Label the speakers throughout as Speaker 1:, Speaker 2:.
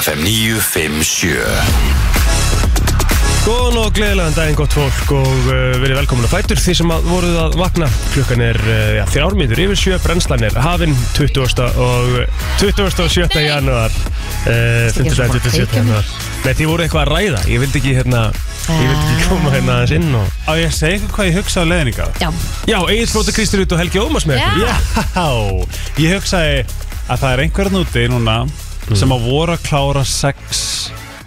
Speaker 1: FM 957
Speaker 2: Góðan og gleðilegan daginn gott fólk og uh, verið velkomin að fætur því sem að voruð að vakna klukkan er uh, ja, þrjármýður yfir sjö, brennslan er hafinn 20. og 27. januar uh, 50.
Speaker 3: svona
Speaker 2: til 27.
Speaker 3: kveikja
Speaker 2: januar Nei, því voru eitthvað að ræða, ég vildi ekki hérna ég vildi ekki koma hérna aðeins inn og
Speaker 4: Á ég að segja ykkur hvað ég hugsaði á leðninga?
Speaker 3: Já,
Speaker 2: Já, Egil Flóta Kristur út og Helgi Ómars með ykkur.
Speaker 3: já,
Speaker 4: Já, ég hugsaði að það er einhverjum úti núna sem að voru að klára sex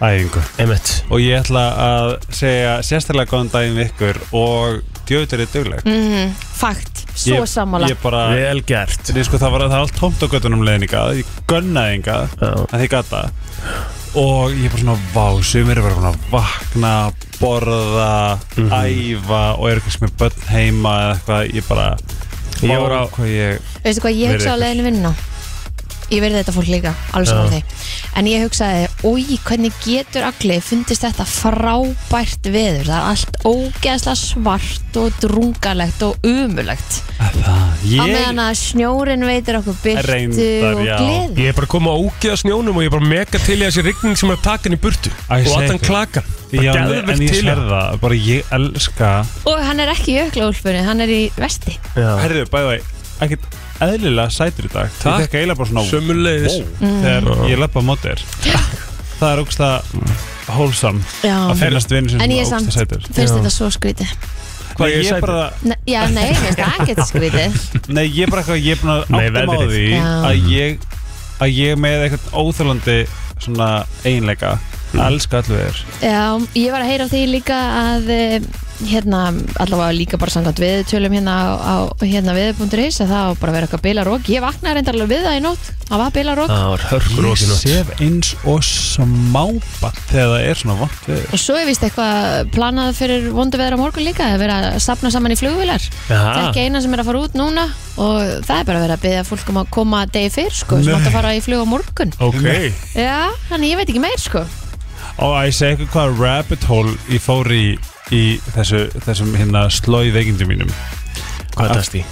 Speaker 4: æfingu
Speaker 2: Einmitt
Speaker 4: og ég ætla að segja sérstaklega góðan daginn við ykkur og djöður er dugleg
Speaker 3: fakt, Mm, svo
Speaker 4: Ég-
Speaker 3: sammála
Speaker 4: Ég bara,
Speaker 2: Vel gert
Speaker 4: Nei, sko, það var það var allt tómt á göttunum leðninga ég gunnaði enga
Speaker 2: Já.
Speaker 4: að því gata og ég bara svona vá, sumir er bara svona vakna borða,
Speaker 2: Mhm.
Speaker 4: æfa og eru kannski með börn heima eða eitthvað, ég bara
Speaker 2: Ég
Speaker 4: vá,
Speaker 2: var á-
Speaker 4: hvað ég
Speaker 3: Veistu hvað, ég
Speaker 4: Verið
Speaker 3: hugsa á
Speaker 4: ykkur.
Speaker 3: leiðinu vinnuna Ég verði þetta fólk líka, alveg saman þig En ég hugsaði, oi, hvernig getur allir fundist þetta frábært veður Það er allt ógeðslega svart og drungalegt og umulegt
Speaker 4: Það,
Speaker 3: Á meðan að snjórin veitir okkur byrtu
Speaker 4: Reyndar,
Speaker 3: og
Speaker 4: já.
Speaker 3: gleði
Speaker 2: Ég er bara komið að ógeða snjónum og ég er bara mega til í þessi rigning sem er að taka henni í burtu
Speaker 4: Æ, ég
Speaker 2: og
Speaker 4: segi
Speaker 2: allan
Speaker 4: ykkur.
Speaker 2: klaka
Speaker 4: Já,
Speaker 2: Bara
Speaker 4: en
Speaker 2: geðveikt
Speaker 4: en ég
Speaker 2: til í
Speaker 4: sér það, bara ég elska
Speaker 3: Og hann er ekki í öklaúlpunni, hann er í vesti
Speaker 2: Já.
Speaker 4: Herðu, bæði það, ekkert eðlilega sætur í dag
Speaker 2: Takk. Mm.
Speaker 4: Ég fekk eiginlega bara svona
Speaker 2: Sömmulegis
Speaker 4: wow, Þegar ég lappa á mótir Það er ógsta hólsam
Speaker 3: Já,
Speaker 2: Mm.
Speaker 4: Að finnast vinn sem
Speaker 3: en ég er
Speaker 4: ógsta
Speaker 3: samt,
Speaker 4: sætur
Speaker 2: Já.
Speaker 3: finnst þetta svo skrítið
Speaker 2: Hvað
Speaker 4: Nei,
Speaker 2: ég er
Speaker 4: ég
Speaker 2: sætur?
Speaker 4: bara,
Speaker 3: Ne Já, nei, mér finnst það ekkert skrítið
Speaker 4: Nei, ég er bara eitthvað, ég er búin
Speaker 2: Nei, Mm.
Speaker 4: að áttum á
Speaker 2: veðrið.
Speaker 4: því
Speaker 3: Já.
Speaker 4: Að ég, að ég með eitthvað óþjólandi Svona eiginleika
Speaker 2: Mm.
Speaker 4: Að elska allu þér
Speaker 3: Já, ég var að heyra af því líka að eh, hérna, allavega líka bara samkvæmt viðtölum hérna á, á hérna viði.is að það á bara að vera eitthvað bilarók ég vaknaði reyndar alveg við það í nótt, það var bilarók
Speaker 2: Það var hörkur
Speaker 4: Ég
Speaker 2: okkur
Speaker 4: sef eins og smábatt Þegar það er svona vant við
Speaker 3: og svo er vist eitthvað planað fyrir vondu veður á morgun líka að vera að sapna saman í flugvilar
Speaker 2: Ah.
Speaker 3: það er ekki eina sem er að fara út núna og það er bara að vera að byggja fólk um að koma degi fyrr sko, sem
Speaker 4: Nei.
Speaker 3: átt að fara í flug á morgun
Speaker 2: Ok
Speaker 3: Já, þannig ég veit ekki meir sko
Speaker 4: Og að ég segi ykkur hvað rabbit hole ég fór í, í þessu, þessum hérna slói veikindum mínum.
Speaker 2: Hvað er dæst í?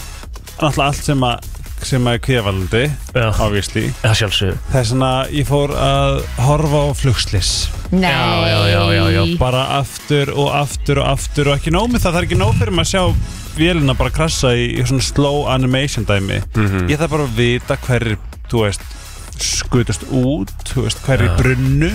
Speaker 4: Náttúrulega allt sem að sem að er kvíðavallandi,
Speaker 2: Já.
Speaker 4: obviously.
Speaker 2: Það sjálfsög
Speaker 4: Þess vegna ég fór að horfa á flugslis.
Speaker 3: Nei
Speaker 2: já, já, já, já.
Speaker 4: Bara aftur og aftur og aftur og ekki nóg með það. Það er ekki nóg fyrir maður að sjá vélina bara krassa í, í svona slow animation dæmi. Ég þarf bara að vita hverjir, þú veist, skutast út, þú veist, hverjir ja. brunnu.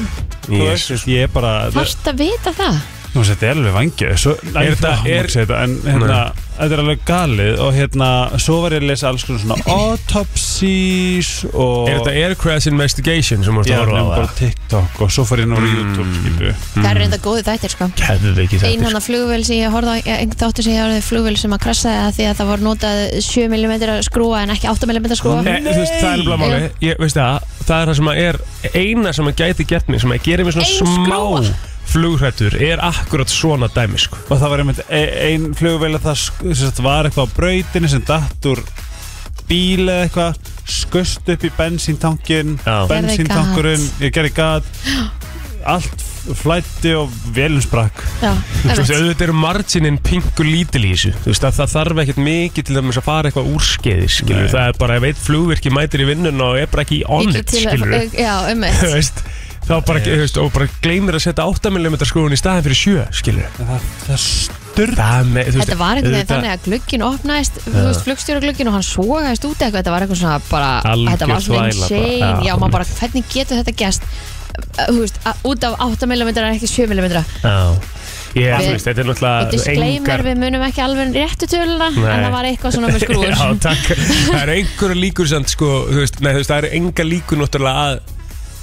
Speaker 4: Þú
Speaker 2: Jesus.
Speaker 4: veist, ég er bara...
Speaker 3: Þarst að vita það?
Speaker 4: Nú, þetta er alveg vangið Svo,
Speaker 2: Er
Speaker 4: er
Speaker 2: þetta-
Speaker 4: þetta,
Speaker 2: er-
Speaker 4: er, þetta, en, hérna, þetta er alveg galið og hérna, svo var ég að lesa alls konar svona autopsies og
Speaker 2: Er þetta Air Crash Investigation sem
Speaker 4: Já,
Speaker 2: vorst að
Speaker 4: nefnum
Speaker 2: horfa á
Speaker 4: bara
Speaker 2: það?
Speaker 4: TikTok og svo fór ég náður mm. YouTube skipu.
Speaker 3: Það er reynda góði þættir sko
Speaker 2: Hefðu ekki
Speaker 3: Einn hann að flugvél sem ég horfði á, einn þáttu sem ég horfði flugvél sem að krassaði að því að það voru notað 7mm skrúa en ekki 8mm skrúa
Speaker 2: Nei. Eh, Þú veist, það er nefnilega máli Ég veist það, það er það sem að er eina sem að gæti gert mig sem að gera mig svona
Speaker 3: Ein skrúfa.
Speaker 2: smá flugrættur er akkurat svona dæmi sko
Speaker 4: og það var einmitt e- ein flugvél að það sk- sem sagt, var eitthvað á brautinu sem datt úr bíl eða eitthvað skust upp í bensíntankin
Speaker 2: Já.
Speaker 4: bensíntankurinn, ég gerði gat allt flætti og vélum sprakk
Speaker 3: Já,
Speaker 2: Þú veist,
Speaker 3: einmitt.
Speaker 2: auðvitað eru marginin pingu lítil í þessu Þú veist, að það þarf ekkert mikið til dæmis að fara eitthvað úrskeiði, skilur
Speaker 4: Nei.
Speaker 2: Það er bara, ef eitt flugvirki mætir í vinnun og er bara ekki on
Speaker 3: Ekki
Speaker 2: it,
Speaker 3: til að-
Speaker 2: skilur
Speaker 3: Já, um
Speaker 2: Þú veist, þá bara, þú veist, og bara gleymir að setja 8mm skrúin í staðin fyrir 7, skilur
Speaker 4: En það, það styrði
Speaker 2: Það með, þú veist,
Speaker 3: Þetta var einhvern veginn
Speaker 2: auðvitað-
Speaker 3: þannig að glugginn opnaðist þú veist, flugstjóra og hann svogaðist út eitthvað þetta var eitthvað svona bara,
Speaker 2: Algjör
Speaker 3: þetta var svona
Speaker 2: þvæla bara.
Speaker 3: insane
Speaker 2: Já,
Speaker 3: Já, maður bara, hvernig getur þetta gæst Þú veist, að- út af 8mm en ekki 7mm
Speaker 2: Já, ég,
Speaker 3: Við-
Speaker 2: þú veist, þetta er
Speaker 3: og
Speaker 2: náttúrulega
Speaker 3: disclaimer, við munum ekki alveg réttu töluna en það var eitthvað svona með skrúur
Speaker 2: Já, takk Það eru einhverja líkur samt, sko, þú veist, nei, þú veist, það eru enga líkur náttúrulega að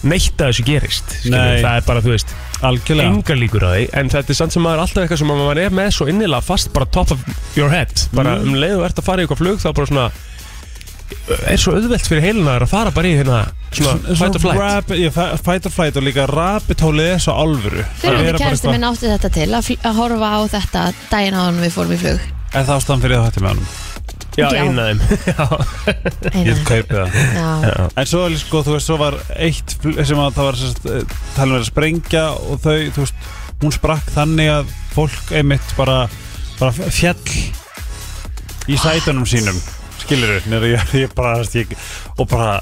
Speaker 2: neitt að þessu gerist skilur.
Speaker 4: Nei.
Speaker 2: Það er bara, þú veist,
Speaker 4: algjörlega
Speaker 2: enga líkur á því En þetta er samt sem maður er alltaf eitthvað sem maður er með svo innilega fast bara top of your head Bara
Speaker 3: Mm.
Speaker 2: um leið og ert að fara í eitthvað flug þá bara svona er svo auðvelt fyrir heilina að fara bara í hérna svona fight or flight
Speaker 4: rap, ég, Fight or flight og líka rabbit hole er svo alvöru
Speaker 3: Fyrir
Speaker 4: Vera
Speaker 3: þetta
Speaker 4: bara
Speaker 3: kæristi
Speaker 4: eitthvað-
Speaker 3: minn átti þetta til að, fl- að horfa á þetta daginn áður en við fórum í flug
Speaker 4: Er það ástæðan fyrir það hætti með honum?
Speaker 2: Já,
Speaker 3: Já.
Speaker 2: eina þeim
Speaker 4: Ég
Speaker 3: Einar.
Speaker 4: kaupi það
Speaker 3: Já.
Speaker 4: En svo, er sko, þú veist, svo var eitt fl- sem að það var sérst, talin verið að sprengja og þau, þú veist, hún sprakk þannig að fólk einmitt bara, bara f- fjall í sætunum sínum skilur þau, ég, ég bara, þú veist, ég, og bara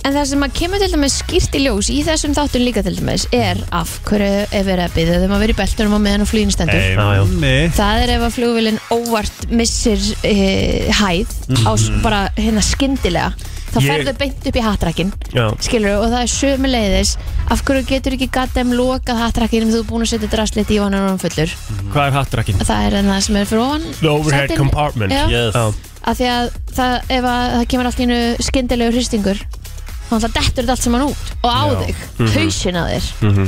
Speaker 3: En það sem að kemur til dæmis skýrt í ljós í þessum þáttum líka til dæmis er af hverju er verið að byggja þeim að vera í beltunum á meðan og flugin stendur.
Speaker 2: Já, já.
Speaker 4: Einmitt.
Speaker 3: Það er ef að flugvillin óvart missir e, hæð á s- bara hérna skyndilega þá
Speaker 2: Ég-
Speaker 3: ferðu beint upp í hattrakkin
Speaker 2: Já.
Speaker 3: skilur og það er sömu leiðis af hverju getur ekki gattem lokað hattrakkinum þú er búin að setja draslit í og hann er hann fullur
Speaker 2: Hvað er hattrakkin?
Speaker 3: það er en það sem er fyrir ofan
Speaker 2: The overhead
Speaker 3: sætin.
Speaker 2: compartment
Speaker 3: Já.
Speaker 2: Yes. Já.
Speaker 3: af því að það, ef að það kemur allt í einu skyndilegu hristingur þá alltaf dettur þetta allt saman út og á
Speaker 4: Já.
Speaker 3: þig,
Speaker 2: Mhm.
Speaker 3: hausinn að þér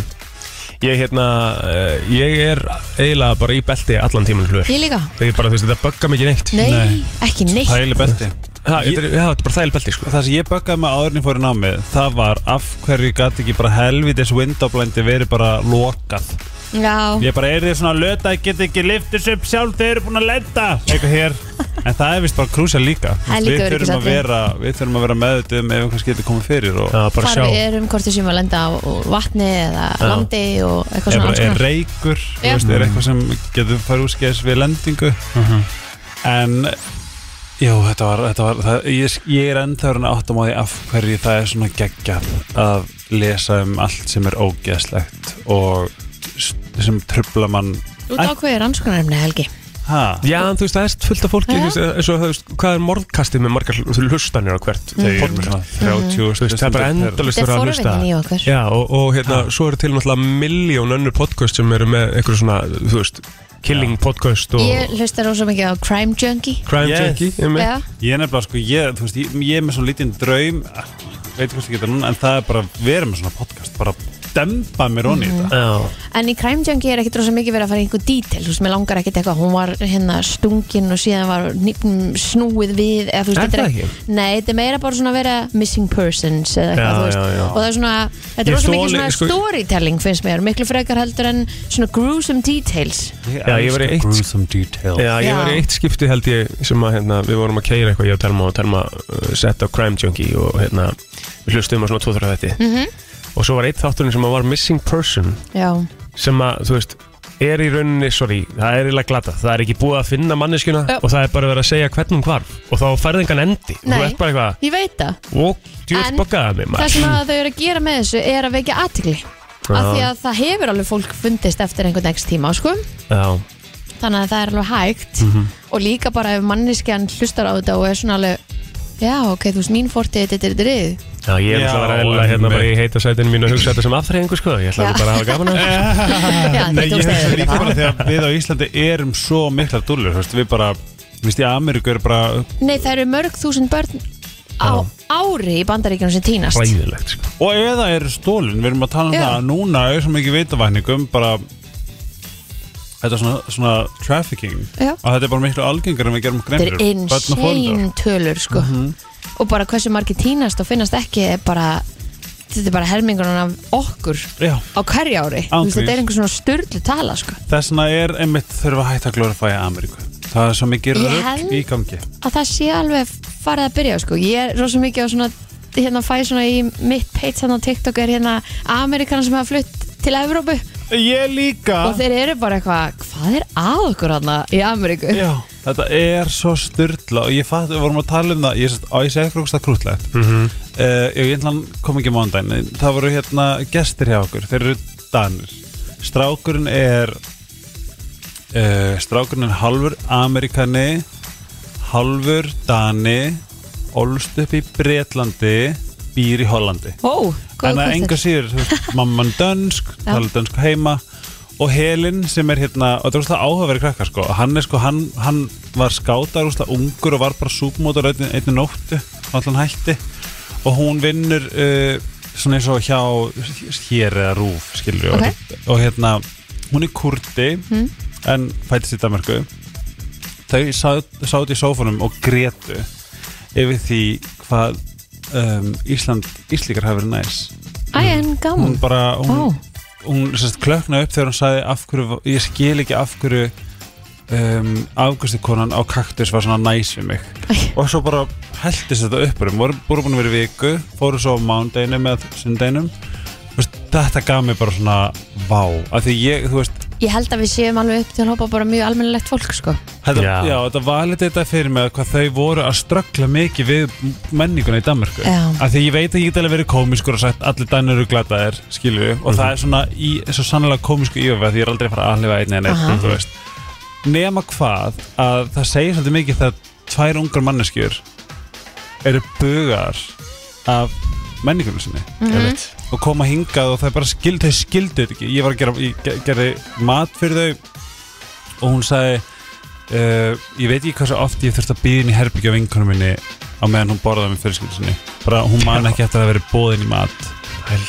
Speaker 2: Ég hérna, uh, ég er eiginlega bara í belti allan tíman hlur
Speaker 3: ég líka,
Speaker 2: Það er bara, þú veist, þetta böggar mig ekki neitt
Speaker 3: nei,
Speaker 4: Nei.
Speaker 3: ekki neitt
Speaker 4: Það er eiginlega belti
Speaker 2: Ha, Þetta er já, þetta er bara þægileg belti, sko
Speaker 4: Það sem ég böggaði með áðurinn í fórin á mig Það var af hverju gæti ekki bara helvitis windowblindi verið bara lokað
Speaker 3: já,
Speaker 4: Ég bara er því svona að löta Ég get ekki liftis upp sjálf Þeir eru búin að lenda Eitthvað hér En það er vist bara krúsa líka
Speaker 3: Það er líka
Speaker 4: Við þurfum að
Speaker 3: öryggisatriði.
Speaker 4: vera Við þurfum að vera meðutum Ef einhvers getur komið fyrir og
Speaker 2: Já, bara
Speaker 3: hvar
Speaker 2: sjá
Speaker 3: við erum, hvort við séum að lenda á á vatni eða landi og eitthvað
Speaker 4: er,
Speaker 3: svona
Speaker 4: bara,
Speaker 3: alls
Speaker 4: er
Speaker 3: konar.
Speaker 4: reykur þú
Speaker 3: Já.
Speaker 4: veist, er eitthvað sem getur farið úrskæðis við lendingu en jú, þetta var, þetta var það, ég, ég er ennþörun að áttum á því af hverju það er svona geggjað að lesa um allt sem er ógeðslegt og s- sem trubla mann
Speaker 3: Þú ert ákveðið rannsóknarefni Helgi
Speaker 4: ha,
Speaker 2: Já, en þú veist, það er fullt af fólki
Speaker 3: Já.
Speaker 2: þú veist, eh, eins og, þú veist, Hvað er morgkastið með margar hl- hlustanir á hvert
Speaker 4: þau eru
Speaker 2: podcast?
Speaker 4: svona 30
Speaker 2: Þú veist, það er bara endalist
Speaker 3: Þetta er
Speaker 2: að vera að hlusta
Speaker 3: forvitin í okkur
Speaker 2: Já, og, og hérna, svo eru til náttúrulega miljón önnur podcast sem eru með einhverju svona, þú veist, killing podcast og
Speaker 3: Ég hlusta rosa mikið á Crime Junkie
Speaker 2: crime
Speaker 4: Yes.
Speaker 2: junkie ég með.
Speaker 3: Já,
Speaker 4: ég er nefnilega sko ég, þú veist, ég, ég er með svona lítinn draum veit hvað það getur núna en það er bara að vera með svona podcast bara dempa mér onni
Speaker 3: Mhm.
Speaker 4: í þetta
Speaker 2: Já,
Speaker 3: en í Crime Junkie er ekkit rosa mikið verið að fara í einhver detail Þú veist, mér langar ekkit eitthvað Hún var hérna stungin og síðan var nýpnum snúið við eða, þú veist,
Speaker 2: Er
Speaker 3: þetta
Speaker 2: það
Speaker 3: ekki- Nei, þetta er meira bara svona að vera missing persons
Speaker 2: Já,
Speaker 3: eða eitthvað, þú veist
Speaker 2: já, já.
Speaker 3: Og það er svona, þetta
Speaker 2: Ég
Speaker 3: er rosa mikið
Speaker 2: þoli-
Speaker 3: svona
Speaker 2: sko-
Speaker 3: storytelling finnst mér Miklu frekar heldur en svona gruesome details
Speaker 2: Já, ég var í eitt-
Speaker 4: gruesome detail
Speaker 2: Já, ég var í
Speaker 3: Já.
Speaker 2: eitt skipti held ég sem að hérna, við vorum að keira eitthvað ég og Telma og Telma uh, sett á Crime Junkie og hérna, við hlustum á svona 2-3 þætti
Speaker 3: Mhm.
Speaker 2: og svo var eitt þátturinn sem að var Missing Person
Speaker 3: Já,
Speaker 2: sem að, þú veist, er í rauninni sorry, það er eiginlega glata, það er ekki búið að finna manneskjuna
Speaker 3: Já.
Speaker 2: og það er bara verið að segja hvernig hún hvarf og þá færði engan endi og þú
Speaker 3: Nei.
Speaker 2: ert bara eitthvað,
Speaker 3: ég veit það
Speaker 2: og djúrt
Speaker 3: En
Speaker 2: boggaði mig
Speaker 3: það
Speaker 2: maður
Speaker 3: sem að þau eru að gera með þessu er að vekja aðtigli af því að það hefur alveg fólk fundist eftir einhvern ekst tíma sko.
Speaker 2: Já,
Speaker 3: þannig að það er alveg hægt
Speaker 4: Mhm.
Speaker 3: og líka bara ef manneskjan hlustar á þetta og er svona alveg já ok, þú veist mín fortið, þetta er drið
Speaker 2: já ég er
Speaker 4: Já,
Speaker 2: náttúrulega eðlilega hérna
Speaker 4: einmitt.
Speaker 2: bara í heita sætinu mínu að hugsa þetta sem afþreyingu sko, ég ætla
Speaker 3: Já.
Speaker 2: bara að hafa gaman að þessu.
Speaker 3: já,
Speaker 4: Ah, Nei,
Speaker 3: þetta
Speaker 4: ég
Speaker 3: tókst
Speaker 4: hugsa
Speaker 3: að
Speaker 4: líka bara þegar við á Íslandi erum svo miklar dúllur, þú veist, við bara Þú veist, í Ameríku er bara,
Speaker 3: nei, það eru mörg þúsund börn á ári í bandaríkjunum sem týnast
Speaker 2: Hræðilegt sko.
Speaker 4: og eða eru stólin, við erum að tala um
Speaker 3: Já.
Speaker 4: það að núna er svo mikið veitavækningum, bara þetta er svona, svona trafficking
Speaker 3: Já.
Speaker 4: og þetta er bara miklu algengar en við gerum
Speaker 3: þetta
Speaker 4: greinir
Speaker 3: er insane tölur sko.
Speaker 4: Mhm.
Speaker 3: og bara hversu margir týnast og finnast ekki er bara þetta er bara hermingunum af okkur
Speaker 4: Já,
Speaker 3: á hverju ári
Speaker 4: Án
Speaker 3: Þú veist, þetta
Speaker 4: gríns.
Speaker 3: er einhver svona styrlu tala sko.
Speaker 4: þess vegna er einmitt þurfa að hætta að glorifæja Ameríku það er svo mikið
Speaker 3: Ég
Speaker 4: rögg
Speaker 3: held-
Speaker 4: í gangi
Speaker 3: að það sé alveg farið að byrja sko. ég er rosa mikið á svona hérna fæ svona í mitt page hann á TikTok er hérna Amerikanar sem hafa flutt til Evrópu
Speaker 4: Ég líka
Speaker 3: og þeir eru bara eitthvað hvað er að okkur hann í Ameríku
Speaker 4: Já, þetta er svo styrla og ég fatt, við vorum að tala um það ég, sest, á, ég segi eitthvað ógstað krútlegt mm -hmm. ég ætla hann kom ekki mándaginn en það voru hérna gestir hjá okkur þeir eru danir strákurinn er uh, strákurinn er halvur amerikani halvur dani ólst upp í Bretlandi býr í Hollandi
Speaker 3: ó,
Speaker 4: en
Speaker 3: góða
Speaker 4: að enga
Speaker 3: kvöldur
Speaker 4: síður, þú veist, mamman dönsk
Speaker 3: Já.
Speaker 4: tala dönsku heima og Helin sem er hérna, og þetta er úrslega áhugaverið krakkar sko, hann er sko, hann, hann var skátar úrslega ungur og var bara súpmótur einni, einni nóttu, allan hætti og hún vinnur uh, svona eins og hjá hér eða rúf, skilur
Speaker 3: Ok. Hmm.
Speaker 4: og, og hérna, hún er kurdi en fættist í Danmarku þau sátt sát í sófunum og grétu yfir því hvað um, Ísland, Íslíkar hafi verið næs
Speaker 3: æ, en
Speaker 4: hún
Speaker 3: gaman
Speaker 4: bara hún,
Speaker 3: Ó.
Speaker 4: hún sérst, klöknaði upp þegar hún sagði af hverju, ég skil ekki af hverju um, afgustikonan á kaktus var svona næs við mig
Speaker 3: Æ.
Speaker 4: og svo bara heldist þetta upp um, voru voru búin að vera í viku fóru svo á mándeinum eða sunndeinum Þú veist, þetta gaf mér bara svona vá, af því ég, þú veist
Speaker 3: ég held að við séum alveg upp til að hópa bara mjög almennilegt fólk sko.
Speaker 4: Þetta, já.
Speaker 2: Já.
Speaker 4: þetta valið þetta fyrir mig að hvað þau voru að ströggla mikið við menninguna í Danmörku
Speaker 3: Já.
Speaker 4: af því ég veit að ég get alveg verið komiskur og sagt allir danur eru glataðir, skilju og það er svona í, svo sannlega komisku ífæð því ég er aldrei að fara að allifa einni en
Speaker 3: Aha.
Speaker 4: einn þú veist nema hvað að það segir svolítið mikið þegar tvær ungar manneskjur eru bugar af menningunum sinni
Speaker 3: Mhm.
Speaker 4: og koma hingað og það er bara skil, þau skildu þetta ekki ég var að gera, ég ge- gerði mat fyrir þau og hún sagði uh, ég veit ekki hversu oft ég þurfti að býða inn í herbyggja á vinkunum minni á meðan hún borðaði með fyrirskildu sinni bara hún man ekki eftir að vera bóðin í mat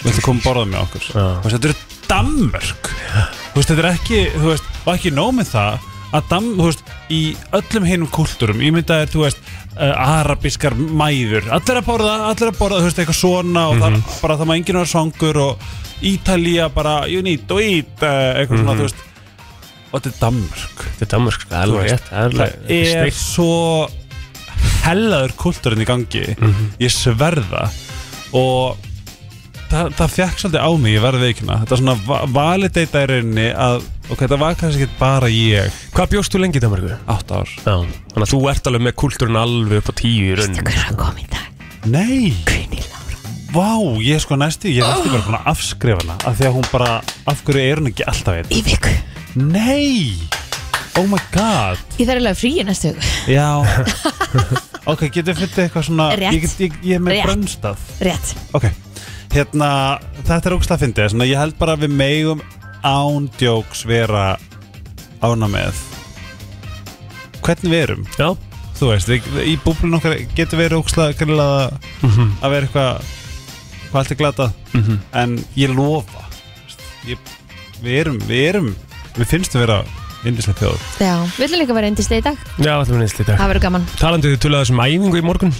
Speaker 4: viltu koma að borða með okkur
Speaker 2: sko. Já.
Speaker 4: Þú veist, þetta eru Danmörk Þú veist, þetta er ekki, þú veist, og ekki nóg með það að dam, þú veist, í öllum hinum kultúrum, ég mynda er, þú veist uh, arabiskar mæður allir að borða, allir að borða, þú veist, eitthvað svona og mm það bara, það maður enginn var svangur og Ítalía bara, you need to eat uh, eitthvað svona, þú veist og þetta er Danmörk
Speaker 2: Þetta er Danmark, sko, það er alveg
Speaker 4: Þú veist,
Speaker 2: rétt Það er
Speaker 4: það
Speaker 2: alveg
Speaker 4: er
Speaker 2: steikt
Speaker 4: svo hellaður kultúrin í gangi
Speaker 2: Mhm.
Speaker 4: ég sverða og það, það fekk svolítið á mig, ég verði veikina þetta er svona va- validata í rauninni að ok, þetta var kannski ekki bara ég
Speaker 2: Hvað bjóst þú lengi í Danmarku?
Speaker 4: átt ár
Speaker 2: Já, þannig að þú ert alveg með kultúrin alveg upp á tíu í
Speaker 4: Mm.
Speaker 3: Veistu
Speaker 2: rauninni
Speaker 3: hver er að koma í dag?
Speaker 4: nei,
Speaker 3: Guðni Lára
Speaker 4: vá, ég er sko næstu ég er
Speaker 2: Ah!
Speaker 4: næstu bara búin að afskrifa hana af því að hún bara, af hverju er hún ekki alltaf einn
Speaker 3: Í viku
Speaker 4: nei, oh my god
Speaker 3: Ég þarf alveg frí í næstu viku
Speaker 4: já ok, getur fundið eitthvað svona
Speaker 3: Rétt.
Speaker 4: ég, get- ég, ég er með
Speaker 3: Rétt.
Speaker 4: brönnstað
Speaker 3: Rétt
Speaker 4: Ok, hérna, þetta er ógst að fyndi svona, Ég held bara að við megum ándjóks vera ána með Hvernig við erum
Speaker 2: Já,
Speaker 4: Þú veist, við, við- í búblun okkar getur verið ógstlega grillega að vera eitthvað hvað allt er glata en ég lofa ég, við erum, við erum við finnstum vera indislega þjóð
Speaker 3: Já Við ætlum líka að vera endist í dag
Speaker 2: já, allir minn einsli í dag
Speaker 3: Það verður gaman
Speaker 2: Talandi þau tulaði þessum æfingu í morgun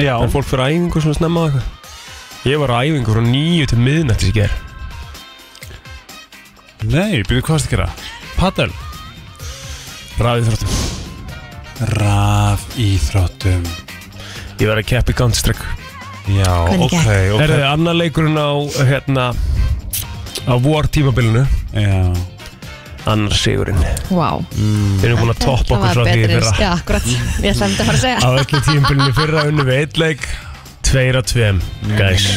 Speaker 4: Já,
Speaker 2: En fólk fyrir æfingu svona snemma og eitthvað Ég var á æfingu frá nýju til miðnættis í ger
Speaker 4: nei, byrjuðu hvað varstu að gera? Padel
Speaker 2: Ræðið þróttum
Speaker 4: Raf íþróttum
Speaker 2: Ég var að keppi gantströkk
Speaker 4: Já,
Speaker 3: Hvernig
Speaker 4: ok, ok
Speaker 2: Er þið annar leikurinn á, hérna Á vor tímabilinu
Speaker 4: Já
Speaker 2: Annar sigurinn Við
Speaker 3: Vá
Speaker 2: erum búin að toppa okkur svo því fyrra
Speaker 3: Já, akkurat
Speaker 4: Mm.
Speaker 3: Ég ætla að fara að segja
Speaker 2: Á öllu tímabilinu í fyrra unnum við eitt leik Tveir að tveim, guys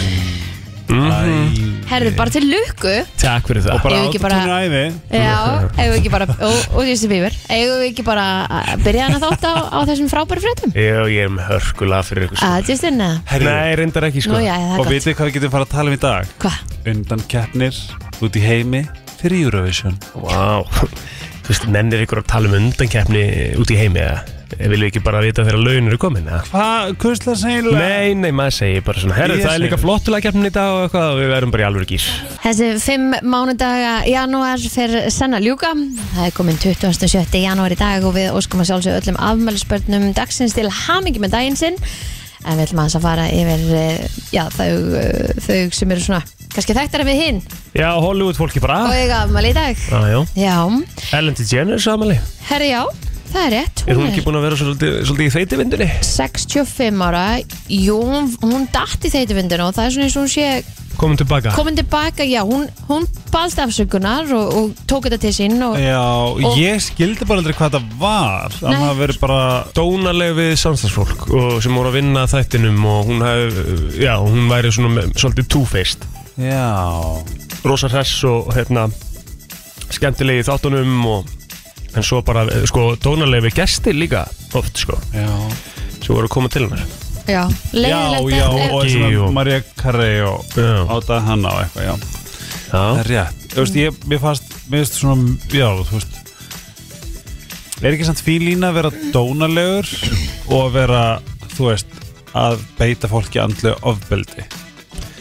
Speaker 2: Mm-hmm.
Speaker 4: Æ.
Speaker 3: Herðu bara til lukku
Speaker 2: Takk fyrir
Speaker 4: Og
Speaker 2: það
Speaker 4: bara
Speaker 3: Eigum við ekki bara-
Speaker 4: áttatunni æði
Speaker 3: Já, eigum við ekki bara Og og þessi bífur Eigum við ekki bara að byrja hana þátt á, á þessum frábæri fréttum
Speaker 2: Jó, ég er með hörkulega fyrir ykkur sko.
Speaker 3: Að, Justin, eða?
Speaker 4: Herri,
Speaker 2: Nei, reyndar ekki sko
Speaker 3: Nú já, það er
Speaker 4: Og
Speaker 3: gott
Speaker 4: vitið hvað við getum fara að tala um í dag?
Speaker 3: Hvað?
Speaker 4: Undan keppnir út í heimi fyrir Eurovision
Speaker 2: Vá, þú veist, nennir ykkur að tala um undankeppni út í heimi eða Viljum ekki bara vita þegar laun eru komin eða?
Speaker 4: Hvað, kursla segilega?
Speaker 2: Nei, nei, maður segir bara svona Herru,
Speaker 4: Ég
Speaker 2: það er
Speaker 4: segi
Speaker 2: líka
Speaker 4: það.
Speaker 2: flottulega keppnin í dag og eitthvað og við verðum bara í alvöru gís
Speaker 3: Þessi fimm mánudaga janúar fyrir senna ljúka. Það er komin 27. janúar í dag og við óskum að sjálfsög öllum afmælisbörnum dagsins til hamingi með daginn sinn. En við ætlum aðeins að fara yfir eh, já, þau, eh, þau sem eru svona kannski þekktar við hinn
Speaker 2: Já, Hollywood fólki bara
Speaker 3: og eiga afmæli í dag.
Speaker 2: ah, já.
Speaker 3: Já,
Speaker 2: Ellen DeGeneres afmæli
Speaker 3: herri já, það er rétt.
Speaker 2: Er hún ekki búin að vera svolítið, svolítið í þeitivindunni?
Speaker 3: 65 ára, jú, hún- hún datt í þeitivindinu og það er svona eins og hún sé
Speaker 2: Komin tilbaka
Speaker 3: komin tilbaka, já, hún, hún baðst afsökunar og, og tók þetta til sín og
Speaker 4: Já, ég skildi bara aldrei hvað það var
Speaker 3: Nei.
Speaker 4: Það hafa verið bara
Speaker 2: Dónaleg við samstagsfólk og sem voru að vinna að þættinum og hún, hef, já, hún væri svona með, svolítið two-faced
Speaker 4: Já
Speaker 2: rosa hress og hérna skemmtilegi í þáttunum og en svo bara, eh, sko, dónarlegi gestir líka oft, sko,
Speaker 4: Já,
Speaker 2: sem voru að koma til hennar
Speaker 3: Já,
Speaker 4: já,
Speaker 3: leiðilegt
Speaker 4: já
Speaker 3: að-
Speaker 4: og
Speaker 2: Ekki
Speaker 4: svona
Speaker 2: og-
Speaker 4: Maria Carey og
Speaker 2: Já.
Speaker 4: átaði hann á eitthvað, já Það
Speaker 2: Já,
Speaker 4: er rétt Þú veist, ég, mér fannst, mér finnst svona, já, þú veist Er ekki samt fín lína að vera dónalegur og að vera, þú veist, að beita fólki andlega ofbeldi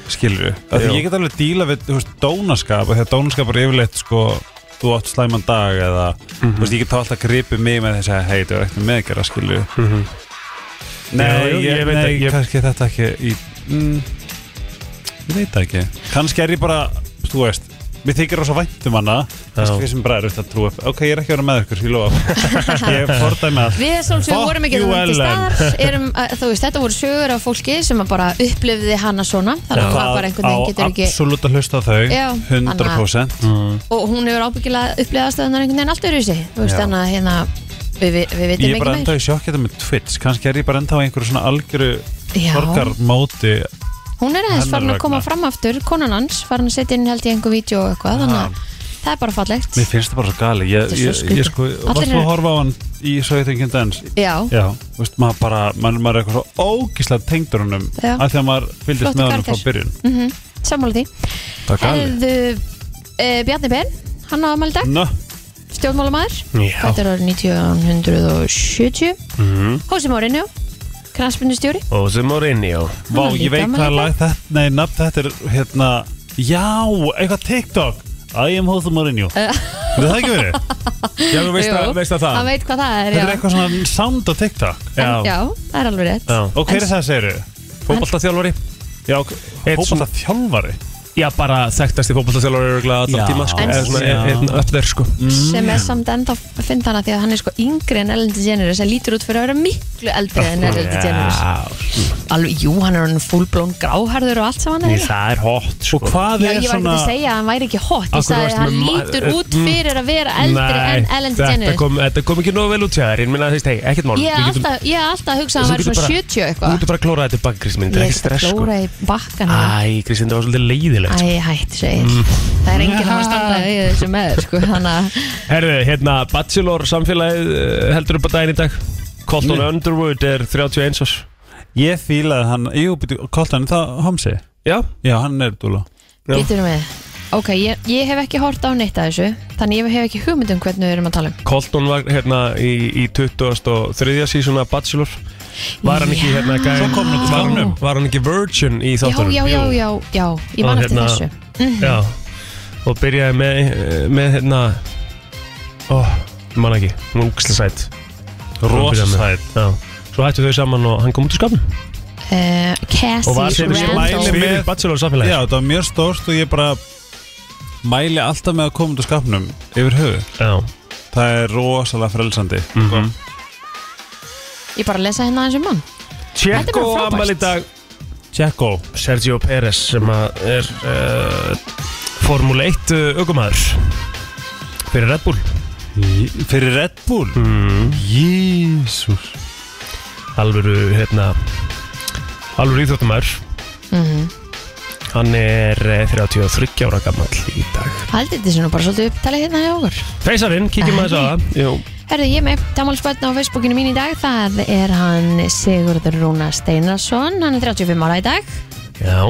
Speaker 4: Skilur við? Því
Speaker 2: Jú.
Speaker 4: ég get alveg díla við, þú veist, dónaskap og þegar dónaskap er yfirleitt, sko, þú átt slæman dag eða, þú veist, ég get þá alltaf gripið mig með þess að, hei, þú er ekkert með að gera, skilur við
Speaker 2: Mhm.
Speaker 4: Nei,
Speaker 2: Jú, jú,
Speaker 4: ég,
Speaker 2: ég veit
Speaker 4: nei,
Speaker 2: ekki, ég-
Speaker 4: kannski er þetta ekki í, mm, ég veit það ekki Kannski er ég bara, þú veist, Mér þykir rosa vænt um hana Þessi fyrir sem bara er veist, að trúa Ok, ég er ekki að vera með ykkur, ég lofa Ég fordæmi allt
Speaker 3: Við svolítið
Speaker 4: Fuck
Speaker 3: vorum ekki
Speaker 4: you,
Speaker 3: þannig til
Speaker 4: Ellen.
Speaker 3: staðar erum, að, Þú veist, þetta voru sögur af fólki sem að bara upplifði hana svona þannig að það bara einhvern veginn getur
Speaker 4: Á
Speaker 3: ekki
Speaker 4: absolutt að hlusta á þau
Speaker 3: Já,
Speaker 4: 100%
Speaker 3: og hún hefur ábyggilega upplifði aðstöðunar einhvern veginn allt öðru í sig þú veist,
Speaker 4: Já.
Speaker 3: þannig að hérna við, við, við
Speaker 4: Ég
Speaker 3: vitum
Speaker 4: er
Speaker 3: ekki
Speaker 4: bara enda
Speaker 3: meir
Speaker 4: í sjokk þetta með Twitch Kannski er ég bara enda á einhverju svona algjöru
Speaker 3: Já.
Speaker 4: Sorgarmóti
Speaker 3: Hún er aðeins
Speaker 4: hennar
Speaker 3: farin að
Speaker 4: vegna.
Speaker 3: koma fram aftur konan hans, farin að setja inn held í einhver vídeo og eitthvað, þannig að það er bara fallegt
Speaker 4: Mér finnst það bara svo gali Ég,
Speaker 3: Þetta er svo
Speaker 4: ég, ég
Speaker 3: skrítið.
Speaker 4: sko,
Speaker 3: Allir
Speaker 4: varst þú
Speaker 3: eru-
Speaker 4: að horfa á hann í Sögjöþingin Dance
Speaker 3: Já,
Speaker 4: Já, þú veist, maður bara, maður, maður er eitthvað svo ógíslega tengdur honum
Speaker 3: Já.
Speaker 4: af því að maður fylgist
Speaker 3: Flottur
Speaker 4: með honum frá
Speaker 3: karakter.
Speaker 4: byrjun
Speaker 3: mhm, sammála því
Speaker 4: Það er gali
Speaker 3: Hefðu uh, Bjarni Ben hann á afmæli í dag,
Speaker 4: Ná,
Speaker 3: stjórnmálamæður
Speaker 2: Já.
Speaker 3: Þetta er árið 1970 Hósi Mourinho Knaspinustjóri
Speaker 2: Og sem á reyni á
Speaker 4: vá,
Speaker 3: var
Speaker 4: ég
Speaker 3: líka
Speaker 4: veit
Speaker 3: afmæli
Speaker 4: hvað
Speaker 3: í
Speaker 4: lag þetta, nei, nafn þetta er hérna, já, eitthvað TikTok I am Hotham Mourinho Er það ekki verið?
Speaker 2: Já, þú veist, að, veist að það
Speaker 3: Hann veit hvað það er,
Speaker 4: Þetta er
Speaker 3: já.
Speaker 4: eitthvað svona sound á TikTok
Speaker 3: En, já, það er alveg rétt
Speaker 2: Já.
Speaker 4: Og hver er það, segir
Speaker 2: Fótballtaþjálfari
Speaker 4: Já,
Speaker 2: Einn
Speaker 4: hópað það þjálfari
Speaker 2: Já, bara þekktast í fótballtaþjálfari Örgulega
Speaker 4: Já.
Speaker 2: allan tíma sko
Speaker 3: En-
Speaker 2: Eða svona
Speaker 4: Já.
Speaker 2: einn upp þeir sko
Speaker 3: sem er samt ennþá fynd hana því að hann er sko yngri en Ellen DeGeneres sem lítur út fyrir að vera miklu eldri en Ellen DeGeneres alveg, jú, hann er hann fullblón gráharður og allt saman er
Speaker 2: það er hot sko.
Speaker 4: Og hvað er
Speaker 3: Já, ég var ekki
Speaker 4: svona
Speaker 3: að segja að hann væri ekki hot
Speaker 2: Af
Speaker 3: ég
Speaker 2: hverju
Speaker 3: sagði
Speaker 2: varstu
Speaker 3: að hann
Speaker 2: með ma-
Speaker 3: lítur
Speaker 2: eh,
Speaker 3: út
Speaker 2: mm.
Speaker 3: fyrir að vera eldri en Ellen
Speaker 2: þetta
Speaker 3: DeGeneres
Speaker 2: kom, þetta kom ekki nógu vel út hjá þér Ég minna að það er ekkert mál
Speaker 3: ég
Speaker 2: Við
Speaker 3: hef
Speaker 2: getum-
Speaker 3: alltaf, ég hef alltaf hugsað
Speaker 2: Þú
Speaker 3: að hann væri
Speaker 2: getur bara-
Speaker 3: svona 70
Speaker 2: Þú
Speaker 3: eitthvað
Speaker 2: ert bara að klóra þetta bak, Kristmín Þetta er ekki
Speaker 3: ég er að
Speaker 2: stress sko
Speaker 3: klóra í bakkan
Speaker 2: Æ, Kristmín, þetta var svolítið leiðilegt sko.
Speaker 3: Æ, hætt segir það er enginn hann að standa í þessu með sko, þannig að
Speaker 2: Herðu, hérna, Bachelor samfélagið eh, heldur upp á daginn í dag Colton
Speaker 4: Jú.
Speaker 2: Underwood er 31 árs
Speaker 4: Ég fílaði hann, jú, byrju, Koltan, er það homsi?
Speaker 2: Já,
Speaker 4: Já, hann er dúla
Speaker 2: Já.
Speaker 3: Býtur með Ok, ég, ég hef ekki hort á neitt að þessu Þannig ég hef ekki hugmynd um hvernig við erum að tala um
Speaker 2: Colton var hérna í, í 23. sísona Bachelor Var hann ekki
Speaker 3: Já.
Speaker 2: hérna gæm,
Speaker 4: Svo kom hann til
Speaker 2: var,
Speaker 4: skólanum.
Speaker 2: var hann ekki virgin í
Speaker 3: Já,
Speaker 2: þáttunum
Speaker 3: já, já, já, já Ég man
Speaker 2: Og
Speaker 3: eftir
Speaker 2: hérna-
Speaker 3: þessu
Speaker 2: Já. Og byrjaði með, eh, með hérna Ó, ég man ekki, hún úkslisætt
Speaker 4: Rosasæt
Speaker 2: Já Svo hættu þau saman og hann kom út í skapin
Speaker 3: uh, Cassie
Speaker 2: Og var sem
Speaker 4: ég mæli
Speaker 3: Randall
Speaker 4: með-
Speaker 2: fyrir Bachelor samfélagið
Speaker 4: Já, það var mjög stórt og ég bara mæli alltaf með að koma út úr skapnum yfir höfu
Speaker 2: Já.
Speaker 4: Það er rosalega frelsandi
Speaker 2: Mhm.
Speaker 3: Ég bara lesa hérna aðeins um hann Þetta er
Speaker 2: Tjekko
Speaker 3: bara frábært.
Speaker 2: afmæli í dag
Speaker 4: Tjekko
Speaker 2: Sergio Pérez sem að er uh, Formule 1 uh, ökumæður fyrir Red Bull
Speaker 4: Fyrir Red Bull
Speaker 2: mm.
Speaker 4: Jésús
Speaker 2: alvöru hérna alvöru íþjóttumæður
Speaker 3: Mhm.
Speaker 2: hann er eh, 33 ára gammal í dag
Speaker 3: Haldið þessu nú bara svolítið upptalið hérna hjá okkur
Speaker 2: Feisarinn, kíkjum aðeins á það Jú.
Speaker 3: Herðu ég er með Damalspöldna á Facebookinu mín í dag Það er hann Sigurður Rúna Steinarsson Hann er 35 ára í dag
Speaker 2: Já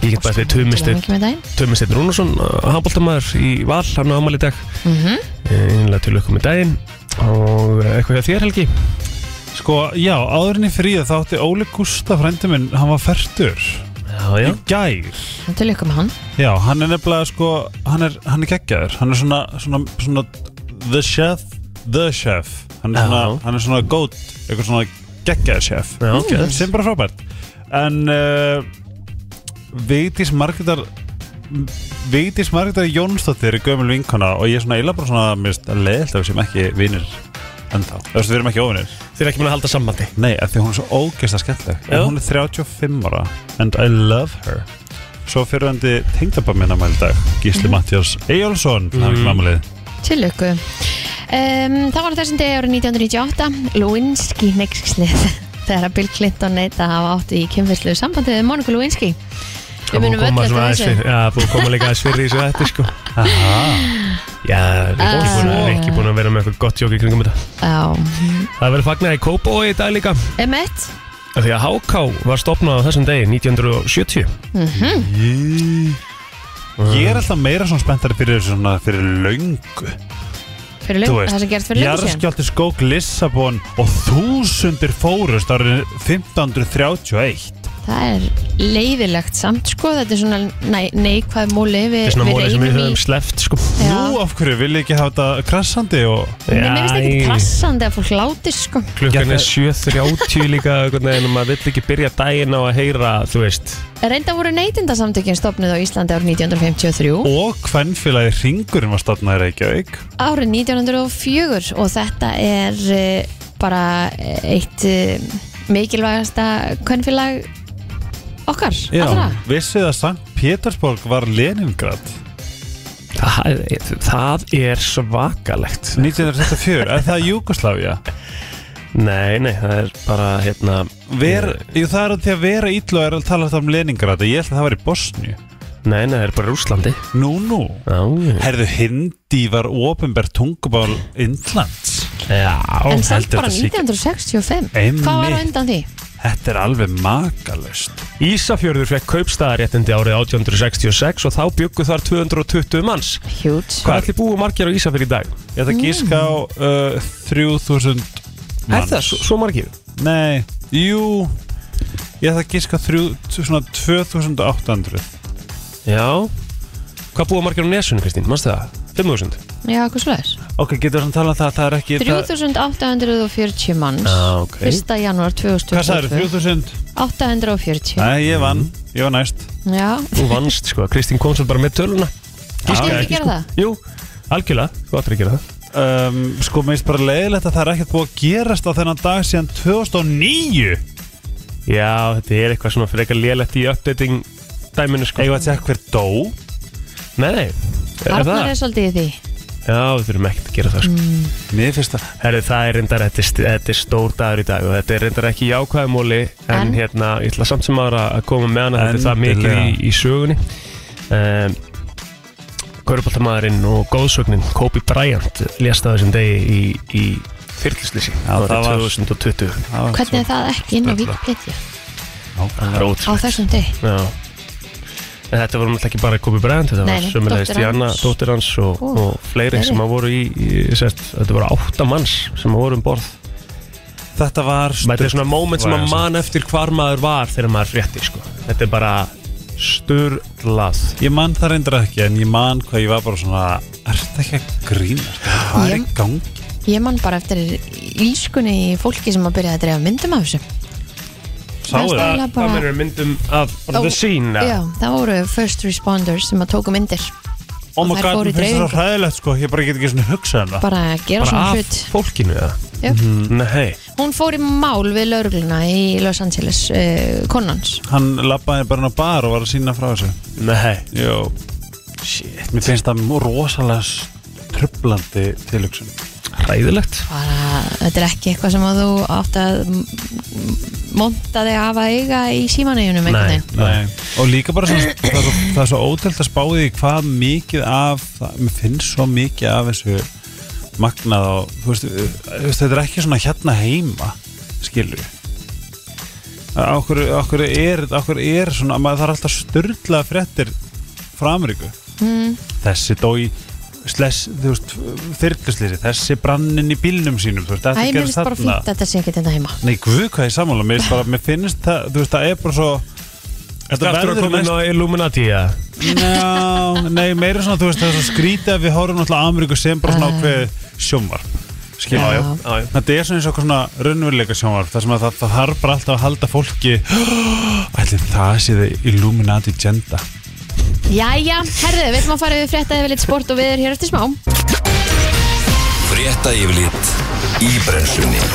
Speaker 2: Ég get bætt við Tumistin
Speaker 3: Ekki með daginn
Speaker 2: Tumistin Rúnarsson, handbóltamæður í Val hann á afmæli í dag
Speaker 3: mm
Speaker 2: einlega til okkur með daginn og eh, eitthvað hjá þér Helgi
Speaker 4: Sko, já, áðurinn í fríða þá átti Óli Gustaf frændi minn, hann var fertur
Speaker 2: Já,
Speaker 4: Í gær
Speaker 3: Til ykkur með hann
Speaker 4: Já, hann er nefnilega sko, hann er, hann er geggjaður Hann er svona, svona, svona The chef, the chef Hann er svona,
Speaker 2: Já.
Speaker 4: hann er svona góð Eitthvað svona geggjaður chef Mm.
Speaker 2: Já, ok.
Speaker 4: Sem bara frábært En uh, Vigdís Margrétar Vigdís Margrétar Jónsdóttir er gömul vinkona og ég er svona eila bara svona mist að leiðilt af sem ekki vinir ennþá, þú veist við erum ekki óvinir
Speaker 2: Þið er ekki mun að halda sambandi
Speaker 4: Nei, af því hún er svo ógeðslega skemmtileg
Speaker 2: Já.
Speaker 4: og Hún er 35 ára And I love her Svo fyrirandi tengdabba minna mæli dag Gísli
Speaker 3: Mhm.
Speaker 4: Mattias Eyjálsson mm. Hann er mammalið
Speaker 3: Til lukku um, Það var á þessum degi árið 1998 Lewinsky neykslið þegar að Bill Clinton neita að hafa átt í kynfyrslu sambandi við Monica Lewinsky Við munum öll eftir þessu
Speaker 2: Já, búið að koma líka aðeins fyrir í þessu þetta sko Já, við
Speaker 3: Ah.
Speaker 2: erum búin að- ekki búin að vera með eitthvað gott jók í kringum þetta
Speaker 3: Já,
Speaker 2: Það verður fagnað í Kópói í dag líka
Speaker 3: emmett
Speaker 2: af Því að HK var stopnað á þessum degi 1970
Speaker 4: Ég er alltaf meira svona spenntari fyrir þessu svona fyrir löngu
Speaker 3: fyrir
Speaker 4: Þú
Speaker 3: lög,
Speaker 4: veist,
Speaker 3: það sem gerst fyrir lög síðan
Speaker 4: Jarðskjálfti skók Lissabon og þúsundir fórust árið 1531
Speaker 3: það er leiðilegt samt sko, þetta er svona nei, neikvæð múli við,
Speaker 2: er svona
Speaker 3: við
Speaker 2: múlið sem við
Speaker 3: reynum
Speaker 2: höfum sleppt sko
Speaker 3: Já.
Speaker 4: Nú, af hverju, vil ég ekki hafa þetta krassandi og
Speaker 3: Nei, mér finnst
Speaker 2: Æ.
Speaker 3: ekki krassandi að fólk láti sko
Speaker 2: Klukkan
Speaker 4: Já,
Speaker 2: er
Speaker 4: það-
Speaker 2: 7.30 líka einhvern veginn og maður vill ekki byrja daginn á að heyra, þú veist
Speaker 3: Reynda voru neytindasamtökin stopnuð á Íslandi árið 1953
Speaker 4: og hvernfélagi ringurinn var stofnaði Reykjavík
Speaker 3: árið 1904 og þetta er eh, bara eh, eitt eh, mikilvægasta kvennfélag okkar allra
Speaker 4: vissið að Sankt Pétersborg var Leningrad
Speaker 2: Það, það er svakalegt
Speaker 4: 1964, er það Júkoslavia?
Speaker 2: Nei, nei, það er bara hérna
Speaker 4: Ver, jú, það er því að vera ítla er að tala um Leningrad ég held að það var í Bosníu
Speaker 2: Nei, nei, það er bara Rúslandi
Speaker 4: Nú, nú
Speaker 2: Já,
Speaker 4: Herðu, hindi var ofinbær tungubál Indlands
Speaker 3: en
Speaker 2: já
Speaker 3: samt
Speaker 4: heldur
Speaker 3: bara
Speaker 4: þetta sé ekki.
Speaker 3: 1965
Speaker 4: Einmitt.
Speaker 3: hvað var á undan því?
Speaker 4: Þetta er alveg makalust
Speaker 2: Ísafjörður fekk kaupstaðaréttindi árið 1866 og þá byggu þar 220 manns
Speaker 3: Huge
Speaker 2: Hvað ætli búið margir á Ísafjörð í dag?
Speaker 4: Ég
Speaker 3: Mm.
Speaker 4: ætla að gíska á uh, 3000
Speaker 2: Er
Speaker 4: manns
Speaker 2: það svo, svo margir?
Speaker 4: Nei, jú Ég ætla að gíska á þrjú, svona 2800
Speaker 2: Já Hvað búið margir á Nesunum, Kristín? Manstu það? 5000?
Speaker 3: Já, hvað svo leiðis?
Speaker 4: Ok, getur þannig að tala um það, það er ekki
Speaker 3: 3840 manns
Speaker 2: Já, Ah, ok.
Speaker 3: 1. janúar
Speaker 4: Hvað sagður,
Speaker 3: 2022
Speaker 4: 3000?
Speaker 3: 840
Speaker 4: Nei, ég vann, ég var næst
Speaker 3: Já,
Speaker 2: Þú vannst, sko Kristín kom svo bara með töluna
Speaker 3: Skyldirðu
Speaker 2: Já,
Speaker 3: ekki gera
Speaker 2: sko.
Speaker 3: það?
Speaker 2: Jú, algjörlega, þú áttur að gera það
Speaker 4: um, Sko, mér finnst bara leiðilegt að það er ekkert búið að gerast á þennan dag síðan 2009
Speaker 2: Já, þetta er eitthvað svona fyrir eitthvað lélegt í updating dæminu, sko
Speaker 4: Eigum við að segja hver dó
Speaker 2: Nei, nei, er
Speaker 3: Arnar
Speaker 2: það?
Speaker 3: er svolítið í því
Speaker 2: Já, við þurfum ekkert að gera það, sko
Speaker 4: Mér finnst það
Speaker 2: Herri, það er reyndar, þetta er, st- þetta er stór dagur í dag og þetta er reyndar ekki jákvæðumóli en,
Speaker 3: En?
Speaker 2: hérna, ég ætla samt sem aðra að koma með hana þetta er það mikið
Speaker 4: Endilega.
Speaker 2: í, í sögunni um, Köruboltamæðurinn og góðsögnin Kobe Bryant lést á þessum degi í, í fyrtlislýsi
Speaker 4: Já, það var-
Speaker 2: 2020
Speaker 3: Hvernig er það ekki inn á
Speaker 4: Spurla.
Speaker 3: Wikipedia
Speaker 2: Það er
Speaker 4: Nákvæmlega.
Speaker 3: á
Speaker 2: ótrúlegt.
Speaker 3: þessum deg?
Speaker 2: Já. En þetta voru náttúrulega ekki bara Kobe Bryant, þetta
Speaker 3: Nei,
Speaker 2: var
Speaker 3: nei,
Speaker 2: sömulegist
Speaker 3: dóttir
Speaker 2: Janna,
Speaker 3: hans.
Speaker 2: dóttir hans og,
Speaker 3: Ó,
Speaker 2: og fleiri
Speaker 3: fleiri.
Speaker 2: sem að voru í, í sest, þetta voru átta manns sem að voru um borð
Speaker 4: Þetta var sko.
Speaker 2: Þetta er svona moment sem
Speaker 4: Var
Speaker 2: að
Speaker 4: það
Speaker 2: man eftir hvar maður var þegar maður frétti sko. Þetta er bara sturglað
Speaker 4: Ég man það reyndar ekki, en ég man hvað ég var bara svona Er þetta ekki að grínast? Hvað er í
Speaker 3: Ég-
Speaker 4: gangi?
Speaker 3: Ég man bara eftir ískunni í fólki sem að byrja að dreifa myndum af þessu
Speaker 4: Sáuð
Speaker 3: Það er
Speaker 4: það?
Speaker 3: eiginlega
Speaker 2: Það
Speaker 3: bara,
Speaker 2: meður myndum af bara
Speaker 3: Ó,
Speaker 2: the scene
Speaker 3: Já, það voru first responders sem að tóku myndir
Speaker 4: Oh my
Speaker 3: þær
Speaker 4: god,
Speaker 3: fóru í
Speaker 4: mér finnst það
Speaker 3: dreifingu.
Speaker 4: svo hræðilegt sko Ég bara get ekki svona hugsað um það
Speaker 3: bara að gera
Speaker 2: bara
Speaker 3: svona
Speaker 2: af Mhm.
Speaker 3: hlut
Speaker 2: fólkinu eða?
Speaker 3: Já.
Speaker 2: Nei,
Speaker 3: Hún fór í mál við laurugluna í Los Angeles uh, konans
Speaker 4: Hann labbaði bara inn á bar og var að sína frá þessu
Speaker 2: nei
Speaker 4: Jó
Speaker 2: Shit,
Speaker 4: Mér finnst það rosalega s- truflandi tilhugsun
Speaker 2: hræðilegt
Speaker 3: bara, þetta er ekki eitthvað sem að þú átt að monta þig af að eiga í símaneigunum einhvern
Speaker 2: Nei.
Speaker 3: veginn
Speaker 4: Og líka bara svona, það, er svo, það er svo ótelt að spáði hvað mikið af það, Mér finnst svo mikið af þessu magnað og þú veist, uh, þú veist, þetta er ekki svona hérna heima skilur okkur, okkur, er, okkur er svona maður þarf alltaf styrla fréttir frá Ameríku
Speaker 3: mm,
Speaker 4: þessi dói sless, þú veist, þyrluslýsi þessi brannin í bílnum sínum þú veist,
Speaker 3: Æ,
Speaker 4: þetta
Speaker 3: mér
Speaker 4: gerist
Speaker 3: finnst bara fínt
Speaker 4: þarna
Speaker 3: að þetta sé ekki þetta heima
Speaker 4: Nei, guð, hvað ég sammála, mér finnst bara, mér finnst það, þú veist, það er bara svo
Speaker 2: Þetta verður að koma inn
Speaker 4: næst-
Speaker 2: á Illuminati eða?
Speaker 4: Já, nei, meira svona, þú veist, það er svo skrítið að við horfum náttúrulega Ameríku sem bara svona
Speaker 3: Ah.
Speaker 4: ákveð sjómvarp, skilja,
Speaker 3: Já.
Speaker 4: já, já. Þetta er svona eins og eitthvað svona raunveruleika sjónvarp þar sem að það, það þarf bara alltaf að halda fólki Ætli það sé þið Illuminati Genda
Speaker 3: Jæja, herðu, við ætlum að fara við frétta yfir litt sport og við erum hér eftir smá
Speaker 1: Frétta yfirlit í brennslunni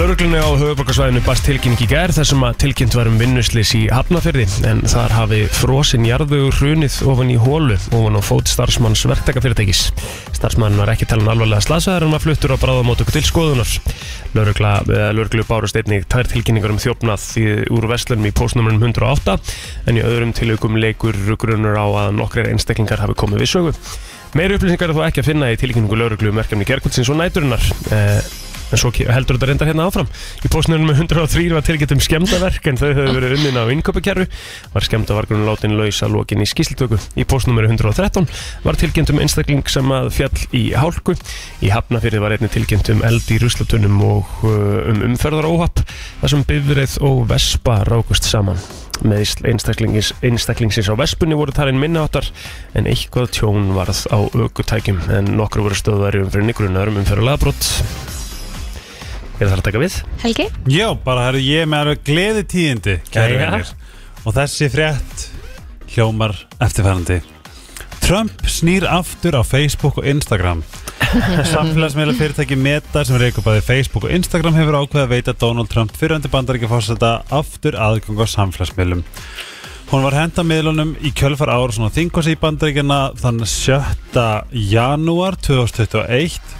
Speaker 2: Lauruglunni á höfuborgarsvæðinu barst tilkynning í gær þar sem að tilkynnt var um vinnuslis í Hafnafyrði en þar hafi frosin jarðugur hrunið ofan í hólu ofan á fót starfsmanns verktakafyrirtækis. Starfsmann var ekki talin alvarlega slasaðar en var fluttur á bráðamótöku til skoðunar. Laurugla, eh, lauruglu bárust einnig tvær tilkynningar um þjófnað í, úr vestlunum í postnumrunum 108 en í öðrum tilaukum leikur grunur á að nokkrir einstaklingar hafi komið við sögu. Meiri upplýsingar er þó ekki að finna í tilkynningu lauruglu um verkefni gerkvöldsins og næturinnar. Eh, en svo ke- heldur þetta reyndar hérna áfram í postnum með 103 var tilgætt um skemmtaverk en þau höfðu verið unnin á innkaupakerfi var skemmtavarkunum látin laus að lokin í skýslitöku í postnumur 113 var tilgænt um einstakling sem að fjall í hálku í Hafnafyrði var einni tilgænt um eld í ruslatunum og uh, um umferðaróhapp þar sem bifrið og vespa rákust saman meðisl einstaklingis, einstaklingsins á vespunni voru talin minnáttar en eitthvað tjón varð á aukutækjum en nokkru voru stöðværi umfyrir grunarum umfyrir laðbrott Er það að taka við?
Speaker 3: Helgi?
Speaker 4: Já, bara herri, ég er með alveg gleði tíðindi kæru
Speaker 2: Jæja.
Speaker 4: vinir. Og þessi frétt hljómar eftirfærandi Trump snýr aftur á Facebook og Instagram Samfélagsmeila fyrirtæki Meta sem reykur bæði Facebook og Instagram hefur ákveða að veita Donald Trump fyrrandi bandaríkja fórseta aftur aðgang á samfélagsmeilum Hún var henda miðlunum í kjölfar ára svona þingos í bandaríkjana þann 7. janúar 2021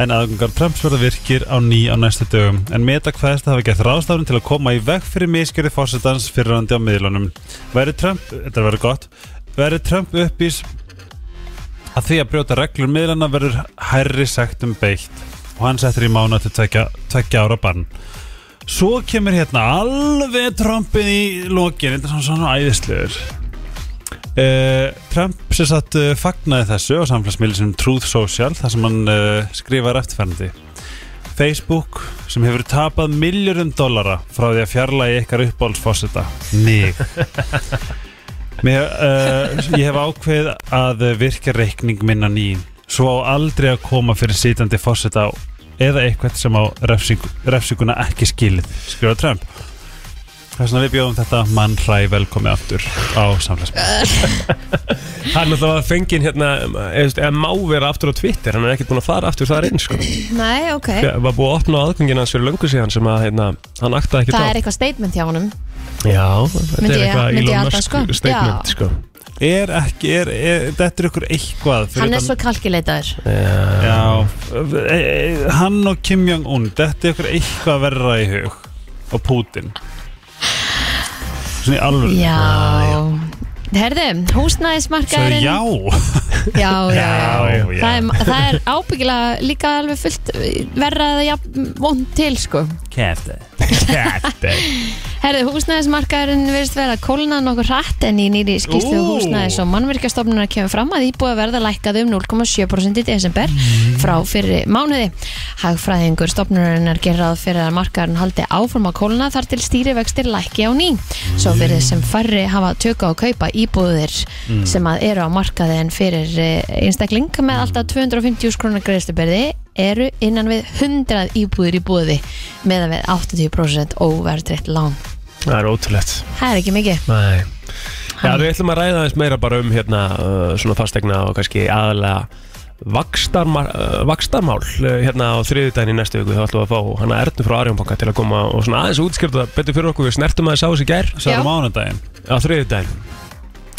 Speaker 4: en aðgangar Trumps verða virkir á ný á næstu dögum en Meta kveðst að hafa gert ráðstafnum til að koma í veg fyrir miskjöri fórsetans fyrir handi á miðlunum Verður Trump, þetta verður gott verður Trump uppís að því að brjóta reglur miðlana verður hærri sektum beitt og hann settur í mánu til tvekja, tvekja ára bann Svo kemur hérna alveg Trumpið í lokin þetta er svona svona æðislegur Uh, Trump sem sagt uh, fagnaði þessu á samfélagsmiðli sem Truth Social þar sem hann uh, skrifar eftirferndi Facebook sem hefur tapað miljurum dollara frá því að fjarlægi ykkar uppáhaldsfossita mig Mér, uh, ég hef ákveð að uh, virka reikning minna ný svo á aldrei að koma fyrir sitjandi fórseta eða eitthvað sem á refsing, refsinguna ekki skilið skrifa Trump þess vegna við bjóðum þetta mann hræ velkomi aftur á samfélagsmiðlum
Speaker 2: Hann alltaf að fengin hérna eða má vera aftur á Twitter hann er ekkert búin að fara aftur þar inn sko.
Speaker 3: Nei, ok
Speaker 2: Það var búið að opna á aðgangin hans fyrir löngu síðan sem að hérna, hann aktaði ekkert
Speaker 3: Það
Speaker 2: á
Speaker 3: er eitthvað statement hjá honum
Speaker 2: Já, þetta
Speaker 3: Myndi
Speaker 2: er
Speaker 3: ég-
Speaker 2: eitthvað
Speaker 3: myndi ég
Speaker 2: Elon
Speaker 3: halda,
Speaker 2: Musk
Speaker 3: sko.
Speaker 2: statement
Speaker 3: Já.
Speaker 2: sko.
Speaker 4: er ekki, er, er, þetta er ykkur eitthvað fyrir
Speaker 3: Hann er
Speaker 4: utan-
Speaker 3: svo kalkileitaður
Speaker 2: Já.
Speaker 4: Já, e, e, hann og Kim Jong-un Þetta er ykkur eitthvað verra í hug Og Putin Svona í alvöru
Speaker 3: Já Herðu,
Speaker 4: Svo
Speaker 3: húsnæðismarkaðurinn
Speaker 4: já
Speaker 3: já, já, já.
Speaker 2: Já,
Speaker 4: já.
Speaker 3: Það, er, það er ábyggilega líka alveg fullt verra eða jafn vond til sko
Speaker 4: Kæfti
Speaker 3: Herðu, húsnæðismarkaðurinn virðist vera að kólna nokkuð hratt en í nýri skýslu
Speaker 4: Ú.
Speaker 3: húsnæðis og mannverkjastofnunar kemur fram að íbúið verða lækkaði um 0,7% í desember frá fyrir mánuði. Hagfræðingur stofnunarinnar gerað fyrir að markaðurinn haldi áfram að kólna þar til stýrivextir lækki á ný. Svo fyrir sem færri hafa tökka og kaupa íbúðir sem að eru á markaði en fyrir eh, einstakling með alltaf 250 krónar greiðsluberði eru innan við 100 íbúðir í búði meðan við 80% óverðrætt lán.
Speaker 2: Það er ótrúlegt
Speaker 3: Það er ekki mikið.
Speaker 2: Nei. Já, við ætlum að ræða aðeins meira bara um hérna uh, svona fastegna og kannski aðalega vakstarmar, uh, vakstarmál uh, hérna á þriðudaginn í næstu viku þá ætlum við að fá hana Ernu frá Arjónbanka til að koma og svona aðeins útskjörða betur fyrir okkur við snertum aðeins á þessi gær
Speaker 4: Svo
Speaker 3: Já.
Speaker 4: er mánudaginn
Speaker 2: á þriðudaginn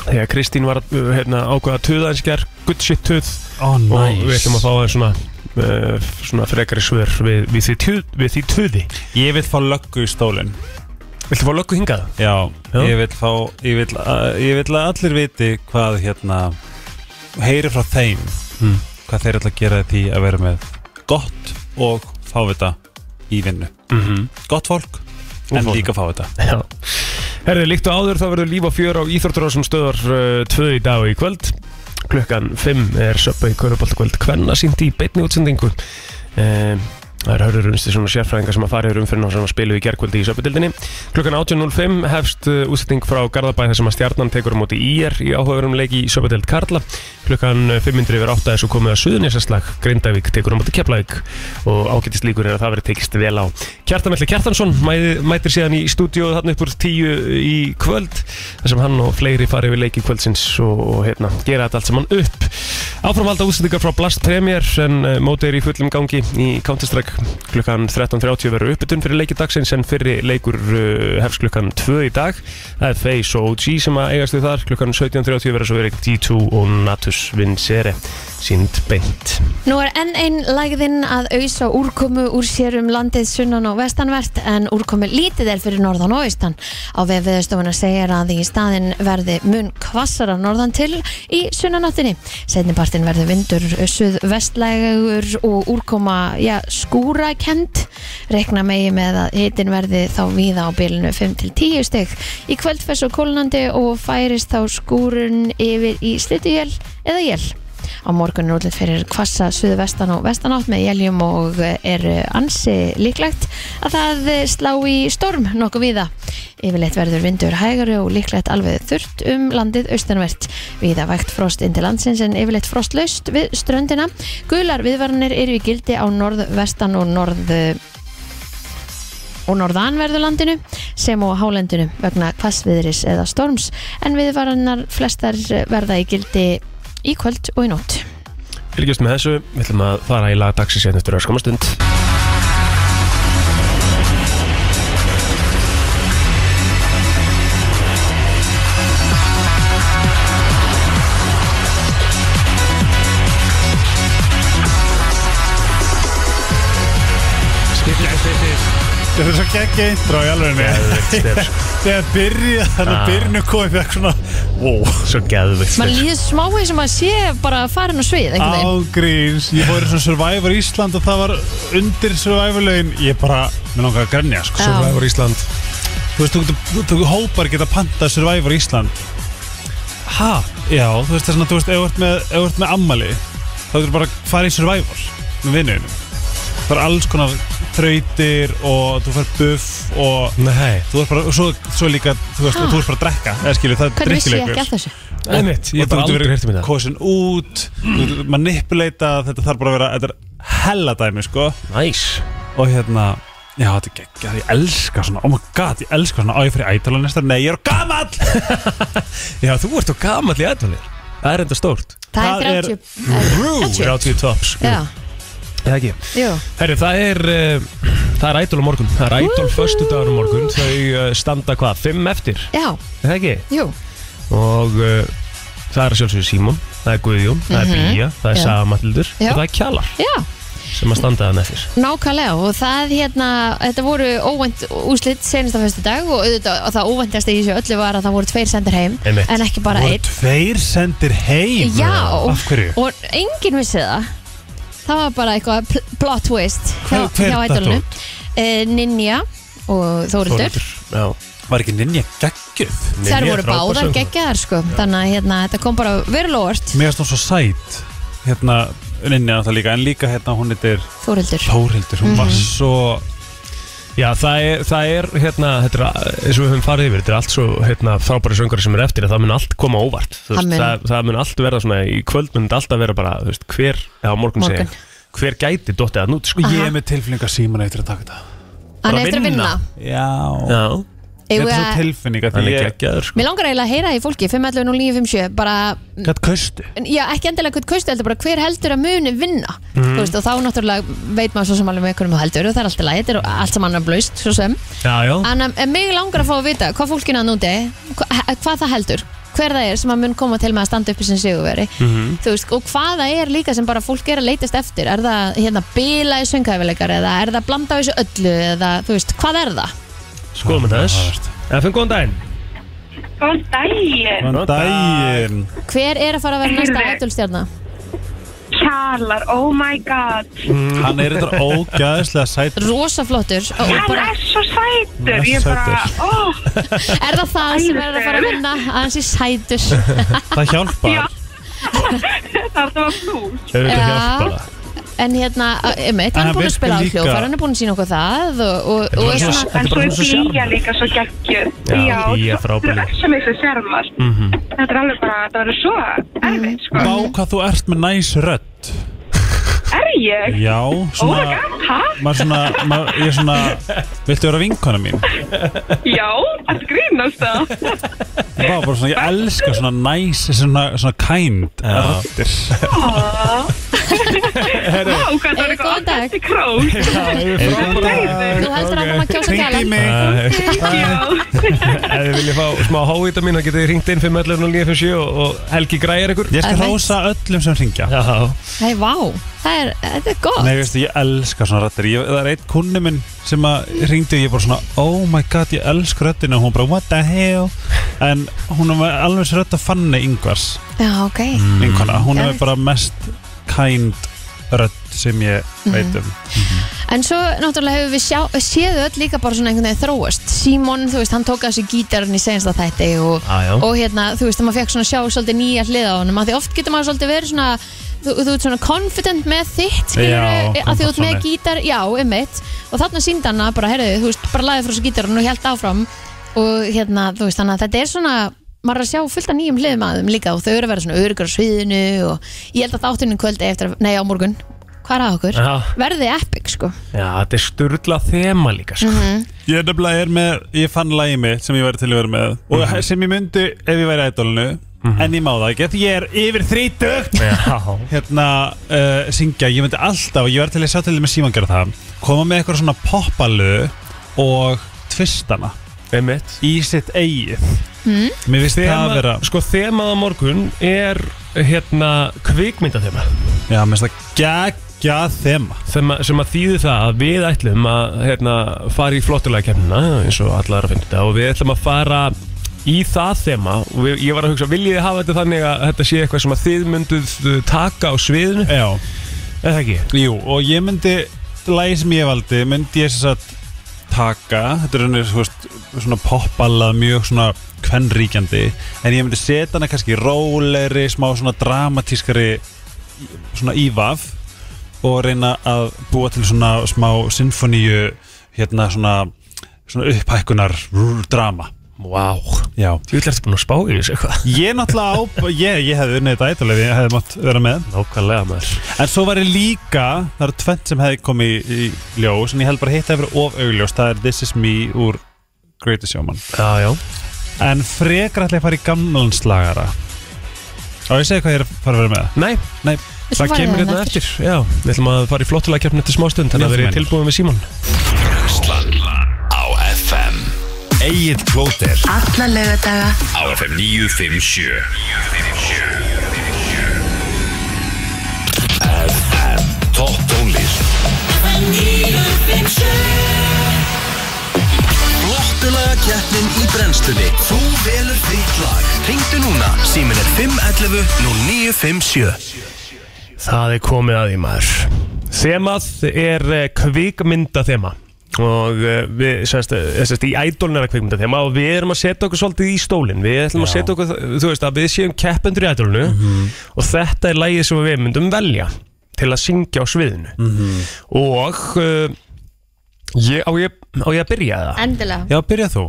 Speaker 2: þegar Kristín var uh, hérna, ákveða að tuða aðeins í gær good shit tuð
Speaker 4: Ó, næs
Speaker 2: og við ætlum að fá aðeins svona uh, svona frekari svör við, við, því, tuð, við því tuði
Speaker 4: Ég vil fá löggu í stólinn
Speaker 2: Viltu fá löggu hingað?
Speaker 4: Já,
Speaker 2: Já.
Speaker 4: ég vil fá ég vil, að, ég vil að allir viti hvað hérna heyri frá þeim Hmm.
Speaker 2: Mm.
Speaker 4: hvað þeir ætla að gera í því að vera með gott og fávita í vinnu
Speaker 2: Mm -hmm.
Speaker 4: Gott fólk, en
Speaker 2: fólk.
Speaker 4: líka fávita
Speaker 2: Já. Herði, líkt og áður þá verður líf og fjör á Íþrótturásum stöðar uh, tvö í dag og í kvöld. Klukkan 5 er söpbu í Köruboltakvöld Kvenna sínt í beinni útsendingu. Uh, það er Hörður Unsti svona sérfræðinga sem að fara yfir umfyrirna sem að spilu í gerkvöldi í söpudildinni. Klukkan 18.05 hefst uh, útsending frá Garðabæð þar sem að stjarnan tekur á móti IR í áhugaverum leiki í söpudild Karla. Klukkan 500 yfir 8 þessu komið að Suðunisarslag. Grindavík tekur á móti Keflavík og ágættist líkur er að það verið tekist vel á. Kjartan Melli Kjartansson mæði, mætir síðan í stúdíu þarna upp úr tíu eh, í kvöld þar sem hann og fleiri fari við leiki kvöldsins og, og hérna, gera þetta allt saman upp Áframvalda útsendingar frá Blast Premier en uh, mótið er í fullum gangi í Counter-Strike klukkan 13.30 verður uppbytun fyrir leiki dagsins en fyrir leikur uh, hefst klukkan 2 í dag það er Face og OG sem að eigast við þar klukkan 17.30 verður svo verið D2 og Natus Vincere sínd beint
Speaker 3: Nú er enn einn lægðinn að auðsa úrkomu úr sér um landið sunnan og vestanvert en úrkomu lítið er fyrir norðan og austan. Á vef viðstofuna segir að í staðinn verði mun kvassara norðan til í sunnanáttinni. Setnipartin kvöldin verður vindur suðvestlægur og úrkoma já, skúrakend rekna megi með að hitin verði þá víða á bilinu 5-10 stygg í kvöld fess og kólnandi og færist þá skúrun yfir í slituél eða jél á morgun er útlitt fyrir hvassa suðvestan og vestanátt með jæljum og eh, er ansi líklegt að það eh, slá í storm nokkuð víða. Yfirleitt verður vindur hægari og líklegt alveg þurrt um landið austanvert. Víða vægt frost inn til landsins en yfirleitt frostlaust við ströndina. Gular viðvaranir eru í gildi á norðvestan og norð og norðanverðulandinu sem og hálendinu vegna hvassviðris eða storms en viðvarannar flestar verða í gildi í kvöld og í nótt.
Speaker 2: Fylgjast með þessu, við ætlum að fara í lag dagsins hérna eftir öskum stund
Speaker 4: Þetta er svo geggja intro í alveg
Speaker 2: Geðveikt stef, sko.
Speaker 4: Þegar byrja, þannig
Speaker 2: Ah.
Speaker 4: að byrjunu komið fyrir svona Wow
Speaker 2: Svo geðvikt
Speaker 3: Maður líður smá eins og maður sé bara farin á svið einhvern veginn.
Speaker 4: Ágríns, ég fór í svona Survivor Ísland og það var undir Survivor lögin Ég bara, mér langar að grenja sko.
Speaker 3: Já. Survivor
Speaker 4: Ísland Þú veist, þú getur, þú- þú hópar geta pantað Survivor Ísland Ha? Já, þú veist, það er svona, þú veist, ef þú ert með, ef þú ert með ammali þá getur bara að fara í Survivor með vinnuðinu Það er alls konar þrautir og þú fær buff og
Speaker 2: Nei,
Speaker 4: Þú ert bara, og svo, svo líka, þú veist,
Speaker 3: Ha?
Speaker 4: og þú ert bara að drekka eða skilur, það er
Speaker 3: Hvernig vissi ég
Speaker 4: drikkilegur
Speaker 3: ekki að þessu?
Speaker 2: einmitt, ég hef bara aldrei hérti mér það
Speaker 4: kosin út, mm. manipulata þetta þarf bara að vera, þetta er hella dæmi sko,
Speaker 2: Næs
Speaker 4: og hérna já, þetta er geggjað, ég elska svona oh my god, ég elska svona, á ég fyrir ædala næsta nei, ég er gamall
Speaker 2: Já, þú ert á gamall í aðvalir Það er enda stórt
Speaker 3: Það
Speaker 4: Það
Speaker 3: er
Speaker 4: er
Speaker 3: 30 eh, 30
Speaker 2: 30 tops
Speaker 3: Já,
Speaker 2: Eða ekki
Speaker 3: jú
Speaker 2: Herri, það er uh, Það er ædol á morgun Það er ædol förstu dagur á morgun Þau uh, standa hvað? Fimm eftir
Speaker 3: Já,
Speaker 2: Eða ekki?
Speaker 3: jú
Speaker 2: Og uh, það er að sjálfsögur Símon Það er Guðjón Það er
Speaker 3: Mhm.
Speaker 2: Bía Það er
Speaker 3: Já.
Speaker 2: Saga Matildur
Speaker 3: Já.
Speaker 2: Og það er Kjallar
Speaker 3: Já,
Speaker 2: Sem að standa þann eftir
Speaker 3: nákvæmlega og það hérna, þetta voru óvænt úslitt senasta fyrstu dag og auðvitað, og það óvæntast í þessu öllu var að það voru tveir sendir heim
Speaker 2: Einmitt.
Speaker 3: en ekki bara
Speaker 4: voru
Speaker 3: einn
Speaker 4: tveir sendir heim
Speaker 3: Já.
Speaker 4: af hverju?
Speaker 3: og enginn vissi það það var bara eitthvað pl- plot twist hjá,
Speaker 4: Hver- hver
Speaker 3: hjá
Speaker 4: datt
Speaker 3: ædolinu
Speaker 4: út?
Speaker 3: Eh, Ninja og Þórildur
Speaker 2: Já
Speaker 4: var ekki ninja geggjuð
Speaker 3: þær
Speaker 2: Ninja
Speaker 3: voru
Speaker 2: frábær
Speaker 3: báðar
Speaker 2: söngkona.
Speaker 3: geggjaðar sko þannig að hérna, þetta kom bara verulóvart
Speaker 4: mér erst hún svo sæt hérna, ninja það líka, en líka hérna hún heitir
Speaker 3: Þórildur
Speaker 4: Þórhildur, hún
Speaker 3: Mhm.
Speaker 4: var svo
Speaker 2: Já, það er, það er hérna, þetta er, að- eins og við höfum farið yfir, þetta er allt svo hérna, frábæri söngari sem er eftir, að það mun allt koma óvart. Þú
Speaker 3: Það
Speaker 2: Veist,
Speaker 3: mun-
Speaker 2: það, það mun allt verða svona, í kvöld mun þetta alltaf vera bara, þú veist, hver, eða á morgun,
Speaker 3: Morgun.
Speaker 2: morgun. Segi, hver gæti dottið að nút, sko.
Speaker 4: ég er með tilfinning að síman eftir að taka þetta
Speaker 3: hann
Speaker 2: bara
Speaker 3: er eftir að vinna
Speaker 2: vinna.
Speaker 4: já
Speaker 2: Já,
Speaker 3: Eigum
Speaker 4: Þetta
Speaker 3: við
Speaker 4: er svo
Speaker 3: að-
Speaker 4: tilfinning að
Speaker 2: hann
Speaker 4: því
Speaker 2: er
Speaker 4: ég
Speaker 2: geggjaður, sko.
Speaker 3: Mér langar eiginlega að heyra í fólki 511-0957 bara,
Speaker 4: Gæt kaustu
Speaker 3: já ekki endilega hvern kaustu heldur bara hver heldur að muni vinna
Speaker 4: Mhm.
Speaker 3: mm. veist, og þá náttúrulega veit maður svo sem alveg með hvernig þú heldur og það er alltaf lægir og allt sem annar blöst svo sem,
Speaker 2: Já, já.
Speaker 3: en um, mig langar að fá að vita hvað fólkinu að núti, eh, hvað, hvað það heldur hver það er sem að mun koma til með að standa uppi sem sigurveri,
Speaker 4: Mhm.
Speaker 3: þú veist, og hvað það er líka sem bara fólk er að leitast eftir er það hérna bila í söngæfileikar eða er það blanda á þessu öllu eða þú veist, hvað er það?
Speaker 2: Skoðum við þess. FM, góðan daginn.
Speaker 5: Góðan daginn,
Speaker 4: Góðan
Speaker 2: Góðan
Speaker 4: daginn
Speaker 3: Hver er að fara að vera næsta ædolstjarnar?
Speaker 5: kjalar, oh my god
Speaker 4: Hann er þetta ógæðislega sætt
Speaker 3: rosa flottur og
Speaker 5: Hann
Speaker 3: bara,
Speaker 5: er svo sætur,
Speaker 4: Hann er
Speaker 5: ég
Speaker 4: svo
Speaker 5: bara, ó
Speaker 3: er það það sem er að fara að vinna að hans er sætur
Speaker 4: Það hjálpar
Speaker 5: Já. Þetta var plús
Speaker 2: Hefur þetta
Speaker 3: Já.
Speaker 2: hjálpað?
Speaker 3: en hérna, einmitt, hann
Speaker 4: En
Speaker 3: er búin að
Speaker 4: virkar
Speaker 3: spila á
Speaker 4: líka-
Speaker 3: hljófar hann er búin að sína okkur það og, og, og
Speaker 2: bara
Speaker 3: er
Speaker 2: svo-
Speaker 3: svona,
Speaker 2: Þetta er
Speaker 5: En svo
Speaker 2: bara
Speaker 5: er
Speaker 2: svo
Speaker 5: Bía
Speaker 2: sjarmör.
Speaker 5: líka svo geggjur
Speaker 2: Já, Bía frábær
Speaker 5: Þetta er
Speaker 2: líka.
Speaker 5: svo miklu sjarmar Þetta er alveg bara, þetta verður svo erfitt, sko
Speaker 4: Bá hvað þú ert með næs rödd
Speaker 5: Er ég?
Speaker 4: Já,
Speaker 5: Oh my
Speaker 4: svona
Speaker 5: god, hæ?
Speaker 4: Maður svona, maður, ég svona Viltu vera vinkona mín?
Speaker 5: Já, þetta grínast það
Speaker 4: Ég var bara svona, ég elska svona næs Svona, svona kind röddir
Speaker 5: Vá, hvað það
Speaker 3: Eigið
Speaker 5: var
Speaker 3: góðan
Speaker 5: eitthvað
Speaker 3: dag.
Speaker 5: andast í krós.
Speaker 3: Þú heldur áfram að kjósa
Speaker 4: Hringdu í
Speaker 3: gælan
Speaker 4: mig
Speaker 2: Ef þið viljið fá smá hávita mín þá getið þið ringt inn 511 og, og Helgi græjar ykkur
Speaker 4: Ég skal
Speaker 3: Alright.
Speaker 4: hrósa öllum sem ringja
Speaker 2: Já,
Speaker 3: Hei, vá, það er, þetta er gott
Speaker 4: Nei, veistu, ég elska svona rættir ég, Það er einn kunni minn sem að ringdi og ég bara svona, oh my god, ég elska rættina og hún bara, what the hell en hún var alveg svo rætt að fanni yngvars
Speaker 3: Já, ok
Speaker 4: yngvana, hún er
Speaker 3: Geðveikt.
Speaker 4: bara mest kind rödd sem ég veit um
Speaker 3: En svo náttúrulega hefur við sjá, séðu öll líka bara svona einhvern veginn þróast Simon, þú veist, hann tók að þessu gítarinn í sensta þætti og,
Speaker 2: Já, já.
Speaker 3: og hérna, þú veist, að maður fekk svona sjá svolítið nýja hlið á honum, að því oft getur maður svolítið verið svona þú, þú ert svona confident með þitt skilur
Speaker 4: Já,
Speaker 3: að því þú ert með
Speaker 4: komfortzone.
Speaker 3: gítar já, einmitt, og þarna síndi hann að bara, heyrðu, þú veist, bara laðið frá þessu gítarinn og held áfram og hérna, þú veist, þannig að þetta er svona maður er að sjá fullt af nýjum hliðum að þeim líka og þau eru að vera svona örugur á sviðinu og ég held að þáttunum kvöldi eftir, að- nei á morgun hvað er að okkur?
Speaker 2: Já.
Speaker 3: Verði epic sko
Speaker 2: já þetta er sturla þema líka sko.
Speaker 4: Ég er nefnilega er með, ég fann lagið mitt sem ég væri til að vera með og sem ég myndi ef ég væri í ædolinu en ég má það ekki, af því ég er yfir þrítugt
Speaker 2: Já,
Speaker 4: hérna uh, syngja, ég myndi alltaf ég væri til að sjá til þeim að síman gera það koma með eitthvað svona poppalu og tvistana
Speaker 2: einmitt
Speaker 4: í sitt eigið Mér finnst það að vera
Speaker 2: Þema, sko þemað á morgun er hérna kvikmyndathema
Speaker 4: Já, mér finnst það geggja þema
Speaker 2: sem, að- sem að þýði það að við ætlum að hérna, fara í flottulega kemna eins og allar að finna þetta og við ætlum að fara í það þema og við, ég var að hugsa, viljið þið hafa þetta þannig að þetta sé eitthvað sem að þið mynduð uh, taka á sviðinu
Speaker 4: Já,
Speaker 2: eða ekki?
Speaker 4: jú, og ég myndi lagið sem ég valdi, myndi ég sem sagt taka, þetta er henni svona popballað mjög svona kvennríkjandi, en ég myndi setja hana kannski róleri, smá svona dramatískari svona ívaf og reyna að búa til svona smá sinfoníu hérna svona, svona upphækkunar rr, drama
Speaker 2: Vá,
Speaker 4: Já.
Speaker 2: þú ætlum eftir búin að spá í þessu eitthvað
Speaker 4: Ég náttúrulega á, ég, ég hefði unnið þetta eitthvað, ég hefði mátt vera með
Speaker 2: Nákvæmlega maður
Speaker 4: En svo var ég líka, það eru tvent sem hefði komið í, í ljós En ég held bara að hitt að vera of augljós Það er This is me úr Greatest Showman
Speaker 2: Já, já
Speaker 4: En frekar ætla ég að fara í gamlanslagara Og ég segi hvað ég er að fara að vera með
Speaker 2: Nei,
Speaker 4: Nei,
Speaker 3: Viltu
Speaker 2: það
Speaker 3: fara í
Speaker 2: kemur
Speaker 3: það
Speaker 2: hérna eftir.
Speaker 3: eftir?
Speaker 2: Já, við ætlum að fara í flottulega kemna til smástund Þannig að
Speaker 4: Já,
Speaker 2: við erum
Speaker 4: þú meinar.
Speaker 2: tilbúin við Símon
Speaker 1: Brennslan á FM Egil Plóter
Speaker 6: Alla lögadaga
Speaker 1: á FM 957 FM Top tónlist Flottulega keppnin í brennslunni Þú velur þitt lag Ringdu núna, símin er 511 0957
Speaker 2: Það er komið að því maður Þemað er kvikmynda þema og eh, við sérst, eh, sérst í ædolun er að kvikmynda þema og við erum að setja okkur svolítið í stólinn við ætlum að
Speaker 4: Já.
Speaker 2: setja okkur, þú veist að við séum keppendur í ædolunu og þetta er lagið sem við myndum velja til að syngja á sviðinu og uh, ég, á, ég, á ég að byrja það
Speaker 3: Endilega
Speaker 4: já, byrja þú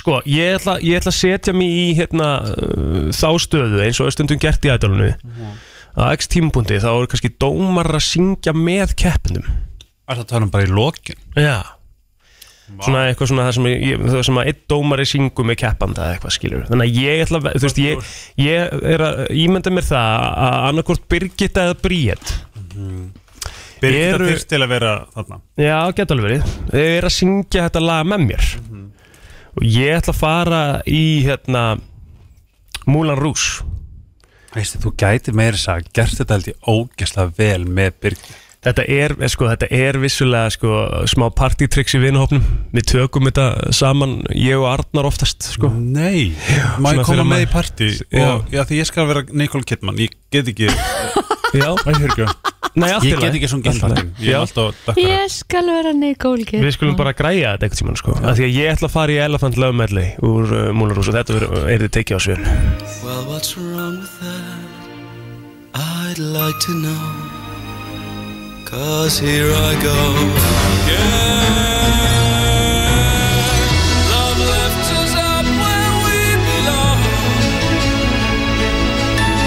Speaker 2: Sko, ég ætla, ég ætla að setja mig í hérna, uh, þá stöðu eins og er stundum gert í ædalunu að x tímpundi þá eru kannski dómar að syngja með keppnum
Speaker 4: Er það tala um bara í lokin?
Speaker 2: Já Svona eitthvað svona það sem, ég, það sem að einn dómari syngur með keppanda eða eitthvað skilur Þannig að ég ætla, að- þú veist, ég, ég er að ímynda mér það að annarkvort Birgitta eða Bríett
Speaker 4: Byrja
Speaker 2: Eru-
Speaker 4: þetta fyrst til að vera þarna
Speaker 2: Já, geta alveg verið Þau eru að syngja þetta lag með mér Og ég ætla að fara í hérna Múlan Rús
Speaker 4: Veistu, þú gæti meira þess að gert þetta held ég ógeðslega vel með Birgir
Speaker 2: Þetta er, eh, sko, þetta er vissulega sko, smá partytricks í vinahopnum Við tökum þetta saman, ég og Arnar oftast sko.
Speaker 4: Mm. Nei, má
Speaker 2: Svona
Speaker 4: ég koma
Speaker 2: fyrir
Speaker 4: með í
Speaker 2: maður-
Speaker 4: partí
Speaker 2: Já.
Speaker 4: og, Já, því ég skal vera Nicole Kidman Ég get ekki,
Speaker 2: Já, Nei, allt í
Speaker 4: ég get
Speaker 2: lagi.
Speaker 4: ekki svona
Speaker 2: Allt í lagi.
Speaker 4: gæmpartín Ég
Speaker 2: Já.
Speaker 4: er alltaf dökkar
Speaker 3: Ég skal vera Nicole Kidman
Speaker 2: Við skulum bara græja þetta eitthvað tímann sko Af því að ég ætla að fara í Elephant Love Medley úr uh, Múlarús og þetta verður- er þið tekið á svið
Speaker 7: Well, what's wrong with that? I'd like to know. Cause here I go. Yeah. Love left us up where we belong.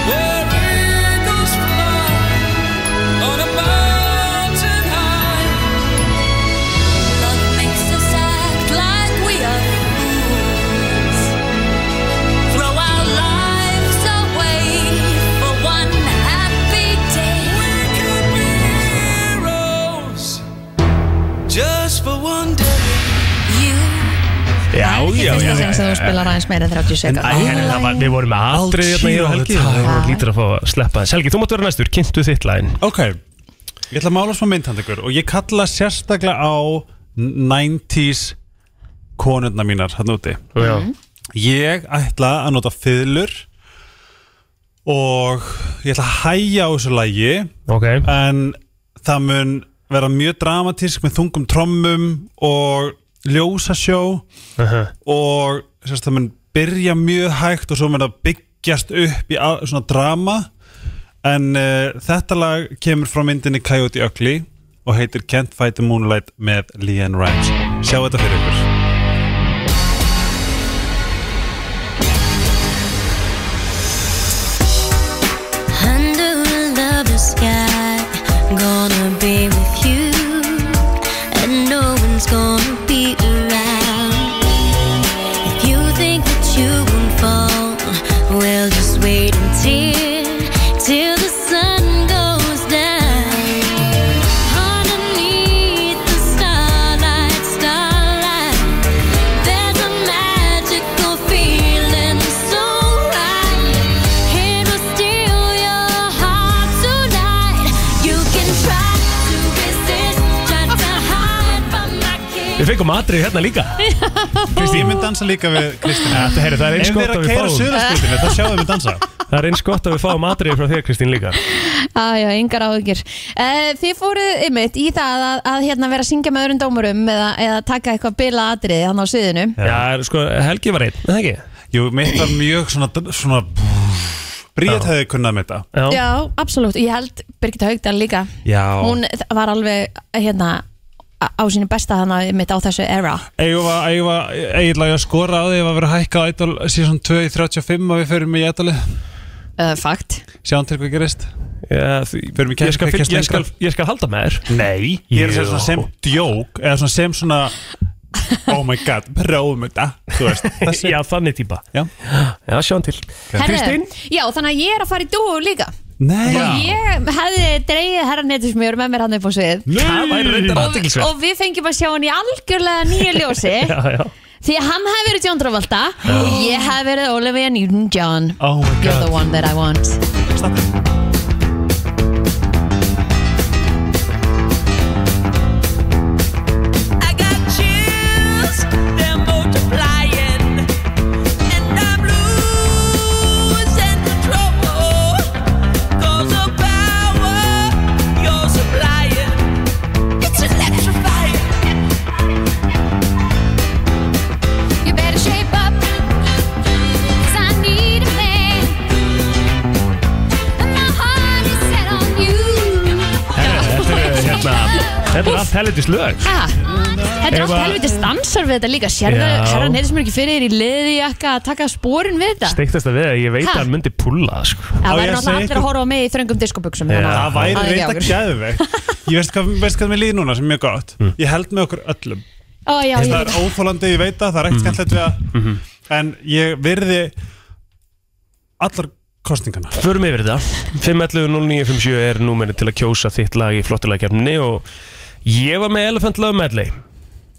Speaker 7: Where eagles fly on a mountain high.
Speaker 8: Love makes us act like we are fools. Throw our lives away for one happy day.
Speaker 7: just for one day.
Speaker 2: Já,
Speaker 3: Það er ekki
Speaker 2: já, já,
Speaker 3: fyrsta
Speaker 2: já,
Speaker 3: sinn sem þú spilar aðeins meira en 30 sekund.
Speaker 2: Æ, en það var, við vorum með aldrei hérna í
Speaker 4: All
Speaker 2: helgi
Speaker 4: the time.
Speaker 2: Það var lítur að fá að sleppa þess Helgi, þú mátt vera næstur, kynntu þitt læn
Speaker 4: Ok, ég ætla að mála smá mynd hann ykkur og ég kalla sérstaklega á 90s konurna mínar hann úti
Speaker 2: Já,
Speaker 4: Ég ætla að nota fiðlur og ég ætla að hæja á þessu lagi
Speaker 2: ok
Speaker 4: en það mun vera mjög dramatísk með þungum trommum og ljósasjó
Speaker 2: Uh-huh.
Speaker 4: og sérst, það mun byrja mjög hægt og svo mun það byggjast upp í að, svona drama en uh, þetta lag kemur frá myndinni Coyote Ugly og heitir Can't Fight the Moonlight með Leanne Rimes sjá þetta fyrir ykkur
Speaker 8: Under the sky, gonna be with you, and no one's gonna be around. If you think that you won't fall, well just wait until till the sun goes down. Underneath the starlight, starlight, there's a magical feeling so right. It will steal your heart tonight. You can try to resist, try to hide from my kiss.
Speaker 2: Við fengum atrið hérna líka
Speaker 4: Kristín, ég mun dansa líka við Kristín
Speaker 2: Þetta, herri, það er eins
Speaker 4: Ef við
Speaker 2: gott
Speaker 4: erum
Speaker 2: að
Speaker 4: að
Speaker 2: við
Speaker 4: keira
Speaker 2: fáum
Speaker 4: suðarskjöldinu þá sjáum við dansa
Speaker 2: Það er eins gott að við fáum atrið frá þér, Kristín, líka
Speaker 3: Já, já, yngar áhugir. Uh, þið fóruð ymmit í það að, að hérna, vera að syngja með öðrum dómurum eða, eða taka eitthvað bila atriði hann á sviðinu.
Speaker 2: Já, sko, Helgi var einn, er það ekki?
Speaker 4: Jú, mitt var mjög svona, svona Bríðat hefði kunnað með þetta
Speaker 3: Já, absolutt. Ég held Birgit Haugdal líka.
Speaker 4: Já.
Speaker 3: Hún þ- var alveg hérna á á sínu besta hann ymmit á þessu era.
Speaker 4: Eða eiginlega að skora á því ef að vera hækkað ædol síðan 2.35 að við förum í ædolið
Speaker 3: Uh, fakt.
Speaker 4: Sjáum til hvað gerist
Speaker 2: Já, því-
Speaker 4: Förum í
Speaker 2: ég skal,
Speaker 4: kækja
Speaker 2: ég, skal, ég, skal,
Speaker 4: stengra.
Speaker 2: ég skal halda með þér
Speaker 4: Nei Ég er að segja
Speaker 2: Jú.
Speaker 4: svona sem djók Eða svona sem svona Oh my god, prófum þetta Þú veist þessi
Speaker 2: Já, þannig típa
Speaker 4: Já.
Speaker 2: Já, sjáum til
Speaker 3: Herðu,
Speaker 2: Kristín?
Speaker 3: já, þannig að ég er að fara í dúo líka.
Speaker 4: Nei
Speaker 3: Og ég hefði dreigið herra netusmjör með mér hann upp á svið.
Speaker 2: Það væri reyndar
Speaker 3: Og,
Speaker 2: aðteglisverð
Speaker 3: og við fengjum að sjá hann í algjörlega nýju ljósi.
Speaker 2: Já, já
Speaker 3: Því að hann hefði verið John Travolta og ég hefði verið Olivia Newton-John
Speaker 4: Oh my
Speaker 3: You're the
Speaker 4: god
Speaker 3: one that I want
Speaker 8: I got chills, they're multiplying, and I'm losing control. 'Cause the power you're supplying, it's electrifying.
Speaker 6: You better shape up, 'cause I need a man. And my heart is set on you.
Speaker 2: Þetta er hérna Þetta er allt helvitist lög
Speaker 3: ha, Þetta er
Speaker 2: Eva-
Speaker 3: allt helviti stansar við þetta líka Sérðu
Speaker 2: Já.
Speaker 3: hérna neyrir sem er ekki fyrir þér í liði jakka að taka sporin við þetta
Speaker 2: Steiktast að við að ég veit
Speaker 3: Ha?
Speaker 2: að hann myndi púla það, sko.
Speaker 3: Það
Speaker 4: Á ég
Speaker 3: væri
Speaker 4: að
Speaker 3: náttúrulega
Speaker 4: segja
Speaker 3: allir að
Speaker 4: ykkur-
Speaker 3: horfa á mig í þröngum hérna. diskoböksum
Speaker 2: Já.
Speaker 4: Það
Speaker 3: Það
Speaker 4: væri
Speaker 3: er
Speaker 4: reynda
Speaker 3: jágur.
Speaker 4: gæðveg Ég veist hvað, veist hvað mér líði núna sem er mjög gott
Speaker 2: Mm.
Speaker 4: Ég held með okkur öllum
Speaker 3: Ó, já, ég
Speaker 4: Það
Speaker 3: veit
Speaker 4: er óþólandi, ég veit það, það er
Speaker 2: Mm-hmm.
Speaker 4: ekkert skemmtilegt við að En ég virði Allar kostningana
Speaker 2: Förum yfir þetta 511-0957 er númerið til að kjósa þitt lag í flottulegkjarninni og ég var með Elephant Love Medley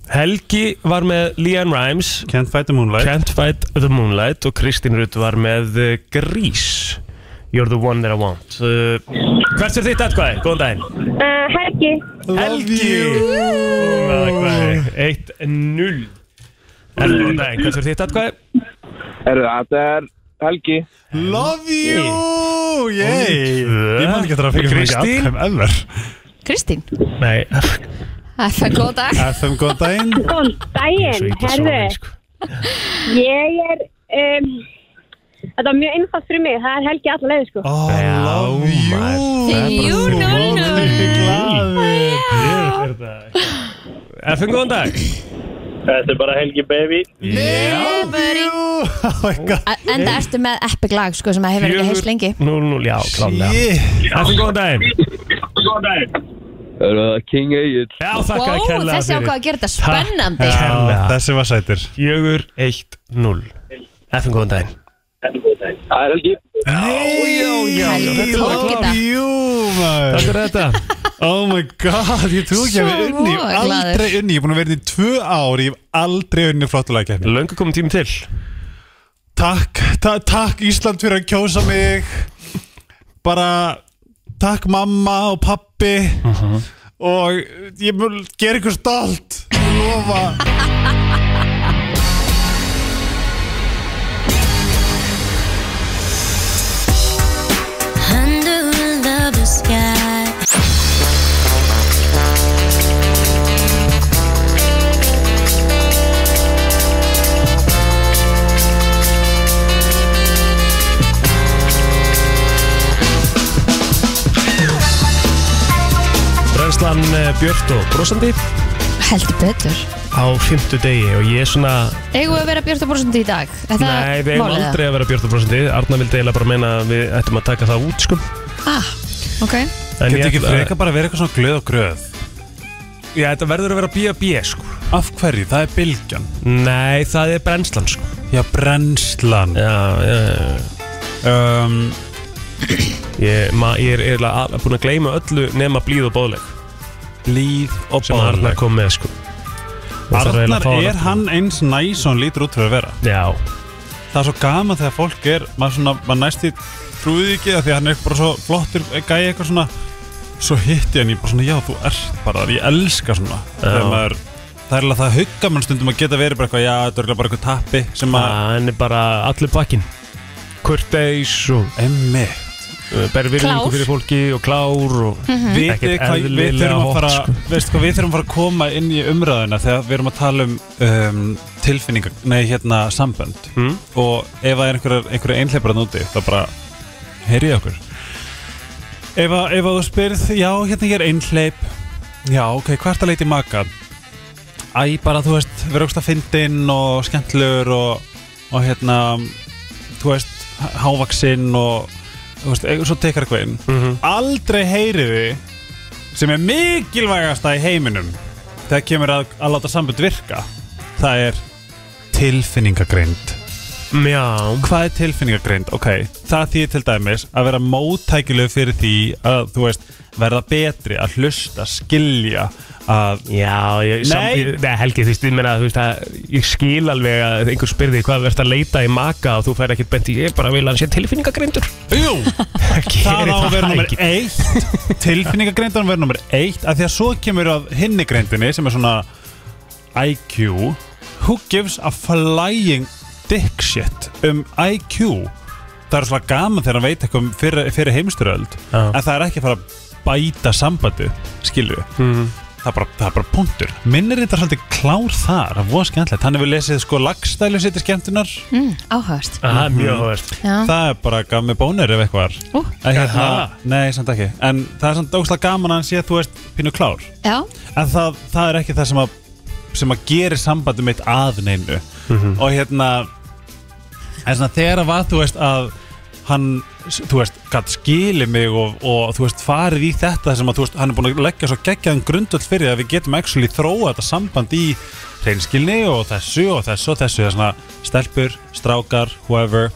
Speaker 2: Helgi var með Leanne Rimes
Speaker 4: Can't fight the moonlight
Speaker 2: Can't Fight the Moonlight og Kristín Rutt var með uh, Grís You're the one that I want uh, Hvert er þitt atkvæði? Góðan daginn
Speaker 5: Uh, Helgi,
Speaker 2: Atkvæði 1-0 Helgi, góðan daginn, hvert er þitt atkvæði?
Speaker 9: Herru, þetta er Helgi
Speaker 4: Love you Yay
Speaker 2: Tvö.
Speaker 4: Ég man ekki eftir að það fyrir mikið
Speaker 2: Kristín?
Speaker 4: atkvæm ever
Speaker 3: Kristín
Speaker 2: Nei,
Speaker 3: Það er góð dag
Speaker 4: FM, góðan daginn
Speaker 5: góðan daginn, herðu, ég er, um, þetta var mjög einfalt fyrir mig, það er Helgi alla leið, sko.
Speaker 4: Oh,
Speaker 2: Já,
Speaker 4: love
Speaker 2: maður.
Speaker 4: you
Speaker 3: You know
Speaker 4: Glaður.
Speaker 2: FM, góðan dag
Speaker 10: Þetta er bara Helgi Baby
Speaker 4: Love you Oh my god
Speaker 3: En það ertu með epic lag sko sem að hefur ekki heist lengi
Speaker 2: 0-0, já, klálega
Speaker 4: Shit.
Speaker 2: FM, góðan daginn
Speaker 9: Herru, það er King Egil
Speaker 2: Já, þakka
Speaker 3: Wow,
Speaker 2: wow, kærlega
Speaker 3: þessi ákvað
Speaker 2: fyrir
Speaker 3: að gera þetta
Speaker 2: Já.
Speaker 3: spennandi
Speaker 2: Kærlega.
Speaker 4: Þessi var sætir
Speaker 2: 4-1-0 FM, góðan daginn
Speaker 9: Það er Helgi
Speaker 4: Já, já,
Speaker 3: Helgi tók í dag.
Speaker 4: Love you maður
Speaker 2: Takk fyrir þetta
Speaker 4: Oh my god, ég trú ekki að við unni Ég hef
Speaker 3: Svo glaður.
Speaker 4: aldrei unni, ég er búin að vera hérna í tvö ár Ég hef aldrei unni flottulega kemni
Speaker 2: Löngu komum tími til
Speaker 4: Takk, ta takk Ísland fyrir að kjósa mig Bara Takk mamma og pappi Mhm. Og ég mun gera ykkur stolt Ég Lofa
Speaker 8: Under the blue sky
Speaker 2: Brennslan eh, Björt og brosandi
Speaker 3: Heldur betur
Speaker 2: á fymtu degi og ég er svona
Speaker 3: Eigum við að vera Björn Bórsund í dag? Er það
Speaker 2: Nei, við eigum
Speaker 3: málið, eða?
Speaker 2: aldrei að vera Björt og brosandi Arna vildi eiginlega bara meina að við ættum að taka það út sko
Speaker 3: Ah, ok
Speaker 2: En
Speaker 4: Geti ekki
Speaker 2: ætla-
Speaker 4: freka bara að vera eitthvað svona glöð og gröð
Speaker 2: Já, þetta verður að vera B&B sko
Speaker 4: Af hverju? Það er bylgjan
Speaker 2: Nei, það er brennslan sko
Speaker 4: Já, brennslan
Speaker 2: Já, já, já
Speaker 4: um,
Speaker 2: Ég, ma, ég er eiginlega búin að gleyma öllu nema blíð og bóðleg
Speaker 4: Líð og
Speaker 2: sem Arnar
Speaker 4: báðleg
Speaker 2: kom með sko Og þarf eiginlega að
Speaker 4: Arnar,
Speaker 2: fá
Speaker 4: er hann eins næs og hann lítur út fyrir að vera?
Speaker 2: Já,
Speaker 4: Það er svo gaman þegar fólk er maður, svona, maður næsti trúið ekki það því að hann er bara svo flottur gæi eitthvað svona svo hitti hann ég bara svona já þú ert bara þar, ég elska svona þegar maður Það er alveg það hugga mann stundum að geta verið bara eitthvað, já, þetta er örugglega bara eitthvað tappi sem að,
Speaker 2: Ah, hann er bara allur pakkin Kurteis og
Speaker 4: emmi,
Speaker 2: uh, ber virðingu
Speaker 3: Klár.
Speaker 2: fyrir fólki og klár og
Speaker 4: vitið
Speaker 2: Ekkert
Speaker 4: hvað við
Speaker 2: eðlilega
Speaker 4: þurfum að
Speaker 2: hot,
Speaker 4: fara,
Speaker 2: sko.
Speaker 4: veistu hvað, við þurfum að fara að koma inn í umræðuna þegar við erum að tala um, um tilfinningar, nei, hérna, sambönd
Speaker 2: mm?
Speaker 4: og ef það er einhverja einhver einhleipar úti þá bara heyrið okkur ef, að- ef að þú spyrð já hérna ég er einhleip já ok hvað ert að leita í maka æ bara þú veist vera okkur að fyndin og skemmtlur og, og hérna þú veist hávaksinn og þú veist e- svo tekar eitthvað inn
Speaker 2: Mhm.
Speaker 4: aldrei heyrið þið sem er mikilvægasta í heiminum þegar kemur að, að láta sambund virka það er tilfinningagreind
Speaker 2: Já,
Speaker 4: hvað er tilfinningagreind? Ok, það þýðir til dæmis að vera móttækilegu fyrir því að þú veist, verða betri, að hlusta, skilja, að
Speaker 2: já ég,
Speaker 4: Nei.
Speaker 2: samtíð, nei, Helgi, þú veist, ég meina, þú veist að ég skil alveg að einhver spyrði hvað verðst að leita í maka og þú fær ekkert bent í ég bara vil að hann sé tilfinningagreindur
Speaker 4: Jú, það
Speaker 2: Gerir
Speaker 4: á að vera nummer
Speaker 2: ekki.
Speaker 4: eitt Tilfinningagreindan vera nummer eitt af því að svo kemur að hinni greindinni sem er svona IQ Who gives a flying dick shit um IQ Það er svona gaman þegar hann veit eitthvað um fyrir, fyrir heimsturöld
Speaker 2: Já.
Speaker 4: en það er ekki að fara að bæta sambandi skilju
Speaker 2: Mhm.
Speaker 4: það, er bara, það er bara punktur Minnir þetta svolítið klár þar, það er voða skemmtilegt Hann hefur lesið sko lagstælu sitt í skemmtunar
Speaker 3: mm, Áhört
Speaker 2: Aha, mjög
Speaker 4: Mm.
Speaker 2: áhverst
Speaker 3: Já,
Speaker 4: Það er bara gaf mig bónir ef eitthvað er
Speaker 3: Ú.
Speaker 4: En
Speaker 2: Jaha.
Speaker 4: hérna, Nei, samt ekki En það er samt óslega gaman að hann sé að þú ert pínu klár
Speaker 3: já
Speaker 4: En það, það er ekki það sem að sem að gerir sambandi mitt að neinu Og hérna En svona þegar að var þú veist að hann, s- þú veist, gatt skili mig og, og þú veist, farið í þetta sem að þú veist, hann er búin að leggja svo geggjaðan grundvöld fyrir því að við getum actually þróa þetta samband í reynskilni og þessu og þessu og þessu, það er svona stelpur, strákar, whoever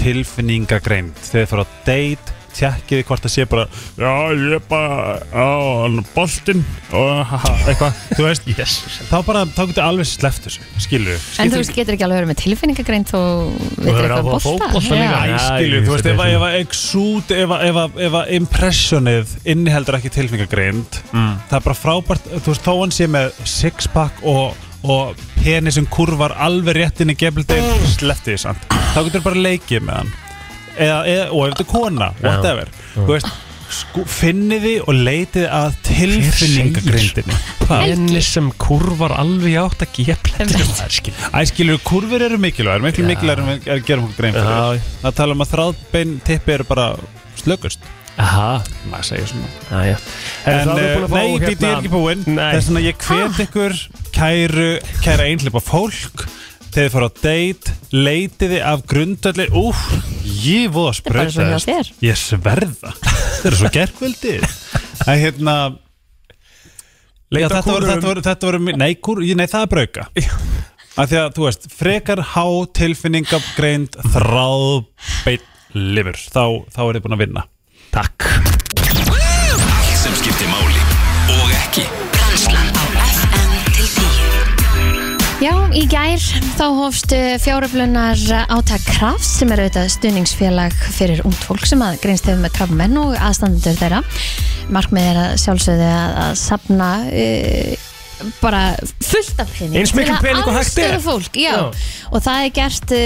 Speaker 4: tilfinningagreind þegar þið fara að date tjekkið hvort það sé bara já ég er bara á boltinn og ha, ha, eitthvað þú veist yes. þá bara þá getur alveg sleppt þessu skilur
Speaker 3: En þú veist, getur ekki alveg verið með tilfinningagreind og veitir
Speaker 2: hefur
Speaker 3: eitthvað
Speaker 2: áhuga á
Speaker 3: bolta
Speaker 2: fótbolta
Speaker 3: Já.
Speaker 2: líka.
Speaker 4: Æ,
Speaker 2: Já,
Speaker 4: skilur,
Speaker 2: ég
Speaker 4: þú veist,
Speaker 2: sé
Speaker 4: ef að-
Speaker 2: þetta.
Speaker 4: ef að exút, ef að- ef að- ef að impressionið inniheldur ekki tilfingagreind það er bara frábært, þú veist, þó hann sé með sixpack og, og peni sem kurvar alveg rétt inn í gefildin sleppti því samt, þá getur bara leikið með hann eða, eða, og ef þetta er kona, whatever þú veist, sku, finniði og leitið að tilfinningagrindinni Hvað?
Speaker 2: Henni sem kurvar alveg átt að gefa Já,
Speaker 4: Æ, skilur, kurvir eru mikilvægur, miklu mikilvægur en við gerum hún grein fyrir
Speaker 2: já,
Speaker 4: Það tala um að þráðbein tippi eru bara slökust
Speaker 2: aha
Speaker 4: Maður segir svona
Speaker 2: Já, já.
Speaker 4: En
Speaker 2: Herru, þá erum við
Speaker 4: eh,
Speaker 2: búin að fá hérna
Speaker 4: nei, þetta er ekki búinn
Speaker 2: Nei. Ah.
Speaker 4: Þess vegna ég hvet ykkur kæru, kæra einhleipa fólk Þegar þið fara á date Leitiði af grundöldi Úf, ég voða
Speaker 3: er bara svo hjá
Speaker 4: sprauta
Speaker 3: þér.
Speaker 4: Ég sverða Þetta er svo gerkvöldi Það er hérna já,
Speaker 2: Leita
Speaker 4: þetta, voru,
Speaker 2: kúrum.
Speaker 4: þetta, voru, þetta voru mi- Nei, kúr, ég- nei það er brauka Af því að, þú veist, frekar há tilfinningagreind þráðbeitt lifur þá, þá er þið búin að vinna
Speaker 2: Takk
Speaker 1: Allt sem
Speaker 3: í gær þá hófst eh, fjáröflunar eh, átak Krafs sem er auðvitað stuðningsfélag fyrir ungt fólk sem að greinst hefur með krafmenn og aðstandendur þeirra. Markmið er að sjálfsögðu að, að sapna e, bara fullt af pening.
Speaker 2: Eins mikinn pening og hægt er.
Speaker 3: Aðstöðu fólk, já.
Speaker 2: Já.
Speaker 3: Og það er gert e,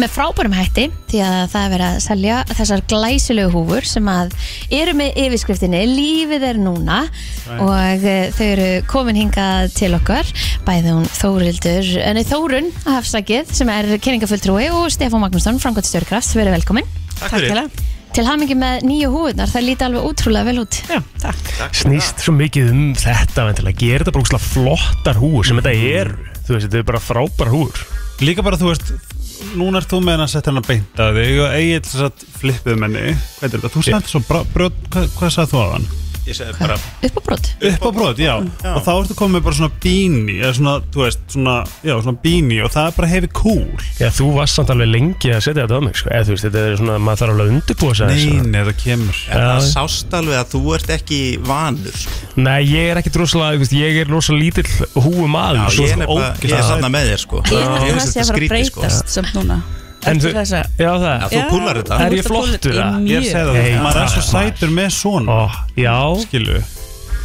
Speaker 3: með frábærum hætti því að það er verið að selja þessar glæsilegu húfur sem að eru með yfirskriftinni Lífið er núna
Speaker 6: Right.
Speaker 3: og og eh, þau eru komin hingað til okkar bæði hún Þórildur nei, Þórun Hafsakið sem er kynningafulltrúi og Stefán Magnússon framkvæmt stjórnkraft, verið velkomin
Speaker 2: Takk fyrir.
Speaker 3: kærlega. Til hamingi með nýju húðunar, það líti alveg útrúlega vel út Já, takk
Speaker 2: snýst svo mikið um þetta væntanlega, gera þetta bara ógeðslega flottar húur sem þetta
Speaker 4: Mm.
Speaker 2: eru, þú veist, þetta eru bara frábæra húur
Speaker 4: Líka bara, þú veist, núna ert þú með hennar sett hennar beint að þig og eigið þess að flippuð menni, hvað er þetta, þú sagði svo brá- brjót, hvað, hvað sagði þú á hann?
Speaker 11: Ég segi bara
Speaker 3: Uppábrot
Speaker 4: Upp á brot, já.
Speaker 11: Já.
Speaker 4: og þá ertu komið með bara svona bíni eða svona, þú veist, svona, já, svona bíni og það er bara hefði cool
Speaker 2: Já, þú varst samt alveg lengi að setja þetta á mig, sko eða þú veist, þetta er svona, maður þarf alveg að undirbúa sig aðeins,
Speaker 4: Nei,
Speaker 2: sko.
Speaker 4: nei, það kemur
Speaker 11: En það sást alveg að þú ert ekki vanur sko.
Speaker 2: Nei, ég er ekkert rosalega, þú veist, ég er rosalega lítill húum
Speaker 11: Já,
Speaker 2: maður
Speaker 11: ég er nefnilega- ég er þarna með þér, sko.
Speaker 12: Ég er að það sé að fara að breytast samt núna
Speaker 2: En
Speaker 12: Eftir
Speaker 2: þú-
Speaker 12: þessa
Speaker 2: Já, það
Speaker 12: Já, þú púllar þetta.
Speaker 2: Er
Speaker 12: þú
Speaker 2: ég
Speaker 12: ert að púlla
Speaker 2: flottur
Speaker 12: þetta í
Speaker 2: það?
Speaker 12: mjög.
Speaker 4: Ég segi það,
Speaker 2: Hey,
Speaker 4: maður er svo
Speaker 2: takk, maður.
Speaker 4: sætur með svona
Speaker 2: oh, Já
Speaker 4: Skilu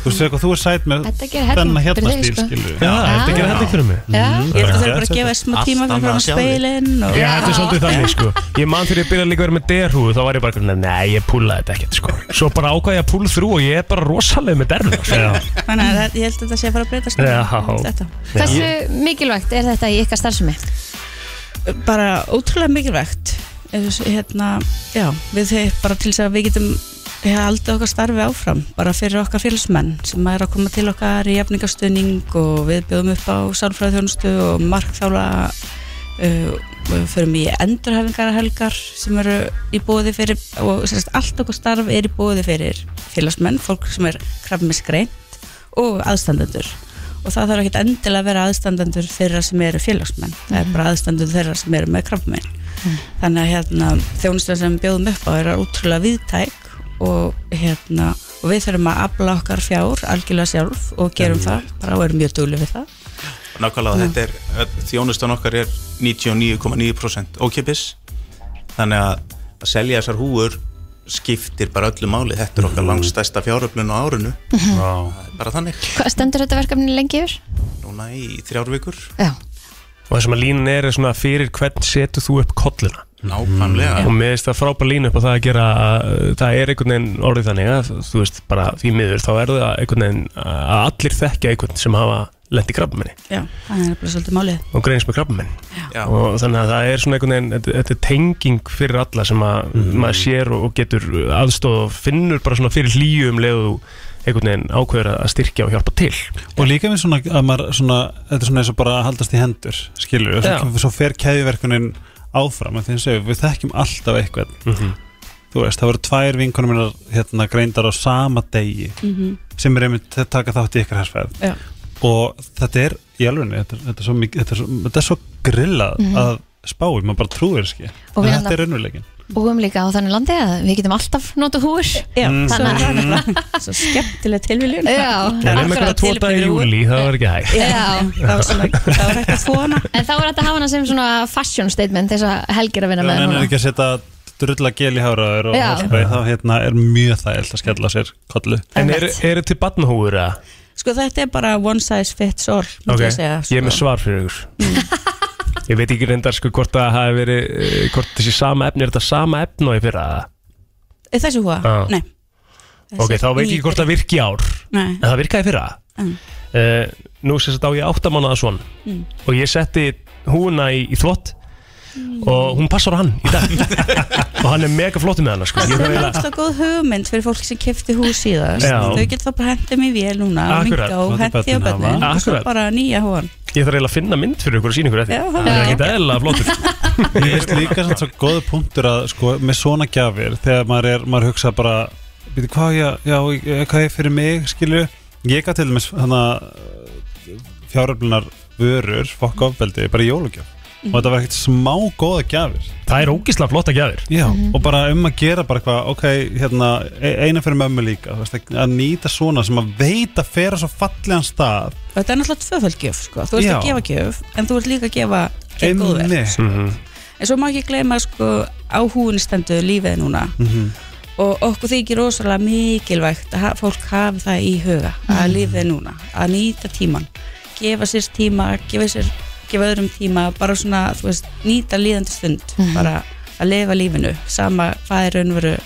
Speaker 4: Þú veist eitthvað, þú er sæt með
Speaker 3: Þetta gerir helling
Speaker 4: þennan
Speaker 3: fyrir
Speaker 4: hérna
Speaker 3: þig,
Speaker 4: stíl,
Speaker 3: sko.
Speaker 4: skilu
Speaker 2: Já, þetta gerir helling fyrir mig.
Speaker 12: Já,
Speaker 2: Mhm.
Speaker 12: ég held að það er bara
Speaker 2: Þetta-
Speaker 12: að gefa smá tíma
Speaker 2: Allt
Speaker 12: fyrir
Speaker 2: annað
Speaker 12: fram
Speaker 2: að sjá þig.
Speaker 12: speilin og...
Speaker 2: Já, þetta er svolítið þannig sko Ég man þegar ég byrjaði líka að vera með derhúðu Þá var ég bara, eitthvað, nei, ég púlaði þetta ekkert sko Svo bara ákvaði ég að púla þrú og ég er bara rosalega með derhúðu sko.
Speaker 12: Þannig að það- ég held að það sé að fara að breytast
Speaker 2: Já.
Speaker 12: Þetta.
Speaker 3: Hversu mikilvægt er þetta í ykkar starfsemi?
Speaker 12: Bara ótrúlega mikilvægt Eins og, hérna, já, við þeir bara til þess að við getum haldið okkar starfi áfram bara fyrir okkar félagsmenn sem er að koma til okkar í jafningastöning og við bjóðum upp á sálfræðþjónustu og markþála uh, og förum í endurhæfingarhelgar sem eru í bóði fyrir og sérst, allt okkar starf er í bóði fyrir félagsmenn, fólk sem er krafmisgreint og aðstandendur og það þarf ekkert endilega að vera aðstandendur þeirra sem eru félagsmenn það er
Speaker 13: Mhm.
Speaker 12: bara aðstandendur þeirra sem eru með krafminn þannig að hérna, þjónustan sem við bjóðum upp á er útrúlega viðtæk og, hérna, og við þurfum að afla okkar fjár algjörlega sjálf og gerum það bara og erum mjög duglega við það
Speaker 11: Nákvæmlega
Speaker 12: Já.
Speaker 11: þetta er, öll- þjónustan okkar er 99,9% ókipis Þannig að að selja þessar húur skiptir bara öllu máli Þetta er okkar langstæsta fjáröflun á árinu
Speaker 4: wow.
Speaker 11: Bara þannig,
Speaker 3: Hvað stendur þetta verkefni lengi yfir?
Speaker 11: núna í þrjár vikur
Speaker 3: Já
Speaker 2: Og það sem að línan er er svona fyrir hvern setur þú upp kolluna
Speaker 11: Nákvæmlega.
Speaker 2: Og mér finnst það frábær lína upp á það að gera að, uh, Það er einhvern veginn orðið þannig að Þú veist, bara því miður þá er það einhvern veginn Að allir þekkja einhvern sem hafa lent í krabbaminni
Speaker 12: Já, það er bara svolítið málið
Speaker 2: og greinist með krabbamenn
Speaker 11: Já.
Speaker 2: og þannig að það er svona einhvern veginn þetta- þetta er tenging fyrir alla sem að maður sér og og getur aðstóð og finnur bara svona fyrir um hlýjum leiðu einhvern veginn ákveður að styrkja og hjálpa til
Speaker 4: Og líka með svona að maður svona, þetta er svona eins og bara að haldast í hendur skilur,
Speaker 2: Já.
Speaker 4: svo, svo fer keðjuverkunin áfram, en því að segja, við þekkjum alltaf eitthvað,
Speaker 2: Mhm.
Speaker 4: þú veist, það voru tvær vinkonum minnar hérna greindar á sama degi,
Speaker 12: Mhm.
Speaker 4: sem er einmitt að taka þátt í ykkar hersfæð
Speaker 12: Já.
Speaker 4: og þetta er í alvegni þetta, er- þetta, er svo mikið- þetta, er svo- þetta er svo grillað
Speaker 3: Mhm.
Speaker 4: að spáum, maður bara trúir ekki en
Speaker 3: Og við hérna-
Speaker 4: þetta
Speaker 3: alla-
Speaker 4: er raunveruleikin
Speaker 3: Búum líka á þannig landi að við getum alltaf nota húr
Speaker 12: Já,
Speaker 4: Mm.
Speaker 12: svo,
Speaker 3: Þannig
Speaker 12: er
Speaker 3: að-
Speaker 12: nefnilega svo skemmtileg tilviljun
Speaker 3: Já.
Speaker 2: En ef eitthvað tvo dag í júli, það var ekki hægt
Speaker 3: Já,
Speaker 12: það var svona það var hægt að fóna
Speaker 3: En þá er þetta að hafa hana sem svona fashion statement þess að helgir að vinna með
Speaker 4: en
Speaker 3: núna.
Speaker 4: er ekki að setja drulla gel í háraður og
Speaker 3: Já.
Speaker 4: hálfsbæði, þá hérna er mjög þægilt að skella sér kollu
Speaker 2: En eru er til barnahúður eða?
Speaker 12: Sko þetta er bara one size fits all myndi ég segja, sko.
Speaker 2: ég er með svar fyrir ykkur Ég veit ekki reyndar sko hvort það hafi verið eh, hvort þessi sama efni, er þetta sama efni og ég fyrra það?
Speaker 12: Er Þessi húa?
Speaker 2: Já.
Speaker 12: Nei
Speaker 2: Ok, þá veit ég ekki hvort það virki í ár
Speaker 12: Nei.
Speaker 2: En það virkaði fyrra
Speaker 12: Mm.
Speaker 2: uh, Nú sérst þetta á ég áttamánaða svon
Speaker 12: Mm.
Speaker 2: Og ég setti húna í, í þvott Og hún passar á hann í dag Og hann er mega flottur með hana sko.
Speaker 12: Það
Speaker 2: Ég
Speaker 12: er
Speaker 2: þarf eiginlega-
Speaker 12: náttúrulega góð hugmynd fyrir fólk sem kefti hús síðast
Speaker 2: Já.
Speaker 12: Þau getur þá bara hendið mér vél núna og
Speaker 2: Akkurat,
Speaker 12: minka og
Speaker 2: láta
Speaker 12: hendið á
Speaker 2: börnin hafa.
Speaker 12: bönnin og svo
Speaker 2: Akkurat.
Speaker 12: bara nýja húan
Speaker 2: ég þarf eiginlega að finna mynd fyrir ykkur og sína ykkur eftir
Speaker 12: Já,
Speaker 2: Það er ekki eðlilega flottur
Speaker 4: Mér finnst líka svona svo góðu punktur að sko, með svona gjafir þegar maður er, maður hugsa bara býtu hvað ég, já, ég- hvað ég fyrir mig skilju, ég gaf til dæmis hana fjáröflunar vörur fokk ofbeldi, bara í jólugjöf og þetta var ekkert smá góða gjafir
Speaker 2: það er ógislega flotta gjafir
Speaker 4: já, og bara um að gera bara eitthvað ok, hérna, e- eina fyrir mömmu líka þú veist, að- að nýta svona sem að veit að fera svo fallegan stað
Speaker 12: Og þetta er náttúrulega tvöfaldgjöf sko. þú ert
Speaker 4: Já.
Speaker 12: að gefa gjöf, en þú ert líka að gefa gjöf
Speaker 4: um
Speaker 12: góðverk, en svo má ekki gleyma sko, á húinni stendur lífið núna og okkur þykir rosalega mikilvægt að ha- fólk hafi það í huga að lífið er núna, að nýta tíman gefa sér tíma, gefa sér gefa öðrum tíma, bara svona þú veist, nýta líðandi stund bara að lifa lífinu, sama hvað er raunveru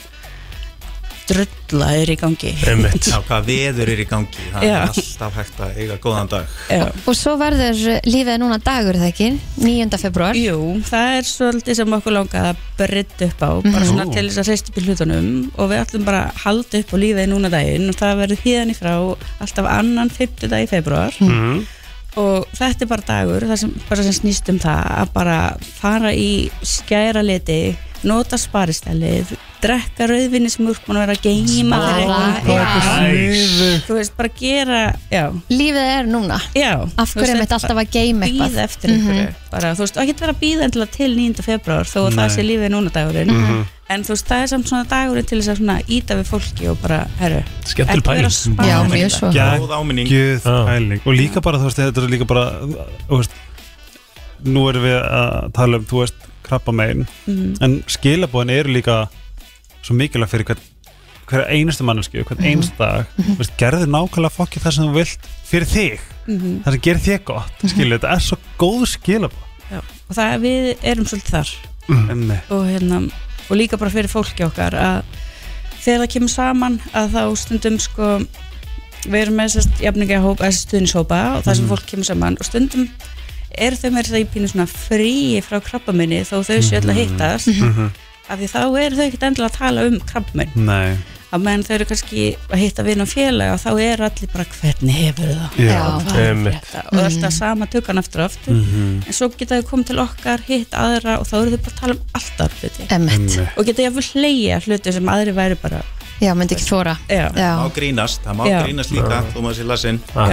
Speaker 12: drulla er í gangi
Speaker 11: Já, hvað veður er í gangi það
Speaker 12: Já.
Speaker 11: er alltaf hægt að eiga góðan dag
Speaker 3: Og svo verður lífið núna dagur það ekki 9. februar
Speaker 12: Jú, það er svolítið sem okkur langaði að breytta upp á, bara svona
Speaker 3: Mhm.
Speaker 12: til þess að hreist upp í hlutunum og við ætlum bara að halda upp á lífið núna daginn og það verður híðan í frá alltaf annan 50 dag í februar
Speaker 2: Mhm.
Speaker 12: og þetta er bara dagur, það sem, bara sem snýst um það að bara fara í skæra liti, nota sparistælið, drekka rauðvinni sem úr búin að vera að geima fyrir
Speaker 3: Smá
Speaker 12: eitthvað.
Speaker 3: kók. Nice.
Speaker 12: þú veist, bara gera, já
Speaker 3: Lífið er núna
Speaker 12: Já,
Speaker 3: Af
Speaker 12: þú veist,
Speaker 3: hverju er mitt
Speaker 12: þetta
Speaker 3: alltaf að geima eitthvað Mhm.
Speaker 12: býða eftir einhverju bara, þú veist, og ekkert vera að býða endilega til 9. februar þó að
Speaker 3: Nei.
Speaker 12: það sé lífið núna dagurinn
Speaker 3: Mhm.
Speaker 12: en þú veist, það er samt svona dagurinn til þess að svona íta við fólki og bara, herru
Speaker 4: Skemmtileg
Speaker 12: ekki vera að
Speaker 4: pæling.
Speaker 12: spara
Speaker 3: Já, mjög
Speaker 12: í þetta.
Speaker 3: svo.
Speaker 11: Góð áminning.
Speaker 4: Gjöð pæling Og líka bara, þú veist, þetta er líka bara Þú veist Nú erum við að tala um, þú veist, krabba megin
Speaker 12: Mhm.
Speaker 4: En skilabóðin eru líka Svo mikilvæg fyrir hvern Hver einustu manneski, hvern
Speaker 12: Mhm.
Speaker 4: einst dag Þú veist, gerðu nákvæmlega fokki það sem þú vilt Fyrir þig,
Speaker 12: Mhm.
Speaker 4: það sem gerir þig gott
Speaker 11: Mhm.
Speaker 4: Skilu, þetta er svo góð skilabóð
Speaker 12: Já, og það, við erum svolítið þar
Speaker 4: mm.
Speaker 12: og, hérna, og líka bara fyrir fólki okkar að þegar það kemur saman að þá stundum sko við erum með þessast jafningahópa þessast stuðnishópa og það sem
Speaker 13: Mhm.
Speaker 12: fólk kemur saman og stundum er þau með þess að ég pínu svona frí frá krabbaminni þó þau séu öll að hittast
Speaker 4: Mhm.
Speaker 12: af því þá eru þau ekkert endilega að tala um krabbaminn
Speaker 4: Nei
Speaker 12: að menn þau eru kannski að hitta vinn og félag og þá er allir bara hvernig hefur það
Speaker 4: Já,
Speaker 12: Hvað er
Speaker 4: einmitt.
Speaker 12: þetta? og
Speaker 3: Mm.
Speaker 12: alltaf sama tökann aftur og aftur
Speaker 4: Mhm.
Speaker 12: en svo geta þau komið til okkar, hitt aðra og þá eru þau bara að tala um alltaf hluti
Speaker 3: Einmitt.
Speaker 11: Einmitt.
Speaker 12: og geta ég að hluti sem aðri væri bara
Speaker 3: Já, myndi ekki þóra
Speaker 12: Já.
Speaker 11: það má grínast, það má
Speaker 12: Já.
Speaker 11: grínast líka þú maður sér lasin
Speaker 12: og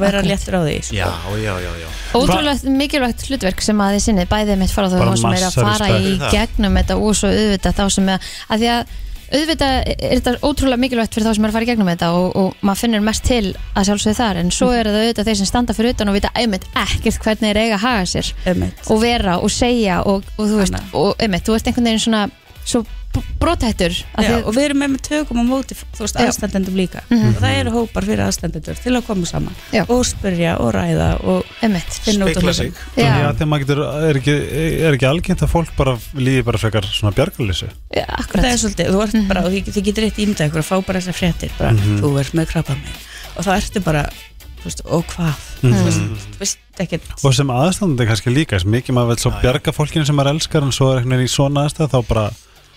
Speaker 12: vera léttur á því sko.
Speaker 11: já, já, já, já.
Speaker 3: Ótrúlega mikilvægt hlutverk sem að þið sinni bæðið mitt fara þá
Speaker 11: Bara
Speaker 3: þá sem er að
Speaker 11: massar
Speaker 3: fara
Speaker 11: respekt.
Speaker 3: í
Speaker 11: Það.
Speaker 3: gegnum þetta og svo auðvitað þá sem er að því að auðvitað er þetta ótrúlega mikilvægt fyrir þá sem er að fara í gegnum þetta og, og maður finnur mest til að sjálfsögðu þar en svo er það auðvitað þeir sem standa fyrir utan og vita einmitt ekkert hvernig þeir eiga að haga sér
Speaker 12: einmitt.
Speaker 3: og vera og segja og, og þú veist, og einmitt, þú veist einhvern veginn svona svo brotættur
Speaker 12: Já, og við erum með með tökum á móti þú veist,
Speaker 3: Já.
Speaker 12: aðstandendum líka
Speaker 3: Mhm.
Speaker 12: og það eru hópar fyrir aðstandendur til að koma saman
Speaker 3: Já.
Speaker 12: og spyrja og ræða og
Speaker 3: Einmitt.
Speaker 12: finna út á
Speaker 4: Spekla
Speaker 12: hlutum
Speaker 4: Já, Já þegar maður getur, er ekki, er ekki algengt að fólk bara líði bara frekar svona bjargalýsu
Speaker 3: Já, akkurat.
Speaker 12: Það er svolítið, þú ert bara, og þið, þið getur eitt ímyndað ykkur að fá bara þessar fréttir, bara,
Speaker 4: Mhm.
Speaker 12: þú ert með krabba mig og þá ertu bara, þú veist, og hvað
Speaker 4: Mhm.
Speaker 12: þú veist, þú veist ekkert
Speaker 4: Og sem aðstandandi kannski líka, sem mikið maður vil svo bjarga fólkinu sem maður elskar en svo er einhvern veginn í svona aðstæð þá bara
Speaker 12: Mm.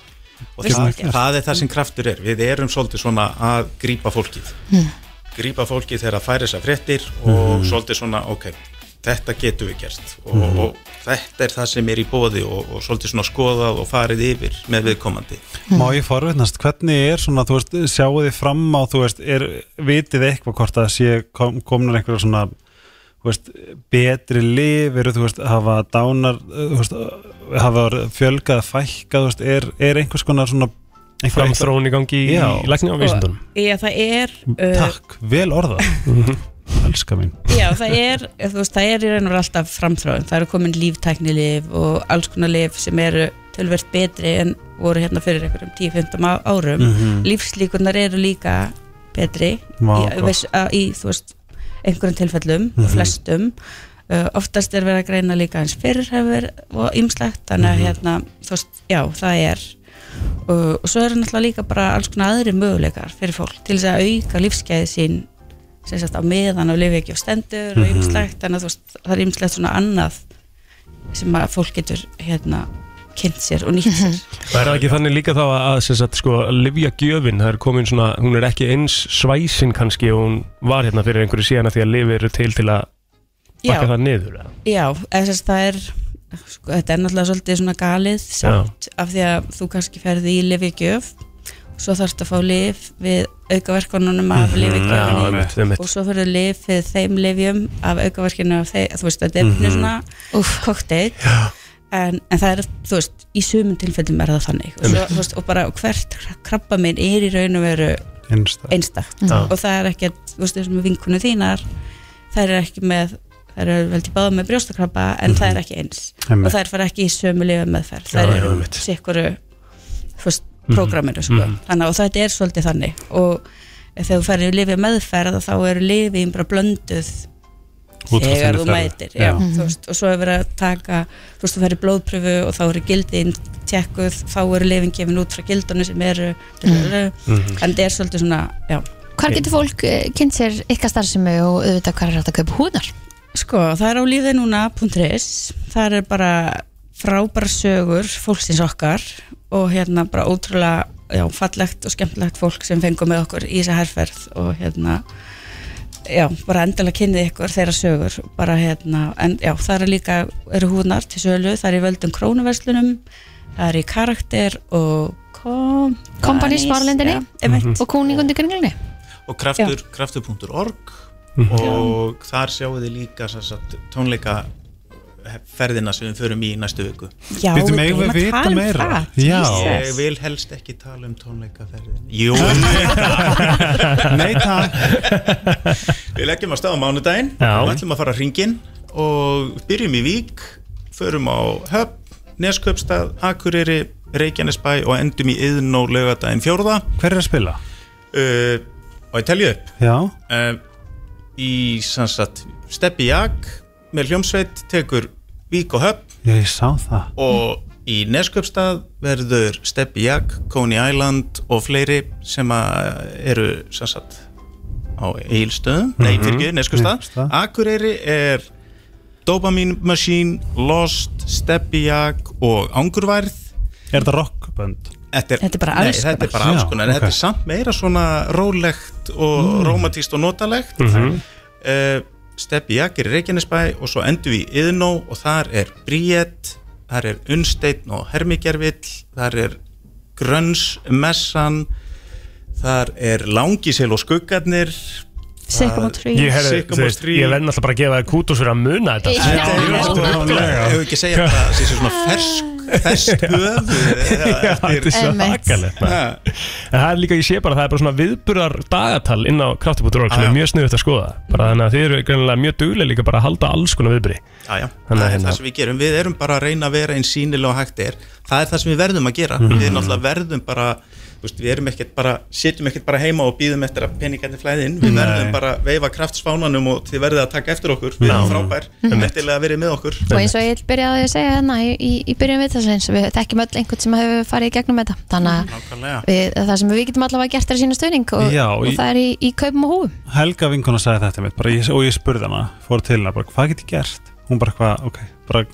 Speaker 11: og
Speaker 4: Veist
Speaker 11: það,
Speaker 4: ekki.
Speaker 11: það er það sem kraftur er við erum svolítið svona að grípa fólkið
Speaker 4: Mm.
Speaker 11: grípa fólkið þegar það færi þessar fréttir og
Speaker 4: Mhm.
Speaker 11: svolítið svona, ok þetta getum við gert og,
Speaker 4: Mhm.
Speaker 11: og þetta er það sem er í bóði og, og svolítið svona skoðað og farið yfir með viðkomandi
Speaker 4: Má ég forvitnast, hvernig er svona, þú veist, sjáu þið fram á, þú veist, er, vitið þið eitthvað hvort að sé kom, komnar einhverja svona, þú veist, betri lif, eru, þú veist, hafa dánar, uh, þú veist, uh, hafa fjölgað, fækkað, þú veist, er, er einhvers konar svona einhver-
Speaker 2: Framþróun í gangi í-
Speaker 4: Já.
Speaker 2: í lækninga- og vísindunum.
Speaker 12: Já, það er uh,
Speaker 4: Takk, vel orða,
Speaker 2: Mhm.
Speaker 4: elska mín.
Speaker 12: Já, það er, þú veist, það er í raun og veru alltaf framþróun, það eru komin líftæknilif og alls konar lif sem eru tölvert betri en voru hérna fyrir einhverjum 10-15 á- árum
Speaker 4: Mhm.
Speaker 12: lífslíkunar eru líka betri
Speaker 4: Vá,
Speaker 12: í,
Speaker 4: gott.
Speaker 12: veist, að- í, þú veist, einhverjum tilfellum
Speaker 4: Mhm.
Speaker 12: flestum uh, oftast er verið að greina líka eins fyrir hefur og ymslegt, þannig að
Speaker 13: Mhm.
Speaker 12: hérna þú veist, já, það er og, og svo eru náttúrulega líka bara alls konar aðri möguleikar fyrir fólk til þess að auka lífsgæði sín sem sagt á meðan og lifi ekki á stendur og
Speaker 13: Mhm.
Speaker 12: ymslegt, þannig að þú veist, það er ymslegt svona annað sem að fólk getur hérna kynnt sér og nýtt sér
Speaker 2: Það er það ekki þannig líka þá að, að sem sagt, sko, livja gjöfin, það er komin svona, hún er ekki eins svæsin kannski og hún var hérna fyrir einhverju síðan að því að lifi eru til til að
Speaker 12: Já.
Speaker 2: bakka það niður. eða?
Speaker 12: Já, eða þess að það er sko, þetta er náttúrulega svolítið svona galið samt af því að þú kannski ferði í lifjagjöf svo þarftu að fá lif við aukaverkununum af
Speaker 2: Mhm,
Speaker 12: mm,
Speaker 2: já, einmitt, einmitt.
Speaker 12: og svo fyrir lif við þeim lifjum af aukaverkinu af þeim, þú veist, þetta er
Speaker 2: Mhm.
Speaker 12: mm. svona Úf. cocktail en, en það er, þú veist, í sumum tilfellum er það þannig og, svo,
Speaker 4: Einmitt.
Speaker 12: þú veist, og bara hvert krabba minn er í raun og veru
Speaker 4: Einstakt.
Speaker 12: einstakt.
Speaker 4: Já.
Speaker 12: og það er ekkert, þú veist, þessum vinkunum þínar þær eru ekki með þær eru vel til báða með brjóstakrabba en það er ekki eins
Speaker 4: Einmitt.
Speaker 12: og þær fara ekki í sömu lifa meðferð
Speaker 4: Mhm. Já,
Speaker 12: þær
Speaker 4: já,
Speaker 12: eru
Speaker 4: einmitt.
Speaker 12: sikkuru
Speaker 4: Mhm.
Speaker 12: prógraminu sko.
Speaker 4: Mhm.
Speaker 12: þannig að þetta er svolítið þannig og þegar þú færir lifið meðferð þá eru lifið bara blönduð
Speaker 4: Út frá þinni
Speaker 12: þegar þú
Speaker 4: þörf.
Speaker 12: mætir
Speaker 4: Já.
Speaker 12: já.
Speaker 4: Mhm.
Speaker 12: þú veist, og svo er verið að taka þú veist, þú færir blóðpröfu og þá eru gildin tjekkuð, þá eru lifin gefin út frá gildunum sem eru
Speaker 4: Mm-hmm.
Speaker 3: Mhm.
Speaker 12: en þetta er svolítið svona, já
Speaker 3: Hvar getur fólk eh, kynnt sér ykkar starfsemi og auðvitað hvað er hægt að kaupa húnar?
Speaker 12: Sko, það er á lífið núna.is Það er bara frábæra sögur fólksins okkar og hérna bara ótrúlega já, fallegt og skemmtlegt fólk sem fengur með okkur í þessa herferð og hérna já, bara endilega kynnið ykkur þeirra sögur bara hérna, en já, það er líka eru húnar til sölu, það er í völdum krónuverslunum, það er í karakter og kom
Speaker 3: Kompani Sparlindinni
Speaker 12: einmitt.
Speaker 3: Mhm. og Kúningundi Kringlinni
Speaker 11: og kraftur, kraftur.org
Speaker 4: Mhm.
Speaker 11: og þar sjáum við líka sem sagt, tónleika ferðina sem við förum í næstu viku
Speaker 4: Já, Bíddu, við megum við eigum að vita tala um meira? það. Já.
Speaker 11: Ég
Speaker 4: Jesus.
Speaker 11: vil helst ekki tala um tónleikaferðin Jú
Speaker 4: Nei, takk.
Speaker 11: Við leggjum að staða mánudaginn
Speaker 4: Já.
Speaker 11: Við ætlum að fara hringin og byrjum í Vík förum á Höpp, Neskaupstað Akureyri, Reykjanesbæ og endum í Iðnó laugardaginn fjórða
Speaker 4: Hver er að spila?
Speaker 11: uh, og ég telja upp
Speaker 4: Já.
Speaker 11: uh, í sannsagt Steppi Jak með hljómsveit tekur Vík og Höpp
Speaker 4: Já, ég sá það.
Speaker 11: og í Nesköpstað verður Steppi Jak, Coney Island og fleiri sem að eh, eru sannsagt á Egilstöðum, nei
Speaker 4: Mhm.
Speaker 11: fyrir ekki, Nesköpstað
Speaker 4: Neskaupstað.
Speaker 11: Akureyri er Dopamine Machine, Lost, Steppi Jak og Angurværð
Speaker 4: Er þetta rockbönd?
Speaker 11: Þetta er,
Speaker 4: Þetta er bara alls
Speaker 11: nei, þetta er
Speaker 4: konar.
Speaker 11: bara alls
Speaker 4: Já,
Speaker 11: konar en
Speaker 4: ok.
Speaker 11: þetta er samt meira svona rólegt og rómatíst og notalegt mm
Speaker 4: Mhm.
Speaker 11: Steppi Jakir í Reykjanesbæ og svo endur við í Iðnó og þar er Bríett þar er Unnsteinn og Hermigervill þar er Grönns Messan þar er Langisel og Skuggarnir
Speaker 2: Sycamore
Speaker 11: þar-
Speaker 2: Ég, herri, þú
Speaker 11: Sycamore
Speaker 2: veist, ég verð náttúrulega bara að gefa þér kútus fyrir að muna þetta
Speaker 11: Þetta er náttúrulega- Ef við ekki segja þetta, það sé svona
Speaker 4: Ah.
Speaker 11: fersk fersk höf
Speaker 2: Já, þetta er svakalegt maður. En það er líka, ég sé bara, það er bara svona viðburðar dagatal inn á kraftabútur sem
Speaker 11: Ah, Já, já.
Speaker 2: er mjög sniðvægt að skoða bara þannig að þið eru greinilega mjög duglega líka bara að halda alls konar viðburði
Speaker 11: Ah, Já, já, það
Speaker 2: Þannig að
Speaker 11: er
Speaker 2: hérna-
Speaker 11: það sem við gerum Við erum bara að reyna að vera eins sínilega og hægt er Það er það sem við verðum að gera
Speaker 2: Mhm.
Speaker 11: Við náttúrulega verðum bara þú veist, Við erum ekkert bara, sitjum ekkert bara heima og býðum eftir að peningarnir flæði inn Við
Speaker 2: Nei.
Speaker 11: verðum bara að veifa kraftsfánanum og þið verðið að taka eftir okkur Við
Speaker 2: Já.
Speaker 11: erum frábær,
Speaker 2: Mhm.
Speaker 11: eftirlega að verið með okkur
Speaker 3: og eins og ég byrjaði að segja hérna í, í, í byrjun við þess eins við þekkjum öll einhvern sem hefur farið í gegnum þetta þannig
Speaker 11: Nákvæmlega.
Speaker 3: að við, það sem við getum allavega gert er að sína stöðning og,
Speaker 4: Já,
Speaker 3: og
Speaker 4: í-
Speaker 3: það er í, í kaupum og húum
Speaker 4: Helga vinkona sagði þetta mitt bara, ég, og ég spurði hana, fór til hana bara, hvað get ég gert? Hún bara hvað, ok, bara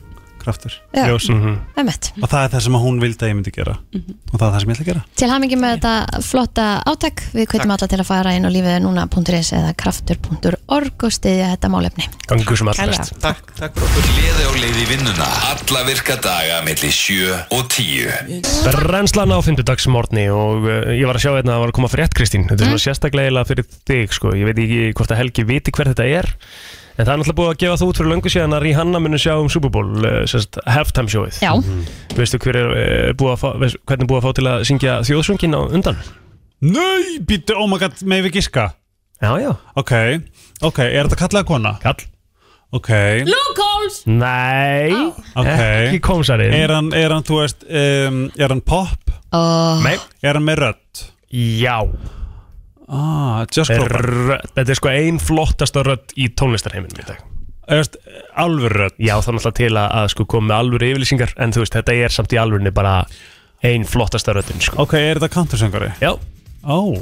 Speaker 4: kraftur,
Speaker 3: Já.
Speaker 4: ljós
Speaker 3: Mhm. Einmitt.
Speaker 4: og það er það sem að hún vildi að ég myndi gera og það er það sem ég ætla að gera
Speaker 3: til hamingi með þetta flotta átak við kveitum alla til að fara inn á lífið er núna.is eða kraftur.org og stiðja þetta málefni
Speaker 2: Gangu sem
Speaker 3: allra best.
Speaker 11: Takk, takk
Speaker 13: Gleði á leið í vinnuna Alla virka daga millir 7 og 10
Speaker 2: Brennslan á fymtudagsmorni og uh, ég var að sjá hérna að það var að koma frétt Kristín þetta er svona sérstaklega eiginlega fyrir þig sko. ég veit ekki hvort að Helgi viti hver þetta er en það er náttúrulega búið að gefa þú út fyrir löngu síðan að Rihanna muni sjá um Super Bowl uh, sérst, halftime showið
Speaker 3: Já.
Speaker 2: Mhm. veistu hver er, uh, búið að fá, veist, hvernig er búið að fá til að syngja þjóðsvöngin á undan
Speaker 4: Nei, býttu, oh my god, með við giska
Speaker 2: Já, já
Speaker 4: Ok, ok, er þetta kallaða kona?
Speaker 2: Kall
Speaker 4: Ok
Speaker 6: Luke Combs
Speaker 2: Nei
Speaker 4: okay.
Speaker 2: Ekki kómsarinn
Speaker 4: Er hann, er hann, þú veist, um, er hann pop?
Speaker 3: Oh.
Speaker 2: Nei
Speaker 4: Er hann með rödd?
Speaker 2: Já
Speaker 4: ah, Just Cropper
Speaker 2: Rödd- Þetta er sko ein flottasta rödd í tónlistarheiminum í dag
Speaker 4: Öst, Alvöru rödd
Speaker 2: Já þá náttúrulega til að, að sko koma með alvöru yfirlýsingar En þú veist þetta er samt í alvörunni bara ein flottasta röddin sko
Speaker 4: Ok, er þetta kantursöngari?
Speaker 2: Já
Speaker 4: Ó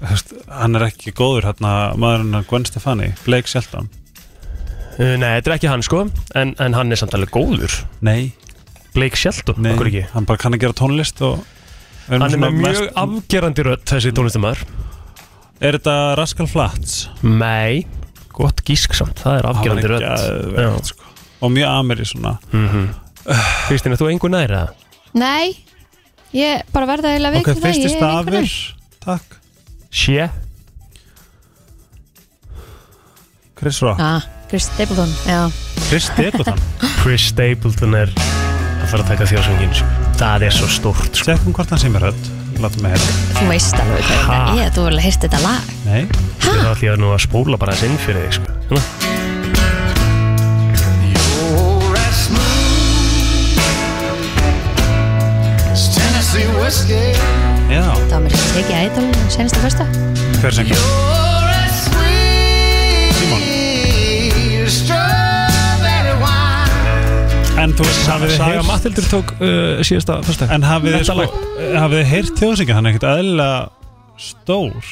Speaker 4: Þú veist, Hann er ekki góður hérna maðurinn hann Gwen Stefani, Blake Shelton
Speaker 2: Uh, Nei þetta er ekki hann sko En, en hann er samt alveg góður
Speaker 4: Nei
Speaker 2: Blake Shelton,
Speaker 4: Nei,
Speaker 2: okkur ekki
Speaker 4: hann bara kann að gera tónlist og
Speaker 2: Hann er með mjög afgerandi rödd þessi tónlistamæður
Speaker 4: Er þetta Rascal Flats?
Speaker 2: Nei, gott gísk samt, það er afgerandi
Speaker 4: Hann er
Speaker 2: rödd
Speaker 4: geðveikt,
Speaker 2: Já.
Speaker 4: sko. Og mjög ameri svona
Speaker 2: Kristín, er þú engu næra?
Speaker 3: Nei, Ég bara verða eiginlega
Speaker 4: Ok,
Speaker 3: veik við
Speaker 4: fyrsti
Speaker 3: ég er einhvern
Speaker 4: stafur
Speaker 3: veginn-
Speaker 4: Takk
Speaker 2: Sjö
Speaker 4: Chris Rock
Speaker 3: Ah, Chris Stapleton, já
Speaker 2: Chris Stapleton Chris Stapleton er að fara að taka þjóðsöngin sko. það er svo stórt sko.
Speaker 4: Sekkum hvort hann sem er höll Látum við hérna
Speaker 3: Þú veist alveg hvað
Speaker 2: Ha?
Speaker 3: þetta er, þú verður að heyrst þetta lag
Speaker 4: Nei
Speaker 2: Það er allir að nú að spóla bara þess inn fyrir þig sko. Svona.
Speaker 7: You're as smooth as Tennessee whiskey.
Speaker 4: Já
Speaker 3: Það var mér ekki tekið að eitthvað senast að fyrsta
Speaker 4: Hver sem
Speaker 7: You're as sweet
Speaker 4: Simon.
Speaker 7: as strawberry wine.
Speaker 4: En þú veist, hafið þið
Speaker 2: Saga
Speaker 4: heyrt
Speaker 2: Matthildur tók uh, síðasta fyrsta
Speaker 4: En hafið þið
Speaker 2: Þetta
Speaker 4: sko
Speaker 2: lag.
Speaker 4: Hafið þið heyrt þjóðsingin Hann er ekkert eðlilega stór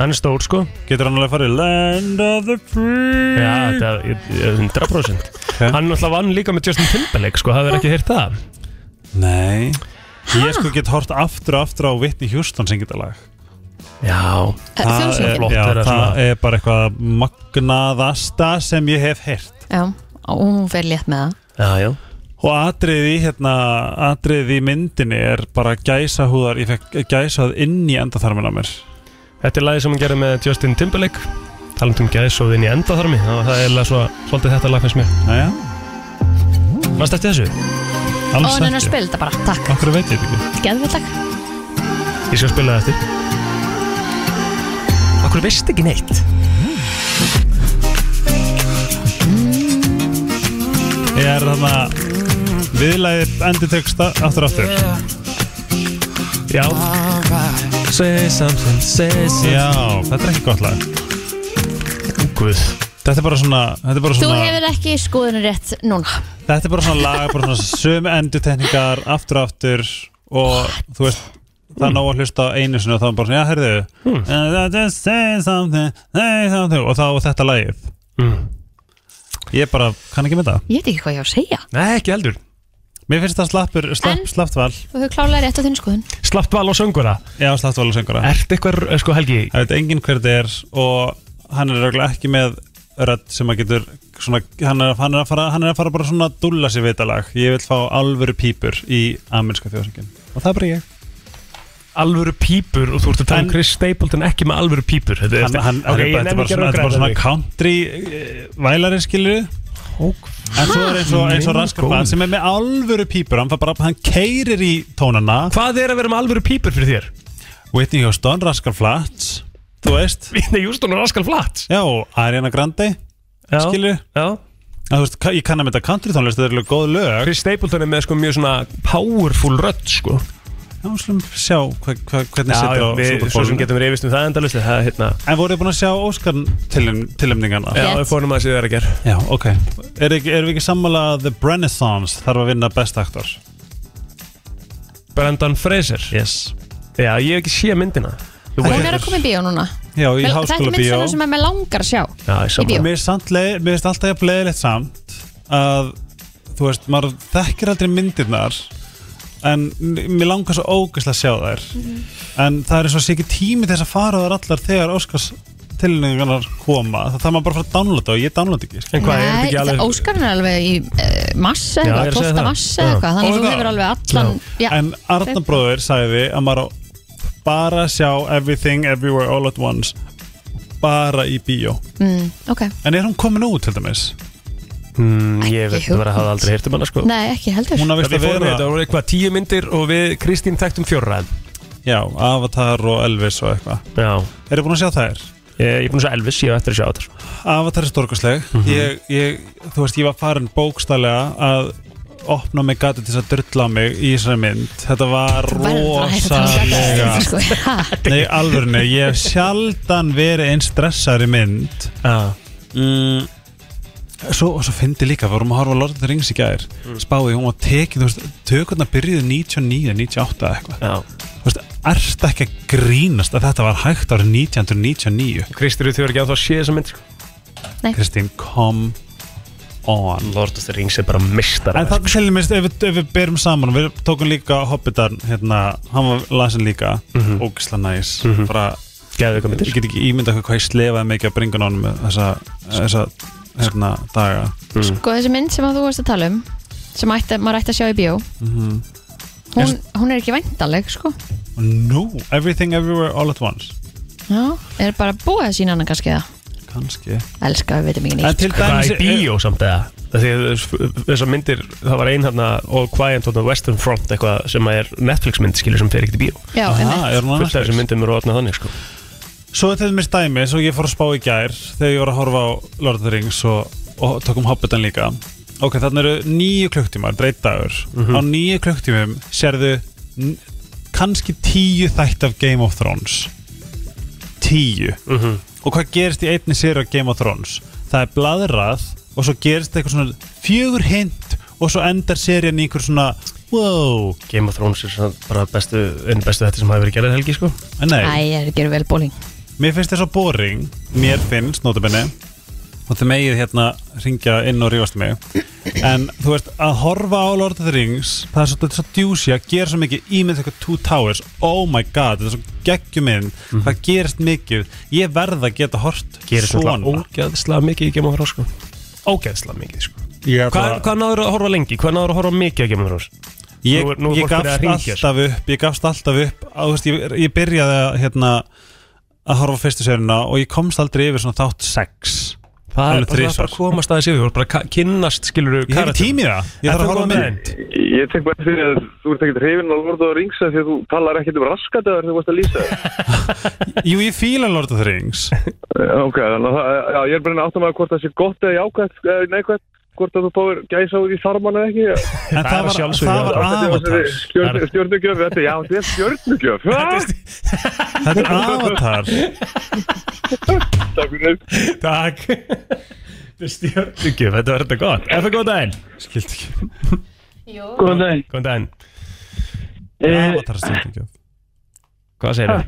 Speaker 2: Hann er stór sko
Speaker 4: Getur hann alveg farið Land of the free
Speaker 2: Já, þetta er- er 100% Hann náttúrulega vann líka með Justin Timberlake sko, hafið þið ekki heyrt það
Speaker 4: Nei Ég sko get hort aftur og aftur á Whitney Houston syngið þetta lag
Speaker 2: Já
Speaker 4: Það er-
Speaker 2: Flott
Speaker 4: já,
Speaker 2: er það
Speaker 4: það
Speaker 2: svona.
Speaker 4: er bara eitthvað magnaðasta sem ég hef heyrt
Speaker 3: Já, og hún fer létt með það
Speaker 2: Já, já
Speaker 4: Og atriðið í, hérna, atriðið í myndinni er bara gæsahúðar, ég fekk gæsahúð inn í endaþarmina á mér.
Speaker 2: Þetta er lagið sem hann gerði með Justin Timberlake talandum gæðsóðin í endaþarmi og það er eiginlega svo, svolítið þetta lag fannst mér
Speaker 4: Jæja
Speaker 2: Manst eftir þessu?
Speaker 3: Og hann er að spila þetta bara, takk
Speaker 4: Akkur veit ég þetta ekki
Speaker 3: Geðvill takk
Speaker 2: Ég skal spila það eftir Akkur veist ekki neitt
Speaker 4: Ég er þarna viðlæðið endur texta aftur og aftur Já Say something, say something Já, þetta er ekki gott lag
Speaker 2: Guð
Speaker 4: Þetta er bara svona Þetta er bara
Speaker 3: Þú
Speaker 4: svona,
Speaker 3: hefur ekki skoðunum rétt núna
Speaker 4: þetta er bara svona lag bara svona sömu endur tekningar aftur og aftur og þú veist það er nóg að hlusta á einu sinni og þá er bara svona, já, heyrðu
Speaker 3: Hmm.
Speaker 4: And I just say something, say something og þá þetta lagið
Speaker 2: mm.
Speaker 4: Ég bara kann ekki með það
Speaker 3: Ég veit ekki hvað ég á að segja
Speaker 2: Nei, ekki heldur
Speaker 4: Mér finnst það slappur, slapp, slappt val
Speaker 3: Þú hefur klálega rétt á þinn skoðun
Speaker 2: Slappt val og söngura
Speaker 4: Já, slappt val og söngura
Speaker 2: Ertu eitthvað, sko Helgi
Speaker 4: Það veit enginn hver þetta er og hann er röglega ekki með rödd sem að getur svona, hann, er, hann, er að fara, hann er að fara bara svona að dúlla sér við þetta lag Ég vil fá alvöru pípur í amerska þjóðsöngin Og það er bara ég
Speaker 2: Alvöru pípur og þú ert að tala um Chris Stapleton ekki með alvöru pípur Þetta er
Speaker 4: Hann, hann,
Speaker 2: Ok,
Speaker 4: okay,
Speaker 2: ég
Speaker 4: þetta er
Speaker 2: nefn
Speaker 4: bara
Speaker 2: ekki að
Speaker 4: svona, þetta er bara
Speaker 2: rökræða
Speaker 4: svona
Speaker 2: við.
Speaker 4: country eh, vælari skilur En svo er eins og, eins og
Speaker 2: Minn
Speaker 4: raskar
Speaker 2: góður.
Speaker 4: blann sem er með alvöru pípur Hann, fær bara, hann keirir í tónana
Speaker 2: Hvað er að vera með alvöru pípur fyrir þér?
Speaker 4: Whitney Houston, Raskar Flats Þú veist
Speaker 2: Whitney Houston og Raskar Flats
Speaker 4: Já, og Ariana Grande
Speaker 2: Já,
Speaker 4: Skilur
Speaker 2: já.
Speaker 4: Að, Þú veist, ka- ég kann að mynda country tónlist Það er alveg góð lög
Speaker 2: Chris Stapleton er með sko mjög svona powerful rödd sko
Speaker 4: Já, við slum sjá hva, hva, hvernig
Speaker 2: Já, já,
Speaker 4: sittur á
Speaker 2: við
Speaker 4: Super
Speaker 2: svo sem
Speaker 4: Bowl
Speaker 2: getum reyfist um það endalusti Það er hérna
Speaker 4: En voruð þið búin að sjá Óskar tilumningarna?
Speaker 2: Já, við fórum að séu það að gera
Speaker 4: Já, ok Erum ekki, er við ekki sammála að The Renaissance þarf að vinna best aktor?
Speaker 2: Brendan Fraser
Speaker 4: Yes
Speaker 2: Já, ég hef ekki séð myndina Þú
Speaker 3: Hún er að koma í bíó núna
Speaker 4: Já, í
Speaker 3: Vel- Þetta er
Speaker 4: háskóla
Speaker 3: mynd svona sem að mér langar að sjá
Speaker 2: Já, ég
Speaker 3: í bíó
Speaker 4: Mér er samt leið- mér finnst alltaf að bleiðilegt samt að þú veist, maður þekkir aldrei myndirnar en m- mér langar svo ógeðslega að sjá þær en það er eins og sé ekki tími til þess að fara á þær allar þegar Óskars tilningarnar koma það þarf maður bara að fara að downloada og ég downloada ekki sko.
Speaker 2: En hvað, er þetta
Speaker 3: Nei,
Speaker 2: ekki
Speaker 3: það-
Speaker 2: alveg
Speaker 3: Óskarinn er alveg í uh, massa
Speaker 2: Já, ég
Speaker 3: eða
Speaker 2: er að segja
Speaker 3: 12.
Speaker 2: það.
Speaker 3: massa eða
Speaker 2: Já.
Speaker 3: eitthvað þannig
Speaker 4: Og
Speaker 3: að þú
Speaker 4: það-
Speaker 3: hefur alveg allan já,
Speaker 4: en Arna bróður sagði að maður á bara að sjá Everything Everywhere All At Once bara í bíó
Speaker 3: mm, ok,
Speaker 4: en er hún komin út til dæmis?
Speaker 2: Mm, Ég veit
Speaker 3: hugmynd.
Speaker 2: bara að hafa aldrei heyrt um hana sko
Speaker 3: nei ekki heldur
Speaker 4: Hún að veist
Speaker 2: Við
Speaker 4: að
Speaker 2: fórum í
Speaker 4: vera
Speaker 2: þetta, það voru eitthvað tíu myndir og við Kristín þekktum fjórra
Speaker 4: já, Avatar og Elvis og eitthvað
Speaker 2: Já,
Speaker 4: Eru búin að sjá þær?
Speaker 2: ég ég er búin að sjá Elvis, ég hef eftir að sjá þetta sko.
Speaker 4: Avatar er stórkastleg ég, ég, Þú veist, ég var farin bókstælega að opna mig gatið til þess að drulla á mig í þessari mynd Þetta var
Speaker 3: um
Speaker 4: rosalega
Speaker 3: sko. rosalega
Speaker 4: Nei, alvörni, ég hef sjaldan verið einn stressari mynd
Speaker 2: Já,
Speaker 4: mm. Svo, og svo fyndi líka, við vorum að horfa að Lord of the Rings í gær Spáði, hún var tekin, þú veist, tökurna byrjuðu 99, 98 eða eitthvað
Speaker 2: já
Speaker 4: Þú veist, erst ekki að grínast að þetta var hægt árið 1999
Speaker 2: Kristín, þú er ekki að það sé þessa mynd sko.
Speaker 4: Kristín, come on
Speaker 2: Lord of the Rings er bara mistar
Speaker 4: En það til minnst, ef, við- ef við berum saman Við tókum líka Hobbitan hérna, Hann var lasin líka mm -hmm.
Speaker 2: Mhm.
Speaker 4: Ógisla næs mm
Speaker 2: Gæðu ykkur
Speaker 4: Ég
Speaker 2: myndir
Speaker 4: get ekki ímyndað hvað- hvað ég slefaði mikið að bringa honum með Þessa, þessa hérna, daga
Speaker 3: sko þessi mynd sem að þú varst að tala um sem ætti, maður ætti að sjá í bíó hún, hún er ekki væntaleg sko
Speaker 4: No, Everything Everywhere All At Once
Speaker 3: Já, er bara búið að sína hana kannski það
Speaker 4: Kanski
Speaker 3: Elskar við veitum ekki
Speaker 2: En
Speaker 3: neitt
Speaker 2: til dæmis Hvað í bíó samt eða? Það því að þessar myndir, það var ein hérna All Quiet on the Western Front eitthvað sem að er Netflix mynd skilur sem fer ekkert í bíó
Speaker 3: Já, Aha, einmitt.
Speaker 4: er hún á
Speaker 2: Fullt
Speaker 4: Netflix?
Speaker 2: af þessum myndum eru ofnað þannig sko
Speaker 4: Svo er þetta mér stæmi svo ég fór að spá í gær þegar ég var að horfa á Lord of the Rings og, og tökum Hobbitan líka Ok, þannig eru nýju klukktímar, dreitt dagur
Speaker 2: Mhm.
Speaker 4: Á nýju klukktímum sérðu n- kannski tíu þætt af Game of Thrones Tíu Og hvað gerist í einni sér af Game of Thrones? Það er bladrað og svo gerist eitthvað svona fjögur hint og svo endar serían í einhver svona Wow
Speaker 2: Game of Thrones er svona bara bestu, einn bestu þetta sem hafi verið gerðið helgi sko
Speaker 4: Nei,
Speaker 3: Æ, ég gerir vel bóling
Speaker 4: Mér finnst það svo boring Mér finnst, notabenni Og þið megið hérna ringja inn og rífast mig En þú veist, að horfa á Lord of the Rings Það er svo, þetta er svo djúsi að gera svo mikið Ímynd eitthvað Two Towers Oh my god, þetta er svo geggjuminn Það gerist mikið Ég verð að geta hort
Speaker 2: Mhm. Gerist náttúrulega
Speaker 4: ógeðslega mikið í Game of Thrones sko.
Speaker 2: Ógeðslega mikið sko
Speaker 4: Ég,
Speaker 2: Hvað, hvað náður að horfa lengi? Hvað náður að horfa mikið að Game of Thrones?
Speaker 4: ég,
Speaker 2: Nú er- nú er
Speaker 4: ég
Speaker 2: fólk byrjað að
Speaker 4: gafst
Speaker 2: hringja, sko.
Speaker 4: alltaf upp ég gafst alltaf upp á, þú veist, ég, ég byrjaði að, hérna, að horfa á fyrstu sérina og ég komst aldrei yfir svona þátt 6
Speaker 2: Það er það er bara að komast aðeins yfir, þú er bara að ka- kynnast skilur
Speaker 4: Ég hef ekki tími í það, ég þarf að horfa á mynd
Speaker 14: Ég tek bara eftir því að þú ert ekkert hrifin á Lord of the Rings af því að þú talar ekkert um raskat eða þú varst að lýsa þér.
Speaker 4: Jú, ég fíla Lord of the Rings
Speaker 14: Eh, ok, þannig að það- já, ég er bara að átta mig að hvort það sé gott eða jákvæmt eða neikvæmt hvort að þú fáir gæsa út í sarman eða ekki
Speaker 4: En það var- sjálfsögðu það var jákvætt. Avatar.
Speaker 14: Stjörn- Stjörnugjöf, þetta, já, þetta er stjörnugjöf
Speaker 4: Þetta er Avatar
Speaker 14: Takk fyrir
Speaker 2: Takk Stjórnugjöf, þetta var þetta gott Er það góð daginn? Skilt ekki
Speaker 15: Góðan daginn.
Speaker 2: Góð daginn
Speaker 12: Eh,
Speaker 14: Eh,
Speaker 4: Avatar stjórnugjöf
Speaker 2: Hvað segir þau?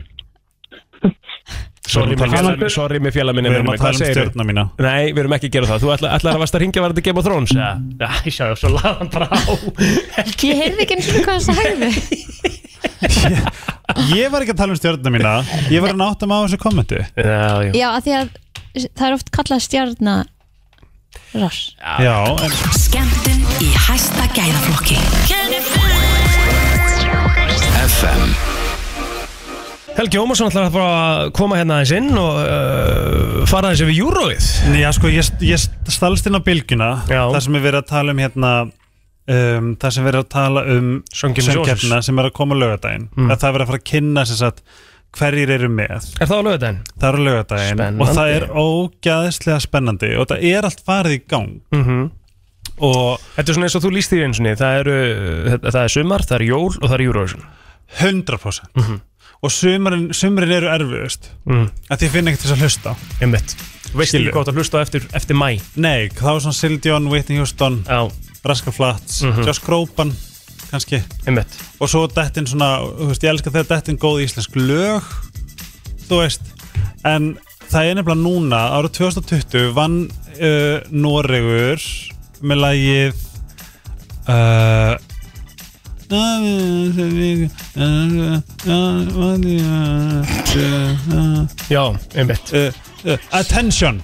Speaker 2: Sorry,
Speaker 4: Við erum að
Speaker 2: með
Speaker 4: tala um-
Speaker 2: félag- sorry með fjallar minni
Speaker 4: Við erum að tala um stjörnuna mína
Speaker 2: Nei, við erum ekki að gera það Þú ætlar, ætlar að varst að ringja varðandi Game of Thrones eða? Já, ég sjá, svo laða hann bara á
Speaker 3: Ég heyrði ekki eins og hvað það sagði
Speaker 4: Ég var ekki að tala um stjórnuna mína Ég var að náta mig á þessu kommenti
Speaker 2: Já,
Speaker 3: Já, að því að það er oft kallað stjarnar Rass
Speaker 4: Já, en
Speaker 16: Skemmtun í hæsta gæðaflokki
Speaker 2: FM Helgi Ómarsson ætlar að fara að koma hérna aðeins inn og uh, fara aðeins yfir júróið
Speaker 4: Já, sko, ég, ég stalst inn á bylgjuna Já. Það sem við verið að tala um hérna um, Það sem við verið að tala um
Speaker 2: Söngkeppni
Speaker 4: söngkeppnina sem er að koma á laugardaginn
Speaker 2: Mm.
Speaker 4: að Það er verið að fara að kynna sem sagt hverjir eru með
Speaker 2: Er það á lögadaginn?
Speaker 4: Það er á laugardaginn
Speaker 2: Spennandi.
Speaker 4: og það er ógæðislega spennandi og það er allt farið í gang
Speaker 2: Mm -hmm.
Speaker 4: Og
Speaker 2: Þetta er svona eins og þú líst því eins og niður Það eru, uh, það er sumar, það er jól og það er júróið
Speaker 4: 100%
Speaker 2: Mhm.
Speaker 4: Og sumrin, sumrin eru erfiðust
Speaker 2: Mm.
Speaker 4: að ég finn ekkert til þess að hlusta
Speaker 2: Einmitt. Veist
Speaker 4: Skilur.
Speaker 2: ekki hvað þú átt að hlusta á eftir, eftir mæ
Speaker 4: Nei, það var svona Sildjón, Whitney Houston
Speaker 2: Já.
Speaker 4: Raska Flats,
Speaker 2: Mhm.
Speaker 4: Josh Groban kannski
Speaker 2: Einmitt.
Speaker 4: og svo dettin svona, þú veist, ég elska þegar dettin góð íslensk lög þú veist, en það er nefnilega núna, ára 2020 vann uh, Noregur með lagið uh,
Speaker 2: Já, einmitt
Speaker 4: uh, uh, Attention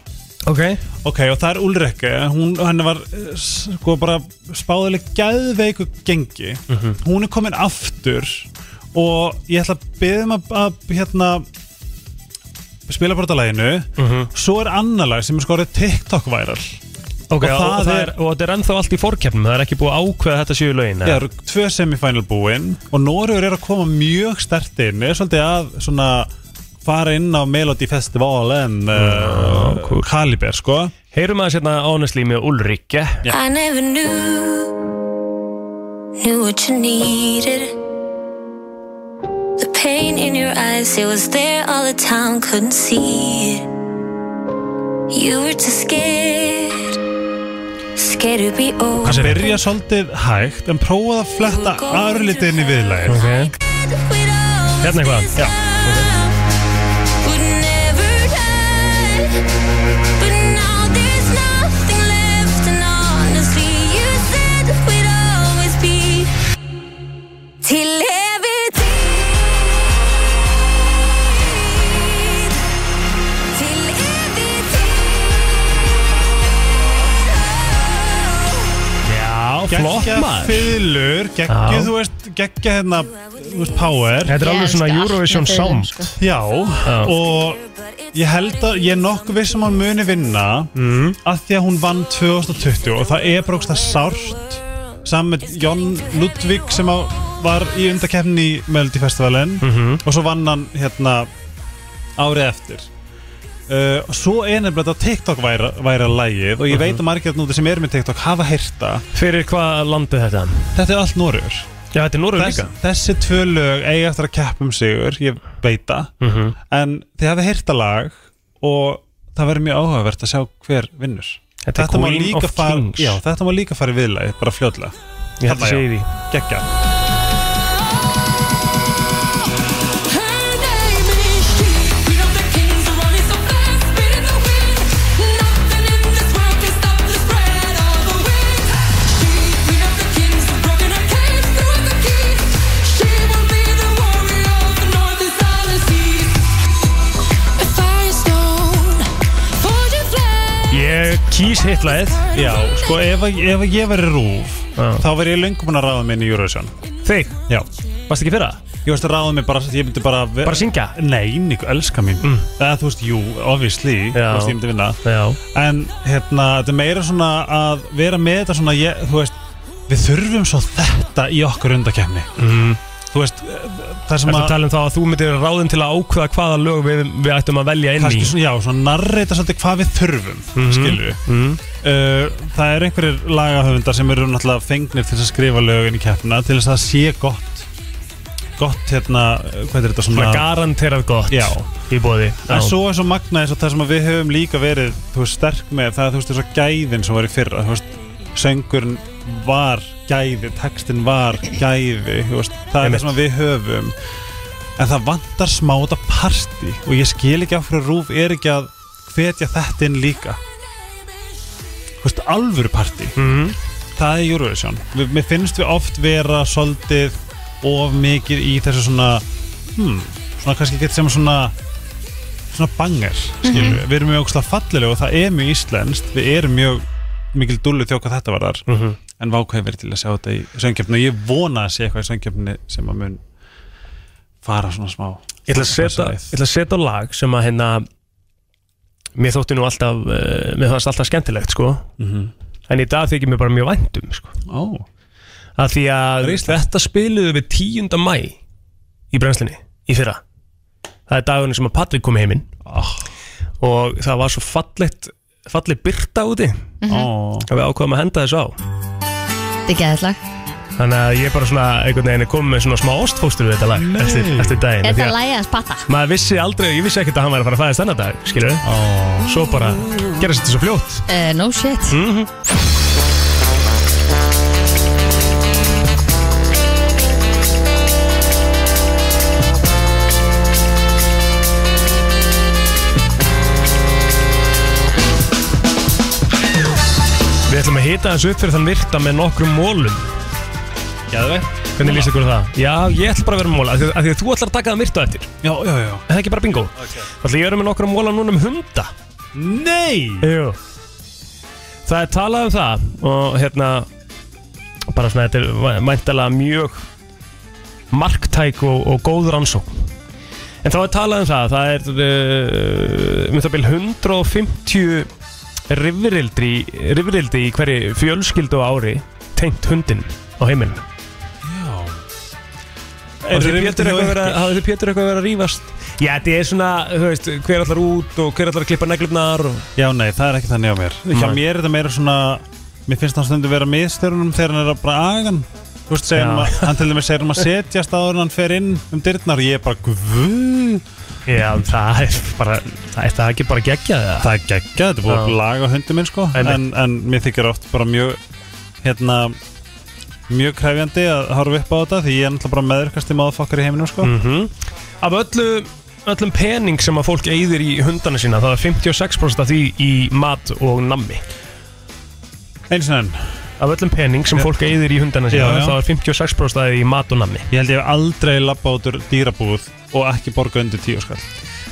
Speaker 2: Ok
Speaker 4: Ok, og það er Ulrikke hún, henni var eh, sko bara spáðileg gæðveiku gengi
Speaker 2: Mhm.
Speaker 4: hún er komin aftur og ég ætla að byggðum að, að hérna spila bara þetta laginu
Speaker 2: Mhm.
Speaker 4: svo er annar lag sem er sko orðið TikTok viral
Speaker 2: Ok, og, og, það er, og þetta er ennþá allt í fórkeppnum Það er ekki búið að ákveða að þetta séu lögin
Speaker 4: Það eru tvö semifinal búin og Noregur er að koma mjög stert inn er svolítið að svona fara inn á Melody Festival en
Speaker 2: Mm,
Speaker 4: uh, Kaliber sko
Speaker 2: Heyrum aðeins hérna honestly með Ulrikke
Speaker 8: I never knew, knew what you needed. The pain in your eyes, it was there all the time, couldn't see it. You were too scared, scared to be over.
Speaker 4: Hann byrja svolítið hægt en prófaði að fletta örlítið inn í viðlægir
Speaker 2: okay. Hérna eitthvað Já
Speaker 8: Would never die, but now there's nothing left, and honestly, you said we'd always be till everything. Till everything.
Speaker 2: Já,
Speaker 4: Gekkja fiðlur, geggju,
Speaker 2: Já.
Speaker 4: þú veist, geggja hérna, þú veist, power
Speaker 2: Þetta er alveg Ég svona elska allt með Eurovision fiðlum, sound. sko.
Speaker 4: Já, og ég held að ég er nokkuð vissum að hún muni vinna mm. að því að hún vann 2020 og það er bara ógst að sárt saman með Jón Ludvig sem að var í undakefni í Melody Festivalin
Speaker 2: Mhm.
Speaker 4: og svo vann hann hérna árið eftir Uh, og svo er nefnilega þetta TikTok væri, væri að lægið og
Speaker 2: Mhm.
Speaker 4: ég veit að margir núti sem eru með TikTok hafa heyrta
Speaker 2: Fyrir hvað landið þetta?
Speaker 4: Þetta er allt Norrur
Speaker 2: Já, þetta er Norrur líka
Speaker 4: Þessi tvö lög eiga eftir að keppa um sigur, ég veit það
Speaker 2: Mhm.
Speaker 4: En þið hafið heyrta lag og það verður mjög áhugavert að sjá hver vinnur
Speaker 2: Þetta er
Speaker 4: má
Speaker 2: Queen
Speaker 4: líka
Speaker 2: of
Speaker 4: fara-
Speaker 2: Kings.
Speaker 4: Já, þetta má líka fara í viðlagi, bara fljótlega
Speaker 2: Ég held að segja því.
Speaker 4: Gekka
Speaker 2: Ég kýs hitlaðið
Speaker 4: Já, sko ef, að- ef að ég verið rúf þá verið ég löngum að ráða minni í Eurovision
Speaker 2: Þig?
Speaker 4: Já
Speaker 2: Varst ekki fyrir það?
Speaker 4: Ég varst að ráða mig bara, ég myndi bara Bara
Speaker 2: syngja?
Speaker 4: Nei, Níku, elska mín Eða þú veist, jú, obviously Þú veist, ég myndi vinna
Speaker 2: Mm. Já.
Speaker 4: En hérna, þetta er meira svona að vera með þetta svona ég, Þú veist, við þurfum svo þetta í okkur undakefni
Speaker 2: mm.
Speaker 4: Þú veist, eh, það sem
Speaker 2: Ertu að tala um þá að þú myndir ráðin til að ákveða hvaða lög við, við ættum að velja inn í?
Speaker 4: Kannski svona, já, svona narreita svolítið hvað við þurfum mm
Speaker 2: Mhm.
Speaker 4: skilju
Speaker 2: Mhm.
Speaker 4: uh, það er einhverjir lagahöfundar sem eru náttúrulega fengnir til að skrifa lögin í keppna til þess að það sé gott gott hérna, uh, hvað er þetta svona
Speaker 2: Svona garanterað gott
Speaker 4: já.
Speaker 2: í bóði
Speaker 4: en svo er svo magna eins og það sem að við höfum líka verið þú veist, sterk með það, þú veist, þess að gæðin sem var í fyrra, þú veist, söngurinn var gæði, textin var gæði, þú veist, það er það
Speaker 2: Einmitt.
Speaker 4: sem að við höfum en það vantar smá þetta parti og ég skil ekki af hverju Rúf er ekki að hvetja þetta inn líka Þú veist, alvöru parti
Speaker 2: -hmm.
Speaker 4: það er Eurovision við, mér finnst við oft vera svolítið of mikið í þessu svona hmm, svona kannski getur sem svona svona banger skilur
Speaker 2: Mhm.
Speaker 4: við, við erum mjög ógstlega fallilega og það er mjög íslenskt við erum mjög mikil dullu þjóð hvað þetta var þar
Speaker 2: Mhm.
Speaker 4: en vákvæði verið til að sjá þetta í söngjöfni og ég vona að sé eitthvað í söngjöfni sem að mun fara svona smá
Speaker 2: Ég ætla að setja- ég ætla að setja á lag sem að hérna Mér þótti nú alltaf, uh, mér fannst alltaf skemmtilegt sko
Speaker 4: Mhm.
Speaker 2: En í dag þykir mér bara mjög væntum sko
Speaker 4: Ó
Speaker 2: Að því að þetta spiluðu við 10. mæ Í brennslinni, í fyrra Það er dagurinn sem að Patrik kom heiminn oh. Og það var svo fallegt, fallegt byrta úti
Speaker 3: Mhm. Ó.
Speaker 2: Að við ákvaðum að henda þessu á
Speaker 3: Þetta er geðallag
Speaker 2: Þannig að ég bara svona einhvern veginn er komið með svona smá ástfóstur við þetta lag eftir, eftir daginn af því
Speaker 3: Þetta
Speaker 2: að
Speaker 3: lægið að spata
Speaker 2: Maður vissi aldrei, ég vissi ekkert að hann væri að fara að fæðast þennan dag, skilur við
Speaker 4: oh.
Speaker 2: Svo bara gerðist þetta svo fljótt
Speaker 3: uh, No shit
Speaker 2: mm Við ætlum að hita þessu upp fyrir þann virta með nokkrum mólum
Speaker 4: Geðvegt
Speaker 2: Hvernig lýst ykkur á það? Já, ég ætl bara að vera með móla af því, af því að þú ætlar að taka það virta eftir
Speaker 4: Já, já, já
Speaker 2: Er það ekki bara bingo?
Speaker 4: Ok.
Speaker 2: Þannig að ég verður með nokkrum móla núna um hunda
Speaker 4: Nei!
Speaker 2: Jú Það er talað um það og hérna bara svona þetta er mæntalega mjög marktæk og, og góð rannsókn En þá er talað um það það er uh, um það byrjum 150 rifrildi, rifrildi í hverju fjölskyldu á ári tengt hundin á heiminn
Speaker 4: Er
Speaker 2: Er þið
Speaker 4: rifrildi
Speaker 2: Pétur
Speaker 4: hjá
Speaker 2: eitthvað verið að-
Speaker 4: ykkur?
Speaker 2: hafið þið Pétur eitthvað verið að rífast? Já, þetta er svona, þú veist, hver allar út og hver allar að klippa neglurnar og...
Speaker 4: Já, nei, það er ekki þannig á mér Hjá
Speaker 2: Nei.
Speaker 4: mér er þetta meira svona Mér finnst það stundu vera miðstjörnum þegar hann er að bara agan Þú veist, segir
Speaker 2: Já.
Speaker 4: hann, að- hann til dæmis segir hann að setjast áður en hann fer inn um dyrnar og ég er bara guð
Speaker 2: Já, það er bara, það er það ekki bara geggjað það?
Speaker 4: Það er geggjað, þetta er búið að
Speaker 2: Já.
Speaker 4: laga hundum minn sko
Speaker 2: Einmitt.
Speaker 4: en, en mér þykir oft bara mjög hérna mjög krefjandi að horfa upp á þetta því ég er náttúrulega bara meðurkast í maðurfokkar í heiminum sko
Speaker 2: Mhm. Af öllu, öllum pening sem að fólk eyðir í hundana sína það er 56% af því í mat og nammi
Speaker 4: Eins og enn
Speaker 2: Af öllum pening sem fólk eyðir í hundana sína
Speaker 4: Já, já.
Speaker 2: þá er 56% af því í mat og nammi
Speaker 4: Ég held ég hef aldrei labba út úr dýrabúð og ekki borga undir tíu skall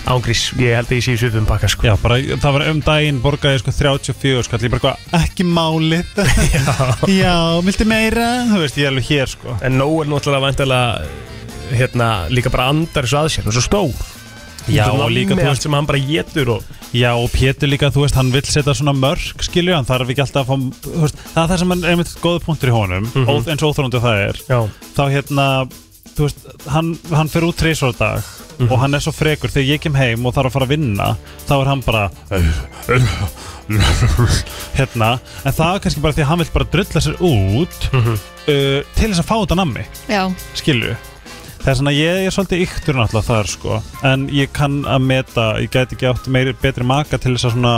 Speaker 2: Ángrís, ég held að ég sé í svipum pakka sko
Speaker 4: Já, bara, það var um daginn borgaði sko 34 skall Ég bara hvað, ekki málið Já, viltu meira? Þú veist, ég er alveg hér sko
Speaker 2: En nóg er náttúrulega vantilega hérna, líka bara andar þessu aðsér, þessu stór
Speaker 4: Já,
Speaker 2: Þetta er
Speaker 4: og líka,
Speaker 2: nammi
Speaker 4: þú
Speaker 2: allt
Speaker 4: veist,
Speaker 2: sem hann bara getur og
Speaker 4: Já, og Pétur líka, þú veist, hann vill setja svona mörg skilju, hann þarf ekki alltaf að fá þú veist, það er það sem er einmitt góða punktur í honum mm
Speaker 2: Mhm.
Speaker 4: eins og óþröndu það er
Speaker 2: Já.
Speaker 4: þá hérna, þú veist hann, hann fer út trísvara dag og hann er svo frekur, þegar ég kem heim og þarf að fara að vinna þá er hann bara hérna, en það er kannski bara því að hann vill bara drulla sér út uh, til þess að fá þetta nammi
Speaker 3: Já.
Speaker 4: skilju það er svona, ég er svolítið yktur náttúrulega þar sko en ég kann að meta, ég gæti ekki átt meiri, betri maka til þess að svona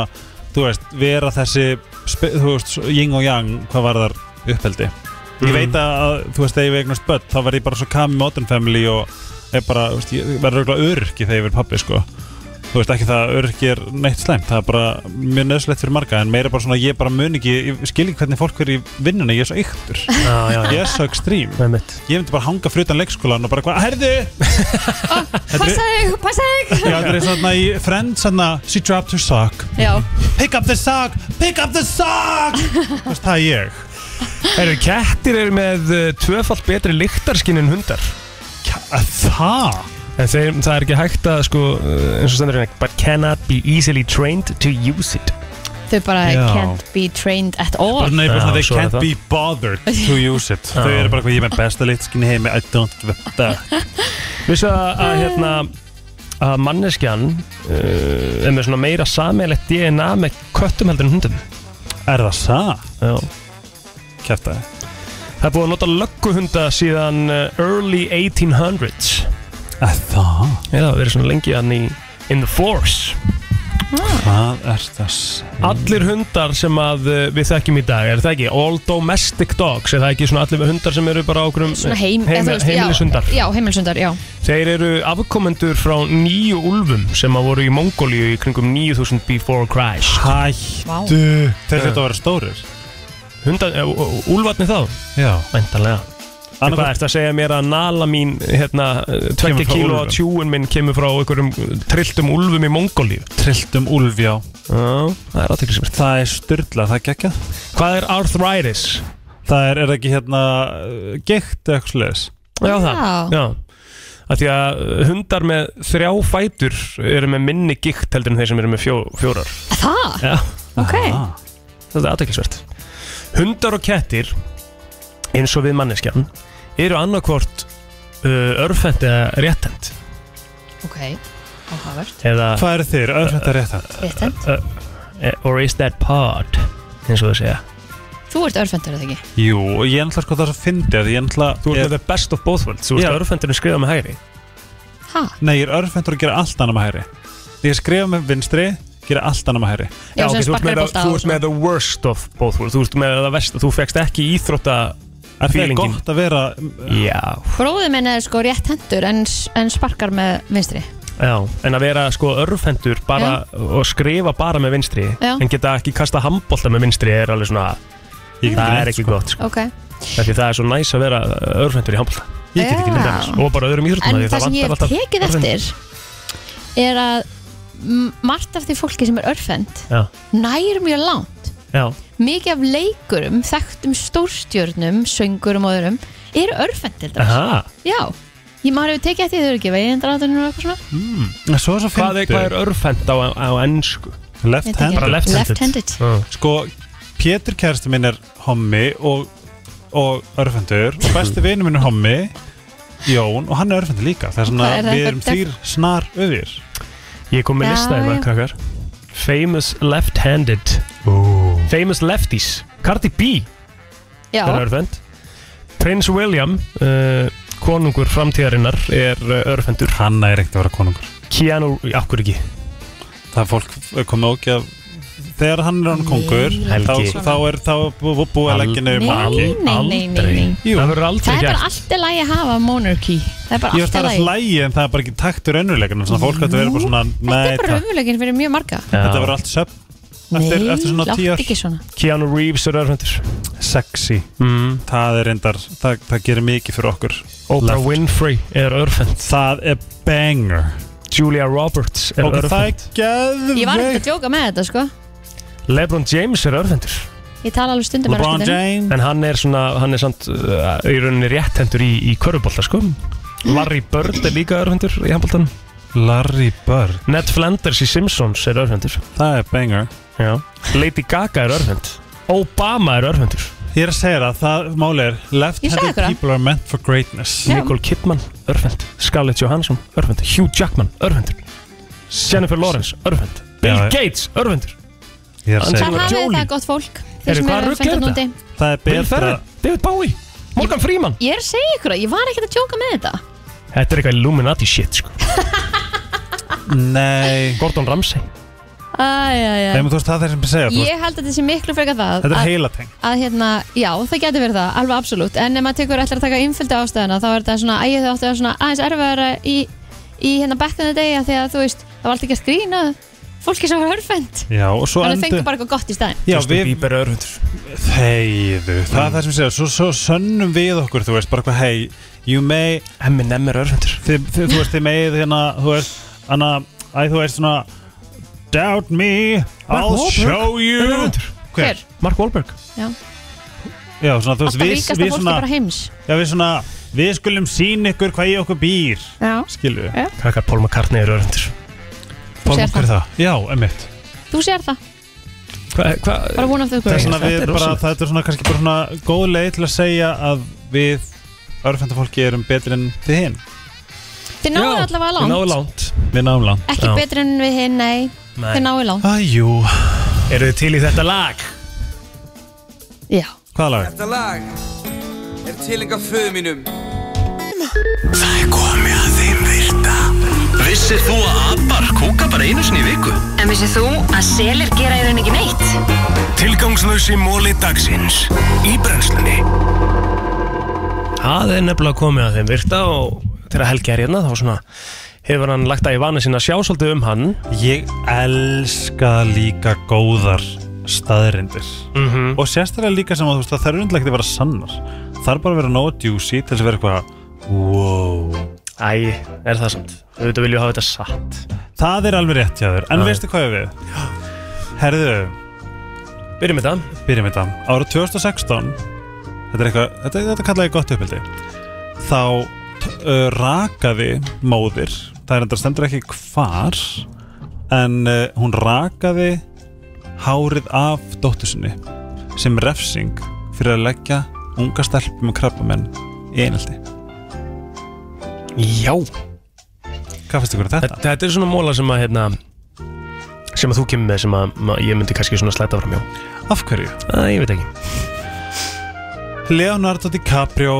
Speaker 4: þú veist, vera þessi spe- þú veist, ying og yang, hvað var þar uppheldi
Speaker 2: Mhm.
Speaker 4: ég veit að, þú veist, þegar ég eignast börn þá verð ég bara svo kami modern family og er bara, þú veist, ég verður auðvitað öryrki þegar ég verð pappi sko þú veist ekki það að öryrki er neitt slæmt það er bara mjög nöðslegt fyrir marga en meira bara svona, ég bara mun ekki, ég skil ekki hvernig fólk er í vinnunni, ég er svo yktur
Speaker 2: Já, já, já.
Speaker 4: ég er svo ekstrím ég myndi bara hanga fyrir utan leikskólan og bara hvað, herðu
Speaker 6: Passa þig, passa þig
Speaker 4: Já, það er svona í Friends svona, she dropped her sock
Speaker 6: Já
Speaker 4: Pick up the sock, pick up the sock Þú veist, það er ég
Speaker 2: Eru kettir eru með uh, tvöfalt betri lyktarskinn en hundar
Speaker 4: uh, Það?
Speaker 2: En þeir, það er ekki hægt að sko uh, eins og stendur hérna But cannot be easily trained to use it
Speaker 3: Þau bara
Speaker 2: Já.
Speaker 3: can't be trained at all
Speaker 4: Bara, nei, bara svona, they
Speaker 2: svo er
Speaker 4: can't
Speaker 2: það.
Speaker 4: be bothered to use it Þau
Speaker 2: Já.
Speaker 4: eru bara hvað ég er með besta litskinni heimi I don't give a fuck
Speaker 2: Vissu að, að hérna að manneskjan uh, er með svona meira sameiglegt DNA með köttum heldur en hundum
Speaker 4: Er það það?
Speaker 2: Já
Speaker 4: Kæfta
Speaker 2: Það er búið að nota lögguhunda síðan uh, early 1800s
Speaker 4: Er það?
Speaker 2: Já, það er svona lengi hann í in the force
Speaker 4: Hvað er það?
Speaker 3: Mm.
Speaker 2: Allir hundar sem að uh, við þekkjum í dag, er það ekki? All domestic dogs, er það ekki svona allir hundar sem eru bara okkur um
Speaker 3: Svona heim, eða þú veist, já,
Speaker 2: heimilishundar?
Speaker 3: Já, heimilishundar, já
Speaker 2: Þeir eru afkomendur frá nýju úlfum sem að voru í Mongóliu í kringum 9000 before Christ
Speaker 3: Vá.
Speaker 4: Hættu Þeir hljóta að vera stórir
Speaker 2: Eh, Hundar, úlfarnir þá?
Speaker 4: Já
Speaker 2: Væntanlega En
Speaker 4: Annað
Speaker 2: Hvað ertu að segja mér að nala mín hérna,
Speaker 4: Kemur
Speaker 2: 20
Speaker 4: frá
Speaker 2: kíló
Speaker 4: úlfum.
Speaker 2: að tjúin minn kemur frá einhverjum uh, trilltum úlfum í Mongóliu
Speaker 4: Trilltum úlf, já
Speaker 2: Það er aðteklisvert
Speaker 4: Það er styrla, það gekkja
Speaker 2: Hvað er arthritis?
Speaker 4: Það er, er það ekki hérna uh, geikt eða eitthvað sliðis
Speaker 2: Já, það Já Af því að uh, hundar með þrjá fætur eru með minni gikt heldur en þeir sem eru með fjó, fjórar
Speaker 3: Það?
Speaker 2: Já
Speaker 3: Ok
Speaker 2: Þetta er aðteklisvert Hundar og kettir eins og við manneskjan eru annarkvort uh, örfætt eða réttend
Speaker 3: Ok Áhagvert
Speaker 2: eða
Speaker 4: Hvað eru þeir? Örfætt eða réttend?
Speaker 2: Eh,
Speaker 3: Réttend
Speaker 2: Uh, or is that part eins og það segja
Speaker 3: Þú ert örfendur eða ekki?
Speaker 4: Jú, og ég ætla sko það að fyndi að ég ætla
Speaker 2: Þú ert með the best of both worlds Þú ert örfendur að skrifa með hægri
Speaker 3: Ha?
Speaker 4: Nei, ég er örfendur að gera allt annað með hægri Ég skrifa með vinstri, gera allt annað með hægri
Speaker 3: Já, sem
Speaker 2: ok, þú ert
Speaker 3: sparkar í
Speaker 2: með,
Speaker 3: bolta
Speaker 2: þú
Speaker 3: og
Speaker 2: ert með the worst of both worlds Þú ert með það vest Þú fegst ekki íþrótta
Speaker 4: Er það
Speaker 2: feelingin.
Speaker 4: gott að vera Mm,
Speaker 2: Já,
Speaker 3: Bróðið minn er sko rétt hendur en, en sparkar með vinstri
Speaker 2: já En að vera sko örfendur bara og skrifa bara með vinstri
Speaker 3: Já.
Speaker 2: en geta ekki kasta handbolta með vinstri er alveg svona
Speaker 4: Ég get
Speaker 2: Það
Speaker 4: ekki
Speaker 2: er
Speaker 4: neitt,
Speaker 2: ekki
Speaker 4: sko.
Speaker 2: gott sko.
Speaker 3: Ok
Speaker 2: Því það er svo næs að vera örfendur í handbolta
Speaker 3: Ég get ekki Já. neitt annars.
Speaker 2: Og bara öðrum íþróttum
Speaker 3: En
Speaker 2: af því
Speaker 3: það sem
Speaker 2: vantar
Speaker 3: ég hef
Speaker 2: alltaf
Speaker 3: tekið
Speaker 2: örvhentur.
Speaker 3: eftir er að m- margt af því fólki sem er örfend
Speaker 2: Já,
Speaker 3: nær mjög langt
Speaker 2: já
Speaker 3: mikið af leikurum, þekktum stórstjörnum, söngurum og öðrum eru örfendildar
Speaker 2: Aha.
Speaker 3: Já, ég maður hefur tekið eftir því þau eru ekki veiðindrátunum og eitthvað svona
Speaker 2: mm.
Speaker 4: Svo er svo
Speaker 2: Hvað er,
Speaker 4: fyndið.
Speaker 2: hvað er örfend á, á ennsku?
Speaker 4: Left
Speaker 3: Ég veit ekki.
Speaker 4: handed
Speaker 3: Bara left-handed. Left-handed.
Speaker 2: Já.
Speaker 4: Sko, Pétur kæristu minn er hommi og, og örfendur og besti vinur minn er hommi Jón og hann er örfendur líka Það er svona,
Speaker 3: Hvað er það
Speaker 4: við
Speaker 3: eitthvað
Speaker 4: erum
Speaker 3: def-
Speaker 4: þýr snar öðir
Speaker 2: Ég kom með
Speaker 3: Já,
Speaker 2: lista
Speaker 3: já.
Speaker 2: eitthvað, krakkar Famous left-handed oh. Famous lefties Cardi B
Speaker 3: Já,
Speaker 2: er örfend Prince William uh, Konungur framtíðarinnar er uh, örfendur
Speaker 4: Hann er ekkert að vera konungur
Speaker 2: Keanu, akkur ekki
Speaker 4: Það er fólk eh, komið ógja Þegar hann er hann kongur
Speaker 2: Nei,
Speaker 4: þá,
Speaker 2: Helgi.
Speaker 4: þá er þá er bú- bú- búið að leggja
Speaker 3: Nei,
Speaker 4: nefnir
Speaker 3: nei, nei, nei, nei.
Speaker 2: Jú. Það verður
Speaker 3: Það
Speaker 2: aldrei
Speaker 3: er bara
Speaker 2: gert
Speaker 3: allt í lagi að hafa monarchy Það er
Speaker 4: Ég
Speaker 3: bara
Speaker 4: veist
Speaker 3: allt
Speaker 4: það er
Speaker 3: í
Speaker 4: að
Speaker 3: lagi
Speaker 4: hlægi en það er bara ekki takt úr ennuleikunum Svona fólk hættu að vera bara svona Nei,
Speaker 3: Þetta er bara
Speaker 4: takk.
Speaker 3: umvölegin fyrir mjög marga
Speaker 4: þetta verður allt söp eftir,
Speaker 3: Nei,
Speaker 4: eftir svona
Speaker 3: láttu
Speaker 4: tíu ár
Speaker 3: ekki svona
Speaker 2: Keanu Reeves er örfendur
Speaker 4: Sexy
Speaker 2: mm.
Speaker 4: Það er reyndar, það, það gerir mikið fyrir okkur
Speaker 2: Oprah
Speaker 4: Left.
Speaker 2: Winfrey er örfend
Speaker 4: Það er banger
Speaker 2: Julia Roberts er
Speaker 4: Ok, það er
Speaker 3: Ég var ekkert að djóka með þetta sko
Speaker 2: Lebron James er örfendur
Speaker 3: Ég tala alveg stundum með raskatinn.
Speaker 2: En hann er svona, hann er samt uh, í rauninni rétthendur í, í körfubólta sko Larry Bird er líka örfendur í handbóltan Larry Bird Ned Flanders í Simpsons er örfendur Það er banger Já. Lady Gaga er örfend Obama er örfendur
Speaker 4: Ég er að segja það, það máli er
Speaker 2: sagði
Speaker 4: Left-handed
Speaker 2: ykkur það.
Speaker 4: people are meant for greatness
Speaker 2: Já. Nicole Kidman, örfend Scarlett Johansson, örfend Hugh Jackman, örfendur Jennifer Lawrence, örfend Bill
Speaker 4: Já, já.
Speaker 2: Gates, örfendur
Speaker 4: Ég er að
Speaker 3: Þar
Speaker 4: segja
Speaker 3: hafið
Speaker 2: Jolie.
Speaker 3: þetta gott fólk Þeir
Speaker 2: Heyrðu,
Speaker 3: sem
Speaker 2: hvaða
Speaker 3: eru
Speaker 2: rugl er
Speaker 3: fendur núti
Speaker 2: þetta? Það er
Speaker 4: betra-
Speaker 2: David Bowie, Morgan Freeman
Speaker 3: Ég er að segja ykkur að ég var ekkert að djóka með þetta
Speaker 2: Þetta er eitthvað Illuminati shit sko Nei Gordon Ramsay
Speaker 3: Æjæjæ
Speaker 4: Nei, menn, þú veist það er þeir sem segja þú
Speaker 3: Ég held að þetta sé miklu frekar það
Speaker 4: Þetta er
Speaker 3: að-
Speaker 4: heilateng.
Speaker 3: að hérna, Já, það getur verið það, alveg absolutt En ef maður tekur ætlar að taka innfylgdu ástæðuna þá er þetta svona, æ, þau áttu að svona aðeins erfara í, í hérna back in the day af því að þú veist, það var alltaf ekki að skrýna fólki sem var hörfend
Speaker 4: Já, og svo
Speaker 3: Þannig
Speaker 4: endur
Speaker 3: fengur bara eitthvað gott í staðin
Speaker 4: Já,
Speaker 2: Justin Bieber er örfundur
Speaker 4: Þeiðu, það er það sem segja Svo, svo sönnum við okkur, þú veist, bara eitthvað Hey, you may
Speaker 2: Eminem er örfundur
Speaker 4: þið, þið, Þú veist, þið megið hérna Þú veist, hana, æ, þú veist svona Doubt me, I'll show you
Speaker 3: Hver?
Speaker 2: Mark Wahlberg
Speaker 3: Já,
Speaker 4: Já, svona, þú veist,
Speaker 3: alltaf
Speaker 4: við,
Speaker 3: ríkasta
Speaker 4: við
Speaker 3: fólki
Speaker 4: svona
Speaker 3: bara heims
Speaker 4: Já, við svona, við skulum sín ykkur hvað í okkur býr
Speaker 3: Já.
Speaker 4: Skilu
Speaker 3: Já.
Speaker 2: Kakkar Paul McCartney er örfundur
Speaker 3: Þú sér
Speaker 4: Hver er það? Já, emmitt
Speaker 3: Þú sér það,
Speaker 2: Hva, hva,
Speaker 3: bara vonum þau
Speaker 4: Það er svona, við bara,
Speaker 2: rosalegt.
Speaker 4: það er svona kannski bara svona góð leið til að segja að við örfendafólki erum betri en þið hinn
Speaker 3: Þið náðu
Speaker 4: Já,
Speaker 3: allavega
Speaker 4: þið náðu
Speaker 3: langt
Speaker 2: langt
Speaker 4: Við náum langt
Speaker 3: Ekki betur en við hinn, nei,
Speaker 2: Nei.
Speaker 3: þið náðu langt
Speaker 4: Æjú
Speaker 2: Eru þið til í þetta lag?
Speaker 3: Já
Speaker 4: Hvaða lag?
Speaker 15: Þetta lag er tilenga föðu mínum
Speaker 1: Það er komið að þeim virta Vissir þú að abar kúka bara einu sinni í viku?
Speaker 16: En vissið þú að selir gera í raun ekki neitt?
Speaker 1: Tilgangslösi móli dagsins Í brennslunni
Speaker 2: Það er nefnilega komið að þeim virta og þegar Helgi er hérna þá svona hefur hann lagt að í vana sinna að sjá svolítið um hann
Speaker 4: Ég elska líka góðar staðrindir
Speaker 2: Mhm.
Speaker 4: og sérstaklega líka sem að þú veist það þarf undirlega ekki að vera sannar það er bara að vera nóg juicy til þess að vera eitthvað wow
Speaker 2: Æ, er það sant? Auðvitað viljum við hafa þetta satt
Speaker 4: Það er alveg rétt hjá þér, en
Speaker 2: Já.
Speaker 4: veistu hvað við Herðu
Speaker 2: Byrjum þetta
Speaker 4: Byrjum þetta Ára 2016 Þetta er eitthvað, þetta, þetta kallaði ég gott upphaldi Þá t- uh, rakaði móðir Það er enda stendur ekki hvar En uh, hún rakaði hárið af dóttur sinni Sem refsing fyrir að leggja unga stelpum og krabbamenn í einhaldi
Speaker 2: Já
Speaker 4: Hvað finnst ykkur um þetta?
Speaker 2: Þetta, er svona móla sem að hérna, sem að þú kemur með sem að ma- ég myndi kannski svona slæta fram hjá
Speaker 4: Af hverju?
Speaker 2: Æ, ég veit ekki
Speaker 4: Leonardo DiCaprio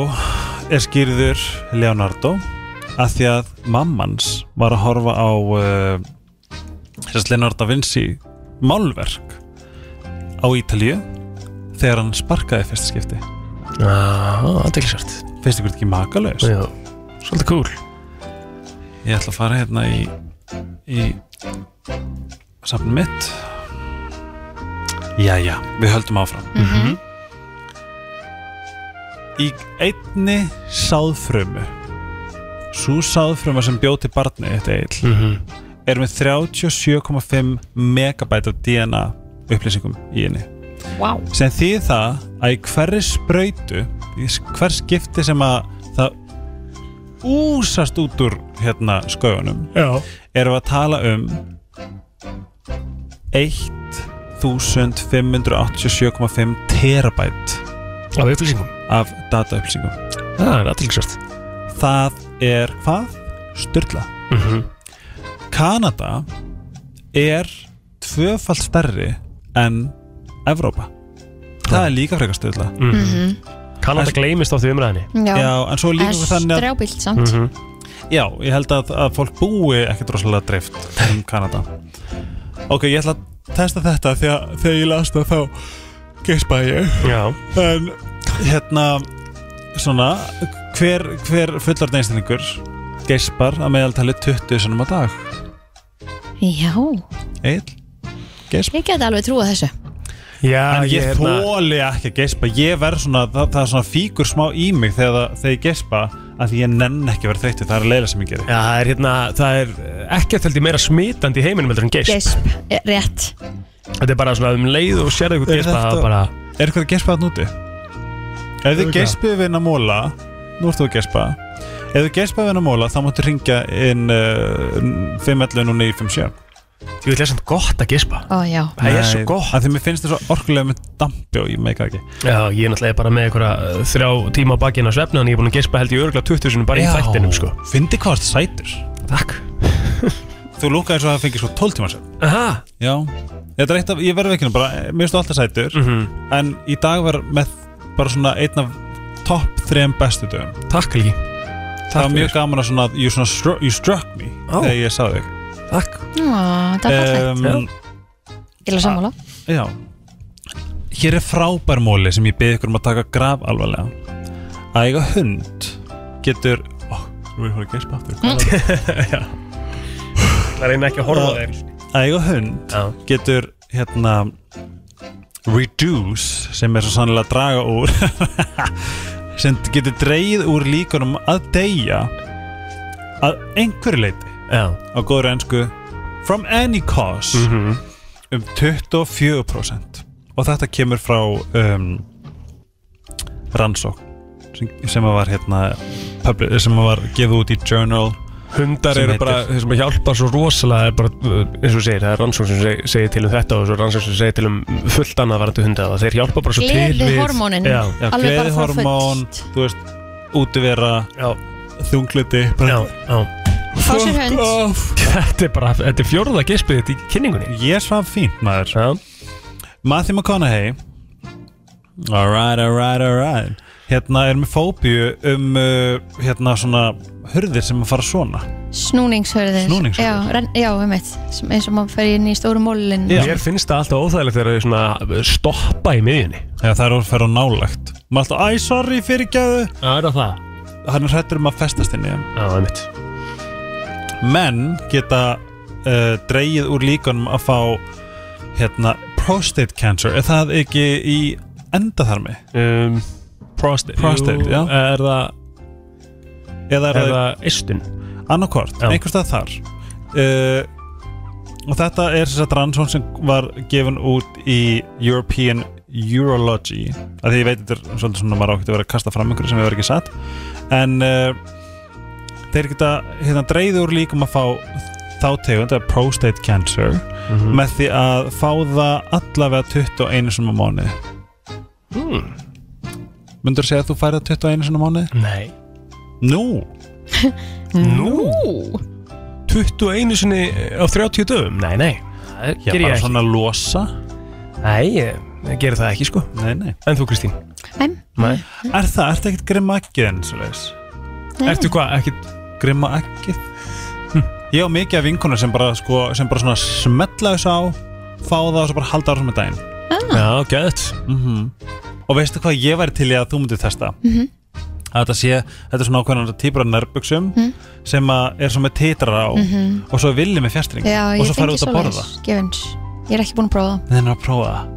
Speaker 4: er skýrður Leonardo að því að mammans var að horfa á uh, sérst Leonardo da Vinci málverk á Ítalíu þegar hann sparkaði fyrsta skipti
Speaker 2: Já, aðdeglisvært
Speaker 4: Finnst ykkur þetta ekki makalaust?
Speaker 2: Já, svolítið cool
Speaker 4: Ég ætla að fara hérna í í safnum mitt Jæja, við höldum áfram
Speaker 6: Mhm.
Speaker 4: Í einni sáðfrömu Sú sáðfröma sem bjó til barni þetta eil
Speaker 2: Mhm.
Speaker 4: er með 37,5 megabæta DNA upplýsingum í henni
Speaker 3: Vá.
Speaker 4: sem því það að í hverri sprautu í s- hver skipti sem að það úsast út úr hérna skauðunum
Speaker 2: Já.
Speaker 4: erum við að tala um 1587,5 terabæt
Speaker 2: Af upplýsingum
Speaker 4: Af dataupplýsingum
Speaker 2: Það er aðdeglisvært
Speaker 4: Það er hvað? Sturla
Speaker 2: Mhm.
Speaker 4: Kanada er tvöfald stærri en Evrópa Það er líka frekar sturla
Speaker 2: Mhm. Kanada gleymist á því umræðinni
Speaker 3: Mhm. Já.
Speaker 4: Já, en svo er líka
Speaker 3: Það er
Speaker 4: þannig að
Speaker 3: strjábýlt samt. Mhm.
Speaker 4: Já, ég held að, að fólk búi ekkert rosalega dreift um Kanada Ok, ég ætla að testa þetta því að þegar ég las það þá geispaði ég
Speaker 2: Já
Speaker 4: En hérna, svona, hver, hver fullorðin einstaklingur geispar að meðaltali 20 sinnum á dag?
Speaker 3: Já,
Speaker 4: Egil, geisp
Speaker 3: ég geti alveg trúið þessu
Speaker 2: Já,
Speaker 4: en ég,
Speaker 2: ég
Speaker 4: ég
Speaker 2: hérna-
Speaker 4: þóli ekki að gespa ég verð svona, það, það er svona fíkur smá í mig þegar, það- þegar ég gespa að því ég nenn ekki að vera þreytið, það er leila sem ég gerir
Speaker 2: Já, það er hérna, það er ekki að þeldi meira smitandi í heiminum heldur en geisp
Speaker 3: Geisp, eh, rétt
Speaker 2: Þetta er bara svona um leið og sérðu ykkur
Speaker 4: Er
Speaker 2: geispa
Speaker 4: þetta-
Speaker 2: það er bara
Speaker 4: Er eitthvað að gespa þarna úti? Ef þið
Speaker 2: Örugglega.
Speaker 4: gespið við hennar móla Nú ertu að gespa Ef þið gespið við hennar móla þá máttu ringja inn uh, 511 og 957
Speaker 2: Því við lesum gott að gespa
Speaker 3: Ó já
Speaker 2: Það er svo gott
Speaker 4: Því mér finnst það svo orkulega með dampi og ég meika ekki
Speaker 2: Já, ég er náttúrulega bara með einhverja uh, þrjá tíma á bakinn á svefnu en ég er búin að geispa held ég örgulega 20 sinni bara
Speaker 4: Já,
Speaker 2: í þættinum sko
Speaker 4: Fyndi hvað það sætur
Speaker 2: Takk
Speaker 4: Þú lúkaði svo að það fengi svo 12 tíma sér
Speaker 2: Aha
Speaker 4: Já Þetta er eitt af, ég verði veikinu bara eh, Mér finnst þú alltaf sætur
Speaker 2: Mhm.
Speaker 4: -hmm. En í dag var með bara svona einn af topp þrejum bestu dögum
Speaker 2: Takk Helgi
Speaker 4: Það var
Speaker 2: fyrir.
Speaker 4: mjög gaman að svona, you, svona stru- you struck me
Speaker 2: Ó.
Speaker 4: Þegar ég sagði þig
Speaker 2: Takk
Speaker 3: Ó, Það er
Speaker 4: Eh,
Speaker 3: fallegt Ég er að sammála
Speaker 4: Já Hér er frábær móli sem ég beði ykkur um að taka graf alvarlega Að eiga hund getur Ó, nú er ég fór að geispa aftur
Speaker 3: Mm.
Speaker 4: Hvað var það? Já
Speaker 2: Það reyna ekki að horfa á þig einu sinni.
Speaker 4: Að eiga hund getur hérna reduce sem er svo sannlega að draga úr sem getur dreigð úr líkunum að deyja að einhverju leiti
Speaker 2: Já.
Speaker 4: á góður ennsku from any cause
Speaker 2: Mhm.
Speaker 4: um 24% og þetta kemur frá um, rannsókn sem, sem að var hérna publi- sem að var gefið út í journal
Speaker 2: Hundar
Speaker 4: sem
Speaker 2: eru
Speaker 4: heitir-
Speaker 2: bara, þeir sem hjálpa svo rosalega er bara, uh, eins og þú segir, það er rannsókn sem seg- segir til um þetta og svo rannsókn sem segir til um fullt annað varandi hunda og þeir hjálpa bara svo til við
Speaker 3: Gleðihormónin,
Speaker 2: Já,
Speaker 4: já,
Speaker 3: alveg bara frá
Speaker 4: gleðihormón, þú veist, útivera þungluti já,
Speaker 2: já.
Speaker 3: Fá sér hund.
Speaker 2: Þetta er bara, þetta er fjórða gespið þetta í kynningunni
Speaker 4: Ég svam fínt maður já. Matthew McConaughey Alright, alright, alright Hérna er með fóbíu um uh, hérna svona hurðir sem að fara svona
Speaker 3: Snúningshörðir
Speaker 4: Snúningshörðir.
Speaker 3: Já, renn, já um eitt eins og maður fer inn í stóru mólin
Speaker 2: Mér finnst það alltaf óþægilegt þegar þau svona stoppa í miðjunni
Speaker 4: Já, það er að fara nálægt Maður alltaf, æ, sorry, fyrirgjöðu
Speaker 2: Já, er það það?
Speaker 4: Hann er hrættur um að festast inn í þeim
Speaker 2: Já, einmitt
Speaker 4: Menn geta uh, dreigið úr líkunum að fá hérna, prostate cancer Er það ekki í endaþarmi?
Speaker 2: Um, prostate
Speaker 4: Prostate,
Speaker 2: Jú,
Speaker 4: já
Speaker 2: Er það
Speaker 4: Eða er
Speaker 2: Er
Speaker 4: það
Speaker 2: það eistun?
Speaker 4: annarkvort,
Speaker 2: Já.
Speaker 4: einhvers stað þar uh, og þetta er þess að rannsón sem var gefin út í European Urology að því ég veit þetta er svolítið svona maður ákvæmt að vera að kasta fram einhverju sem hefur ekki satt en uh, þeir geta hérna dreigður úr líkum að fá þá tegund, það er prostate cancer
Speaker 2: Mhm.
Speaker 4: með því að fá það allavega 21 sem á mánuði
Speaker 2: Hmm.
Speaker 4: myndur þú segja að þú færið það 21 sem á mánuði?
Speaker 2: Nei
Speaker 4: Nú
Speaker 2: Nú 21 sinni eh, á 30 dögum? Nei, nei Það
Speaker 4: Já,
Speaker 2: geri
Speaker 4: bara
Speaker 2: ég ekki
Speaker 4: svona losa
Speaker 2: Nei, ég ég geri það ekki sko
Speaker 4: Nei, nei
Speaker 2: En þú Kristín?
Speaker 3: Nei.
Speaker 2: Nei
Speaker 4: Er það, ertu ekkert grimma ekkið enn svo leiðis?
Speaker 3: Nei.
Speaker 2: Ertu hvað, ekkert
Speaker 4: grimma ekkið? Ég á mikið af vinkunar sem bara, sko, sem bara svona smetla þessu á fá það og svo bara halda ára með daginn
Speaker 3: Ah.
Speaker 2: Já, gæðt
Speaker 4: mm Og veistu hvað ég væri til í að þú myndir testa?
Speaker 3: Mhm.
Speaker 4: Að þetta sé, þetta er svona ákveðan týpur af nærbuksum
Speaker 3: Mhm.
Speaker 4: sem að er svona með titrar á
Speaker 3: Mhm.
Speaker 4: og svo villi með fjastring
Speaker 3: Já,
Speaker 4: og
Speaker 3: ég
Speaker 4: svo farið
Speaker 3: tengi
Speaker 4: út að borða
Speaker 3: svoleiðis Gefins, ég er ekki búin að prófa það.
Speaker 4: Nei, hann er að prófa það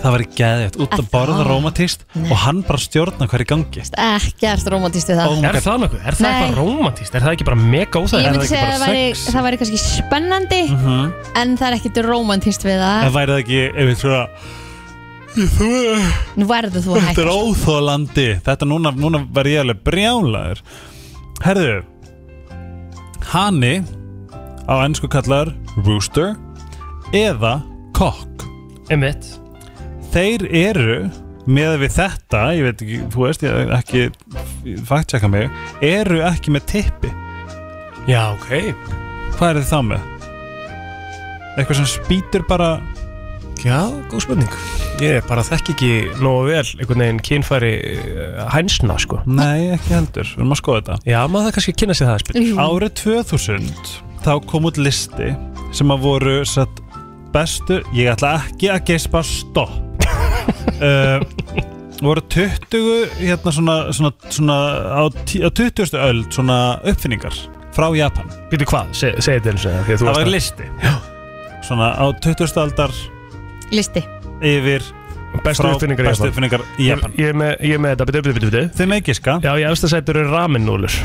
Speaker 4: Það væri geðið, út að borða
Speaker 3: það?
Speaker 4: rómatist og hann bara stjórna hverju gangi
Speaker 3: Ekkert romantíst við
Speaker 4: Oh
Speaker 3: það
Speaker 2: Er það nokkuð? Er það
Speaker 3: Nei.
Speaker 2: bara rómantíst? Er það ekki bara mega óþægilegt?
Speaker 3: Ég myndi segja að það væri, það væri kannski spennandi
Speaker 4: Mhm.
Speaker 3: en það er ekkert romantíst við
Speaker 4: En
Speaker 3: það
Speaker 4: væri það ekki, ef við svona
Speaker 3: Nú verður þú að
Speaker 4: Þetta er
Speaker 3: hætta
Speaker 4: óþólandi Þetta núna, núna verð ég alveg brjálaður Herðu Hanni Á ennsku kallar Rooster Eða Cock
Speaker 2: Emmett
Speaker 4: Þeir eru með við þetta Ég veit ekki, þú veist, ég er ekki Faktsjaka mig Eru ekki með tippi
Speaker 2: Já, ok
Speaker 4: Hvað eru þið þá með? Eitthvað sem spýtur bara
Speaker 2: Já, góð spurning Ég bara þekki ekki nógu vel einhvern veginn kynfæri uh, hænsna sko
Speaker 4: Nei, ekki heldur, við erum að skoða þetta
Speaker 2: Já, maður það kannski kynna sér það spil
Speaker 4: Árið 2000 þá kom út listi sem að voru satt, bestu, ég ætla ekki að geispa stopp uh, voru 20 hérna svona, svona, svona á, tí, á 20. öld svona uppfinningar frá Japan
Speaker 2: Býtu hvað, Se, segið þetta eins og
Speaker 4: það var listi svona á 20. aldar
Speaker 3: Listi
Speaker 4: yfir
Speaker 2: Bestu
Speaker 4: frá-
Speaker 2: uppfinningar í
Speaker 4: bestu
Speaker 2: Japan.
Speaker 4: uppfinningar í Japan
Speaker 2: Ég er með, ég er með þetta, bitu, bitu, bitu, bitu
Speaker 4: Þið með giska
Speaker 2: Já, ég efst að sættur er raminnúlur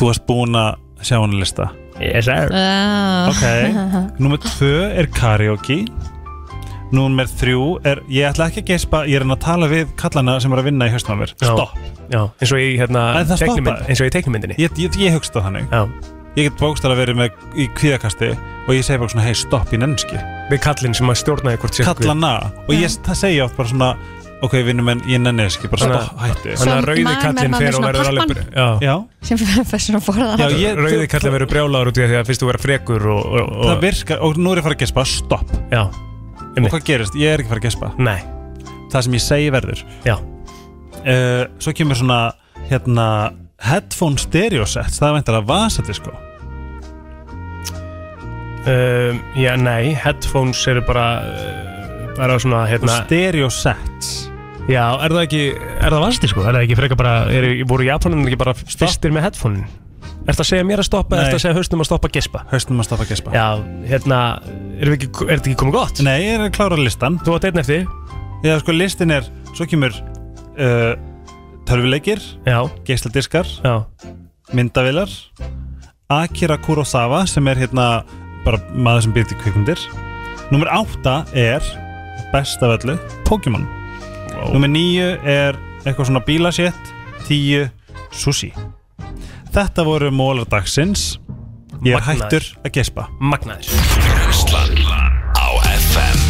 Speaker 4: Þú varst búin að sjá hann lista
Speaker 2: Yes sir
Speaker 3: Ah.
Speaker 4: Ok, nummer tvö er karaoke Númer þrjú er, ég ætla ekki að gespa, ég er hann að tala við kallana sem er að vinna í haustum á mér Stopp
Speaker 2: Já, eins og ég hérna
Speaker 4: En það
Speaker 2: teiknimynd-
Speaker 4: stoppar.
Speaker 2: Eins og ég teiknumyndinni
Speaker 4: Ég, ég, ég hugst það þannig
Speaker 2: Já.
Speaker 4: Ég get bókstæla verið með í kvíðakasti og ég segi bara svona, hei stopp í nennski
Speaker 2: Við kallinn sem að stjórnaði hvort sé
Speaker 4: Kallana og ég, það segi ég oft bara svona ok vinnum en ég nenni þess ekki, bara
Speaker 2: Þannig að-
Speaker 4: stopp, hættu
Speaker 3: þannig að Svo rauði man- kallinn man- fer man- og verður svona alveg- pappan.
Speaker 4: Já, já.
Speaker 3: sem fyrir svona að borða
Speaker 4: Já, ég-
Speaker 2: Rauði kallið verið brjálaður út í það því að fyrst þú verið frekur og, og, og
Speaker 4: það virkar, og nú er ég að fara að gespa, stopp
Speaker 2: Já,
Speaker 4: og hvað gerist, ég er ekki að fara að gespa
Speaker 2: Nei.
Speaker 4: það sem ég segi verður
Speaker 2: Já
Speaker 4: Eh, svo kemur svona hérna, headphone stereo sets það er sko. veintilega vasadisko
Speaker 2: um, Já, nei, headphones eru bara uh, bara svona hérna
Speaker 4: Og stereo sets
Speaker 2: Já, er það ekki, er það vasti sko? Er það ekki frekar bara, er, voru Japanin ekki bara fyrstir með headphone? Er það að segja mér að stoppa, er það að segja haustum að stoppa að gespa?
Speaker 4: Haustum að stoppa að gespa
Speaker 2: Já, hérna, er þetta ekki, er þetta ekki komið gott?
Speaker 4: Nei, ég er að klára listan
Speaker 2: Þú átt einn eftir
Speaker 4: Já, sko listin er, svo kemur uh, tölvuleikir
Speaker 2: Já.
Speaker 4: geisladiskar
Speaker 2: Já.
Speaker 4: myndavilar Akira Kurosawa sem er hérna bara maður sem býr til kvikmyndir Númer 8 er best af öllu, Pokémon wow. Númer 9 er eitthvað svona bílasett 10 sushi Þetta voru mólar dagsins Ég er
Speaker 2: Magnaður.
Speaker 4: hættur að gespa
Speaker 2: Magnaður
Speaker 13: Brennslan á FM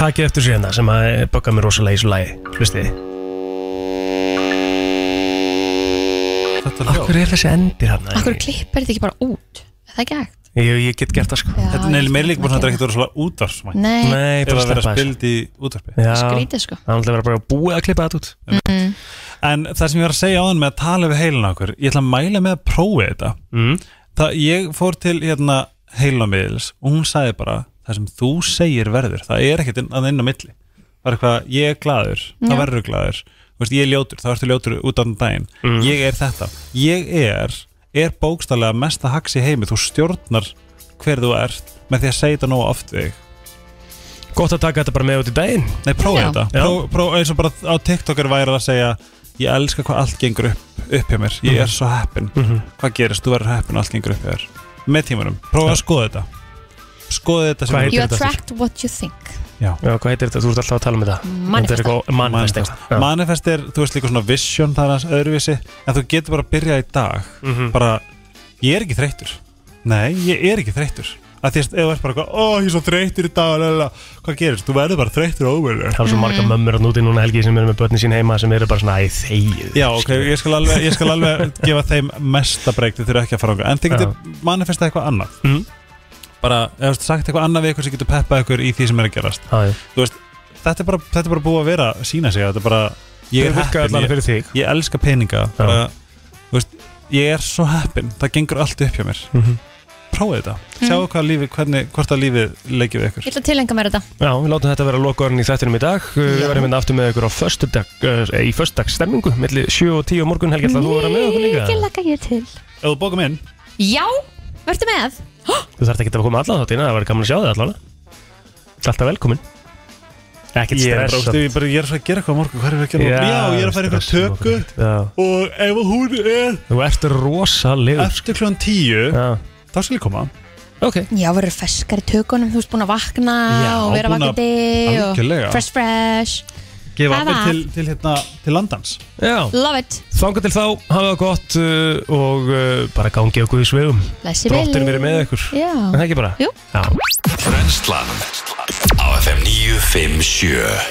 Speaker 2: Takk eftir sér hérna sem að bögga mér rosalega í svo lagi, hlustið
Speaker 4: Þetta
Speaker 2: Akkur er þessi endir hérna?
Speaker 3: Akkur klippir þetta ekki bara út Er Það er ekki hægt
Speaker 2: Ég, ég get gert það sko
Speaker 3: Já, Þetta er
Speaker 4: Nei, mér líka bara svona að þetta er ekkert að vera svona útvarfsmæk
Speaker 3: Nei.
Speaker 2: Nei,
Speaker 4: Ef
Speaker 2: bara
Speaker 4: það vera
Speaker 2: sleppa þessu.
Speaker 4: spild í útvarfi
Speaker 2: Já.
Speaker 3: Skrítið, sko.
Speaker 2: Það er alltaf að vera bara búið að klippa þetta út
Speaker 3: mm.
Speaker 4: En það sem ég var að segja á þann með að tala við heilin okkur Ég ætla að mæla með að prófa þetta
Speaker 2: mm.
Speaker 4: það, Ég fór til hérna, heilnamiðils og hún sagði bara það sem þú segir verður það er ekkert inn, að inn á milli Það er eitthvað, ég er glaður,
Speaker 2: Já.
Speaker 4: það verður glaður Þú veist, Ég er ljótur, það ertu ljótur út á þann daginn
Speaker 2: Mm.
Speaker 4: Ég er þetta Ég er, er bókstallega mesta haks í heimi Þú stjórnar hver þú ert með því að segja þetta nógu oft við þig.
Speaker 2: Gott að taka þetta bara með út í daginn
Speaker 4: Nei, prófa
Speaker 2: Já.
Speaker 4: þetta
Speaker 2: Já.
Speaker 4: Pró, pró, eins og bara á TikTok er værið að segja ég elska hvað allt gengur upp, upp hjá mér ég er
Speaker 2: Mhm.
Speaker 4: svo heppin,
Speaker 2: Mhm.
Speaker 4: hvað gerist þú verður heppin og allt gengur upp hjá þér með tímanum, prófa að skoða þetta skoða þetta sem
Speaker 3: You attract what you think
Speaker 4: Já.
Speaker 2: Já, hvað heitir þetta? Þú ert alltaf að tala um þetta
Speaker 3: Manifesta.
Speaker 2: Þetta er eitthvað- Manifest
Speaker 4: manifest,
Speaker 2: eitthvað. Já.
Speaker 4: manifest er, þú veist líka svona vision það er aðeins öðruvísi, en þú getur bara að byrja í dag
Speaker 2: Mhm.
Speaker 4: bara, ég er ekki þreyttur nei, ég er ekki þreyttur að því að ef þú ert bara, eitthvað, ó, ég er svo þreyttur í dag lalala, hvað gerist, þú verður bara þreyttur og óverður
Speaker 2: Það er svo marga mömmur að núti núna helgi sem eru með börni sín heima sem eru bara svona æ, þegið
Speaker 4: Já, ok, ég skal alveg, ég skal alveg gefa þeim mesta breyk, þið þurfa ekki að fara ánga En þið getur manifestað eitthvað annað
Speaker 2: mm.
Speaker 4: Bara, eða þú veist, sagt eitthvað annað við ykkur sem getur peppað ykkur í því sem er að gerast
Speaker 2: Já, já.
Speaker 4: Þú veist, þetta er bara, þetta er bara búið að vera að sína sig Þetta er bara, ég er
Speaker 2: Þau virka
Speaker 4: heppin
Speaker 2: allavega fyrir
Speaker 4: ég,
Speaker 2: þig.
Speaker 4: ég elska peninga bara, Þú veist, ég er svo heppin Það gengur allt upp hjá mér mm
Speaker 2: Mhm.
Speaker 4: Prófið þetta, sjáu hvað lífið, hvernig, hvort að lífið leikir við ykkur
Speaker 3: Ég ætla að tilengja mér þetta
Speaker 2: Já, við látum þetta vera lokaðurinn í þættinum í dag Uh, Við verðum hérna aftur með ykkur á föstudag uh, í föstudags stemmingu, milli 7 og 10 á morgun Helgi, ætlaðu þú að vera með okkur líka?
Speaker 3: Mikið laka ég til
Speaker 4: Ef þú bókum inn
Speaker 3: Já, verður með
Speaker 2: Þú þarft ekki að koma allan þáttina, það verður gaman að sjá þig allan Alltaf velkomin Ekkert
Speaker 4: Ég er
Speaker 2: stress
Speaker 4: bara, ég, bara, ég er að fara að gera eitthvað á morgun, hvað er við að gera?
Speaker 2: Já,
Speaker 4: Já, Já ég er að fara í eitthvað
Speaker 2: stressum
Speaker 4: tökku
Speaker 2: Já.
Speaker 4: og ef hún er
Speaker 2: Þú ert rosalegur
Speaker 4: eftir kljóðan tíu þá skal ég koma
Speaker 2: Ok
Speaker 3: Já, verður ferskar í tökunum, þú veist búin að vakna
Speaker 4: Já,
Speaker 3: og vera
Speaker 4: búin að-
Speaker 3: vakandi og
Speaker 4: algjörlega.
Speaker 3: fresh fresh
Speaker 4: gefa
Speaker 3: Það
Speaker 4: appið
Speaker 3: var.
Speaker 4: til, til, hérna, til landans
Speaker 2: Já
Speaker 3: Love it,
Speaker 2: Þanga til þá, hafa það gott uh, og uh, bara gangi okkur í svegum
Speaker 3: Blessi
Speaker 2: Drottin
Speaker 3: vel.
Speaker 2: verið með ykkur
Speaker 3: Já.
Speaker 2: Er Það ekki bara
Speaker 3: Jú.
Speaker 2: Já
Speaker 13: Brennslan á FM 957